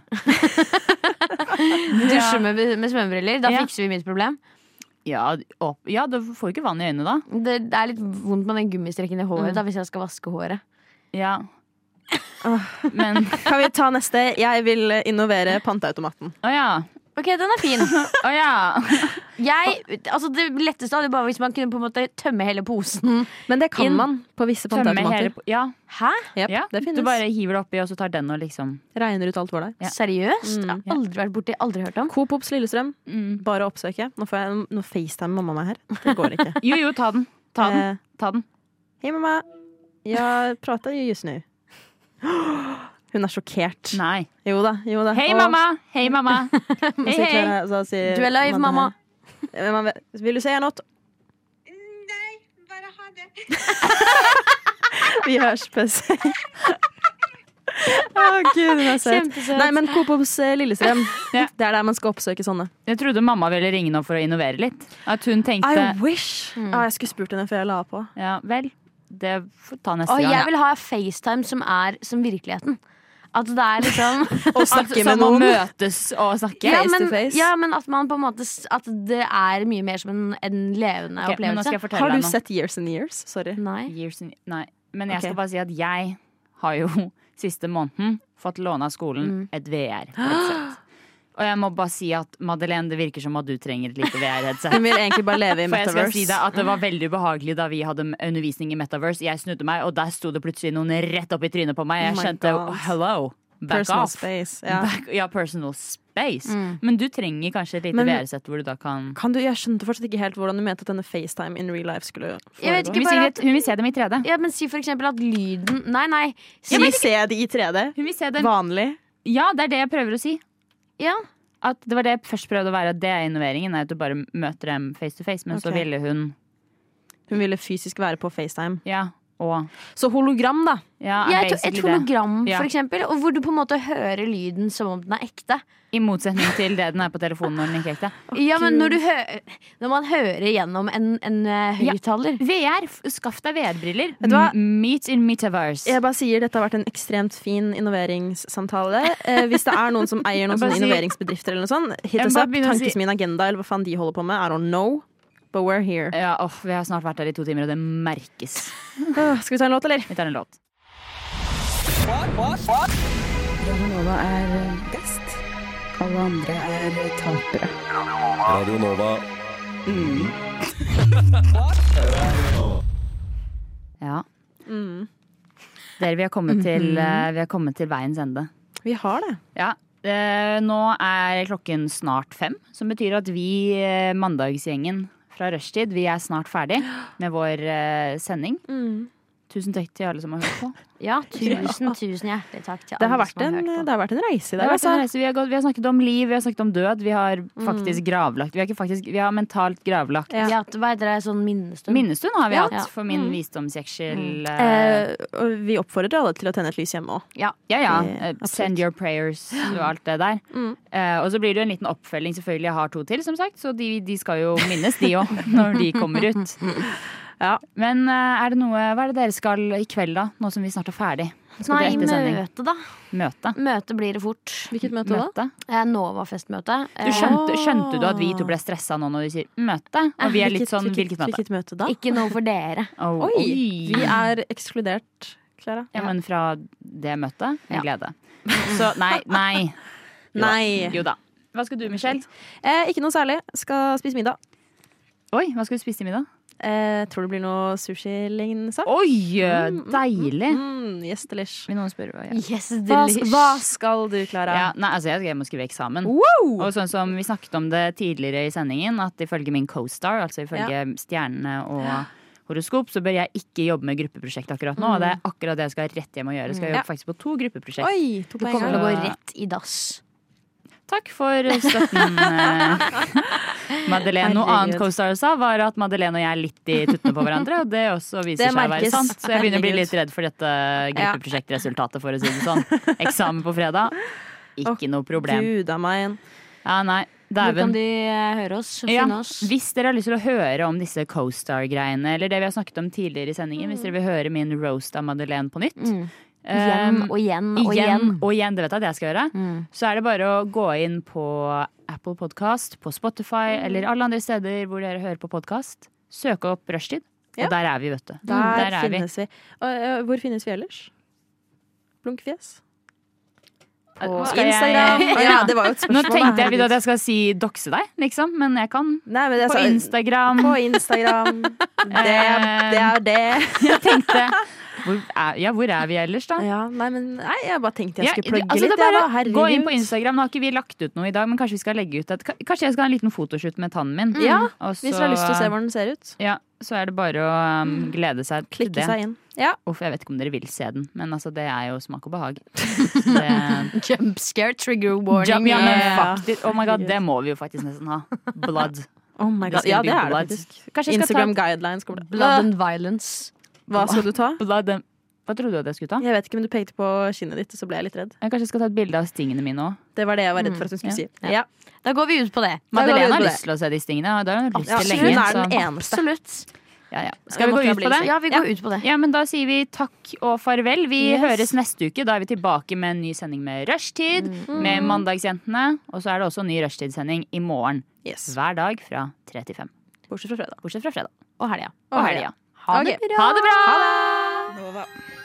Speaker 4: Dusje med, med svømmebriller. Da
Speaker 3: Ja.
Speaker 4: fikser vi mitt problem.
Speaker 3: Ja, opp, ja, da får du ikke vann i øynene da.
Speaker 4: Det, det er litt vondt med den gummistrekken i
Speaker 6: Mm.
Speaker 4: håret da, hvis jeg skal vaske håret.
Speaker 3: Ja.
Speaker 6: Ah.
Speaker 3: Men
Speaker 6: Kan vi ta neste? Jeg vil eh, innovere panteautomaten.
Speaker 3: Å ja.
Speaker 4: Ok, den er fin.
Speaker 3: Å
Speaker 6: Sånn
Speaker 3: ja.
Speaker 4: Jeg, altså det letteste hadde bare hvis man kunne på en måte tømme hele posen.
Speaker 6: Men det kan
Speaker 4: Inn.
Speaker 6: man på visse
Speaker 3: Tømme
Speaker 6: panteautomater.
Speaker 3: hele po- Ja.
Speaker 4: Hæ?
Speaker 6: Jep,
Speaker 3: ja.
Speaker 6: Det finnes.
Speaker 3: Du bare hiver det oppi, og så tar den og liksom
Speaker 6: regner ut alt for deg.
Speaker 3: Ja.
Speaker 4: Seriøst? Jeg
Speaker 6: Mm.
Speaker 3: Ja.
Speaker 4: har aldri vært borti, aldri hørt om.
Speaker 6: Coop Ops Lillestrøm,
Speaker 3: mm.
Speaker 6: bare å oppsøke. Nå, får jeg, nå facetimer mamma meg her. Det går ikke.
Speaker 3: Jo, jo, ta den. Ta den.
Speaker 6: Eh,
Speaker 3: Ta den.
Speaker 6: Hei, mamma. Jeg prater jo just nå. Hun er sjokkert.
Speaker 3: Nei.
Speaker 6: Jo da, jo da.
Speaker 3: Hei,
Speaker 6: Og-
Speaker 3: mamma! Hei, mamma!
Speaker 6: og
Speaker 3: Hei,
Speaker 6: sitter
Speaker 3: hei!
Speaker 6: her, og så sier
Speaker 4: Du er live, mamma.
Speaker 6: her, eh, mamma, Vil du si noe?
Speaker 9: Nei, bare ha det.
Speaker 6: Vi høres på seg. Å, gud, hun er søt.
Speaker 4: Kjempesøt.
Speaker 6: Nei, men Coop Ops eh, Lillestrøm,
Speaker 3: Ja.
Speaker 6: det er der man skal oppsøke sånne.
Speaker 3: Jeg trodde mamma ville ringe nå for å innovere litt. At hun
Speaker 6: I
Speaker 3: tenkte
Speaker 6: wish!
Speaker 3: Mm.
Speaker 6: Ah, jeg skulle spurt henne før jeg la på.
Speaker 3: Ja vel, det får ta neste
Speaker 4: Og jeg
Speaker 3: gang.
Speaker 4: vil ha FaceTime som er som virkeligheten. At det er liksom
Speaker 3: Altså,
Speaker 6: Å snakke med noen.
Speaker 3: møtes og snakke.
Speaker 4: ja,
Speaker 6: Face to
Speaker 4: men,
Speaker 6: face.
Speaker 4: ja, men at man på en måte s- At det er mye mer som en, en levende
Speaker 3: Ok, men nå Mm. skal
Speaker 4: opplevelse.
Speaker 3: jeg fortelle
Speaker 6: Har du
Speaker 3: deg noe.
Speaker 6: sett Years and Years? Sorry.
Speaker 4: Nei.
Speaker 3: Years in, nei, men jeg skal
Speaker 6: Ok.
Speaker 3: bare si at jeg har jo siste måneden fått låne av skolen
Speaker 6: Mm.
Speaker 3: et VR-headset. Og jeg må bare si at Madeleine, det virker som at du trenger et lite
Speaker 6: Hun
Speaker 3: VR-headset.
Speaker 6: vil egentlig bare leve i
Speaker 3: For jeg skal
Speaker 6: Metaverse.
Speaker 3: si deg at Det var veldig ubehagelig da vi hadde undervisning i Metaverse. Jeg snudde meg, og der sto det plutselig noen rett opp i trynet på meg.
Speaker 6: Oh
Speaker 3: Jeg
Speaker 6: my
Speaker 3: kjente
Speaker 6: God.
Speaker 3: hello, back
Speaker 6: Personal
Speaker 3: off.
Speaker 6: space. Ja. Mm.
Speaker 3: Back, ja, personal space. Men du trenger kanskje et lite
Speaker 6: Men-
Speaker 3: VR-sett hvor du da kan
Speaker 6: Kan du, jeg skjønte fortsatt ikke helt hvordan du mente at denne FaceTime in real life skulle
Speaker 4: Jeg vet
Speaker 6: foregå.
Speaker 3: Hun
Speaker 4: ikke
Speaker 3: vil,
Speaker 4: bare
Speaker 3: si,
Speaker 4: at-
Speaker 3: hun vil se dem i 3D.
Speaker 4: Ja, men si for eksempel at lyden Nei, nei. Si,
Speaker 6: Si se det i 3D.
Speaker 3: Hun vil se dem.
Speaker 6: Vanlig.
Speaker 3: Ja, det er det jeg prøver å si.
Speaker 4: ja.
Speaker 3: at det var det jeg først prøvde å være, at det er innoveringen. er At du bare møter dem face to face. Men så
Speaker 6: Ok.
Speaker 3: ville hun
Speaker 6: Hun ville fysisk være på FaceTime.
Speaker 3: Ja. Og
Speaker 6: Så hologram, da.
Speaker 3: ja,
Speaker 4: Ja,
Speaker 3: er
Speaker 4: et, et
Speaker 3: basically det.
Speaker 4: hologram,
Speaker 3: Ja.
Speaker 4: for eksempel. Og hvor du på en måte hører lyden som om den er ekte.
Speaker 3: I motsetning til det den er på telefonen når den ikke er ekte.
Speaker 4: Ja, men når, du hø når man hører gjennom en, en eh,
Speaker 3: Ja.
Speaker 4: høyttaler
Speaker 3: VR, f- skaff deg VR-briller.
Speaker 6: du hva?
Speaker 3: M- Meet in metaverse.
Speaker 6: Jeg bare sier Dette har vært en ekstremt fin innoveringssamtale. Eh, hvis det er noen som eier noen
Speaker 3: Jeg bare
Speaker 6: sånne
Speaker 3: sier-
Speaker 6: innoveringsbedrifter, eller noe sånt, hit
Speaker 3: Jeg
Speaker 6: us
Speaker 3: bare
Speaker 6: up.
Speaker 3: begynner å si-
Speaker 6: Tankes min agenda, eller hva faen de holder på med. I don't know, but we're here.
Speaker 3: Ja, åh, Vi har snart vært her i to timer, og det merkes.
Speaker 6: Øh, Skal vi ta en låt, eller?
Speaker 3: Vi tar en låt.
Speaker 8: Radio Nova er best. Alle andre er tapere.
Speaker 7: Radio Nova.
Speaker 3: Ja.
Speaker 6: Mm.
Speaker 3: Dere, vi har kommet
Speaker 6: Mhm.
Speaker 3: til, eh, vi har kommet til veiens ende.
Speaker 6: Vi har det.
Speaker 3: Ja. eh, nå er klokken snart fem, som betyr at vi, eh, mandagsgjengen fra rushtid, vi er snart ferdig med vår eh, sending. Tusen takk til alle som har hørt på.
Speaker 4: Ja, tusen, tusen hjertelig takk til
Speaker 6: Det har
Speaker 4: alle
Speaker 6: vært
Speaker 4: som har
Speaker 6: en,
Speaker 4: hørt på.
Speaker 6: det har vært en reise i
Speaker 3: Det
Speaker 6: dag,
Speaker 3: har vært sånn. Mm. en
Speaker 6: altså.
Speaker 3: reise. Vi har, gått, vi har snakket om liv, vi har snakket om død. Vi har faktisk gravlagt. Vi har, ikke faktisk, vi har mentalt gravlagt.
Speaker 6: Ja.
Speaker 4: Vi har hatt hva heter det, sånn minnestund.
Speaker 3: Minnestund har vi
Speaker 4: Ja. Ja.
Speaker 3: hatt, for min visdomsjeksel. eh,
Speaker 6: Eh, og vi oppfordrer alle til å tenne et lys hjemme òg.
Speaker 3: Ja, ja. ja.
Speaker 6: Eh, Mm.
Speaker 3: Eh, Send your prayers og alt det der. Eh, og så blir det jo en liten oppfølging. Selvfølgelig, jeg har to til, som sagt. Så de, de skal jo minnes, de òg, når de kommer ut.
Speaker 6: Ja.
Speaker 3: Men eh, er det noe, hva er det dere skal i kveld, da? Nå som vi snart er ferdig? Skal dere
Speaker 4: Nei,
Speaker 3: etter sending?
Speaker 4: møte, da.
Speaker 3: Møte?
Speaker 4: Møte blir det fort.
Speaker 6: Hvilket møte da?
Speaker 3: Møte?
Speaker 4: Eh, Novafestmøte.
Speaker 3: Du
Speaker 4: Eh,
Speaker 3: skjønte, skjønte du at vi to ble stressa nå når du sier møte? Og vi er litt sånn hvilket møte?
Speaker 6: Hvilket møte da?
Speaker 4: Ikke noe for dere.
Speaker 3: Oh,
Speaker 6: Oi! Vi er ekskludert, Klara.
Speaker 3: Ja, men fra det møtet med glede. Så
Speaker 4: Så,
Speaker 3: nei, nei.
Speaker 6: Nei.
Speaker 3: Jo da. Hva skal du, Michelle?
Speaker 6: Eh, ikke noe særlig. Skal spise middag.
Speaker 3: Oi, hva skal du spise i middag?
Speaker 6: Eh, tror det blir noe sushi-lignende sak.
Speaker 3: Oi, deilig!
Speaker 6: Mm, yes,
Speaker 3: mm,
Speaker 6: delish.
Speaker 3: Vil noen spørre hva jeg gjør?
Speaker 4: yes,
Speaker 6: Hva,
Speaker 4: delish.
Speaker 6: hva skal du, Klara?
Speaker 3: Ja, nei, altså jeg skal hjem og skrive eksamen.
Speaker 6: Wow!
Speaker 3: Og sånn som vi snakket om det tidligere i sendingen, at ifølge min co-star, altså ifølge stjernene og horoskop, så bør jeg ikke jobbe med gruppeprosjekt akkurat nå. Og det er akkurat det jeg skal rett hjem og gjøre. Jeg skal
Speaker 6: Ja.
Speaker 3: jobbe faktisk på to gruppeprosjekt.
Speaker 6: Oi, to
Speaker 4: Du
Speaker 6: poeng
Speaker 4: kommer
Speaker 6: her.
Speaker 4: til å gå rett i dass.
Speaker 3: Takk for støtten, eh, Madeleine. Noe
Speaker 6: Herregud.
Speaker 3: annet co-star sa, var at Madeleine og jeg er litt i tuttene på hverandre. Og det også viser seg
Speaker 6: Det
Speaker 3: å være
Speaker 6: merkes.
Speaker 3: sant. Så jeg begynner å bli
Speaker 6: Herregud.
Speaker 3: litt redd for dette gruppeprosjektresultatet, for å si det sånn. Eksamen på fredag. Ikke noe problem.
Speaker 6: Gud a meg.
Speaker 3: Ja, nei.
Speaker 4: Hvor kan
Speaker 3: Dæven.
Speaker 4: de eh, høre oss? Finne
Speaker 3: Ja,
Speaker 4: oss?
Speaker 3: hvis dere har lyst til å høre om disse co-star-greiene, eller det vi har snakket om tidligere i sendingen, hvis dere vil høre min roast av Madeleine på nytt
Speaker 4: Mm.
Speaker 3: eh,
Speaker 4: Igjen og igjen og
Speaker 3: igjen
Speaker 4: igjen.
Speaker 3: og igjen, det vet jeg at jeg skal gjøre,
Speaker 4: Mm.
Speaker 3: så er det bare å gå inn på Apple Podcast, på Spotify
Speaker 6: Mm.
Speaker 3: eller alle andre steder hvor dere hører på podkast. Søke opp Rushtid,
Speaker 6: Ja.
Speaker 3: og der er vi, vet du.
Speaker 6: Der,
Speaker 3: Der er vi.
Speaker 6: finnes vi. Og, eh, hvor finnes vi ellers? Blunkfjes?
Speaker 3: På
Speaker 6: Skal Instagram.
Speaker 3: Jeg...
Speaker 6: Ja, det var jo et
Speaker 3: Nå
Speaker 6: spørsmål. da.
Speaker 3: tenkte jeg
Speaker 6: Herregud.
Speaker 3: vidt at jeg skal si dokse deg, liksom, men jeg kan.
Speaker 6: Nei, men jeg
Speaker 3: På
Speaker 6: sa-
Speaker 3: Instagram.
Speaker 6: På Instagram. Det, det er det.
Speaker 3: Jeg tenkte hvor er, Ja, hvor er vi ellers, da?
Speaker 6: Ja, nei, men nei, jeg bare tenkte jeg
Speaker 3: Ja,
Speaker 6: skulle
Speaker 3: det-
Speaker 6: plugge
Speaker 3: altså,
Speaker 6: litt.
Speaker 3: det er
Speaker 6: jeg,
Speaker 3: bare
Speaker 6: da. Herregud.
Speaker 3: Gå inn på Instagram. Nå har ikke vi lagt ut noe i dag, men kanskje vi skal legge ut et, ka- Kanskje jeg skal ha en liten fotoshoot med tannen min.
Speaker 6: Ja,
Speaker 3: og så,
Speaker 6: hvis dere har lyst til å se hvordan den ser ut.
Speaker 3: Ja, så er det bare å um, glede seg til
Speaker 6: Klikke
Speaker 3: det.
Speaker 6: seg inn. Ja.
Speaker 3: Uff, jeg vet ikke om dere vil se den, men altså, det er jo smak og behag. Så det,
Speaker 4: Jump scare, trigger warning.
Speaker 3: ja, men
Speaker 6: Ja.
Speaker 3: faktisk, oh my god, det må vi jo faktisk nesten ha. Blood.
Speaker 6: Oh my
Speaker 3: Det
Speaker 6: God.
Speaker 3: skal
Speaker 6: ja,
Speaker 3: bli
Speaker 6: det er det
Speaker 3: blood.
Speaker 6: faktisk.
Speaker 3: Kanskje jeg skal
Speaker 6: Instagram guidelines kommer til
Speaker 4: Blood and violence.
Speaker 6: Hva skal du ta?
Speaker 3: ta blood eh. and- Hva trodde du at jeg skulle ta?
Speaker 6: Jeg vet ikke, men du pekte på kinnet ditt, og så ble jeg litt redd.
Speaker 3: Jeg kanskje skal ta et bilde av stingene mine òg.
Speaker 6: Det var det jeg var redd for at hun skulle
Speaker 3: Ja.
Speaker 6: si. Mm, Ja.
Speaker 4: Da går vi ut på det.
Speaker 3: Madeleine har
Speaker 6: på
Speaker 3: lyst til å se de stingene. Og det har hun lyst til
Speaker 6: Absolutt.
Speaker 3: lenge.
Speaker 6: Hun er den
Speaker 3: så-
Speaker 6: eneste.
Speaker 4: Absolutt.
Speaker 3: Ja, ja. Skal vi
Speaker 6: måtte
Speaker 3: gå
Speaker 6: jeg
Speaker 3: ut
Speaker 6: bli
Speaker 3: på det?
Speaker 6: litt
Speaker 4: Ja, vi går ut på det.
Speaker 3: Ja, men da sier vi takk og farvel. Vi
Speaker 6: Yes.
Speaker 3: høres neste uke. Da er vi tilbake med en ny sending med Rushtid, med Mandagsjentene. Og så er det også en ny rushtidssending i morgen.
Speaker 6: Yes.
Speaker 3: Hver dag fra 3 til 5.
Speaker 6: Bortsett fra fredag. 哦
Speaker 3: Bortsett fra fredag
Speaker 4: Og helga.
Speaker 3: og helga.
Speaker 6: Ha det
Speaker 3: Ha det bra!
Speaker 6: Nova.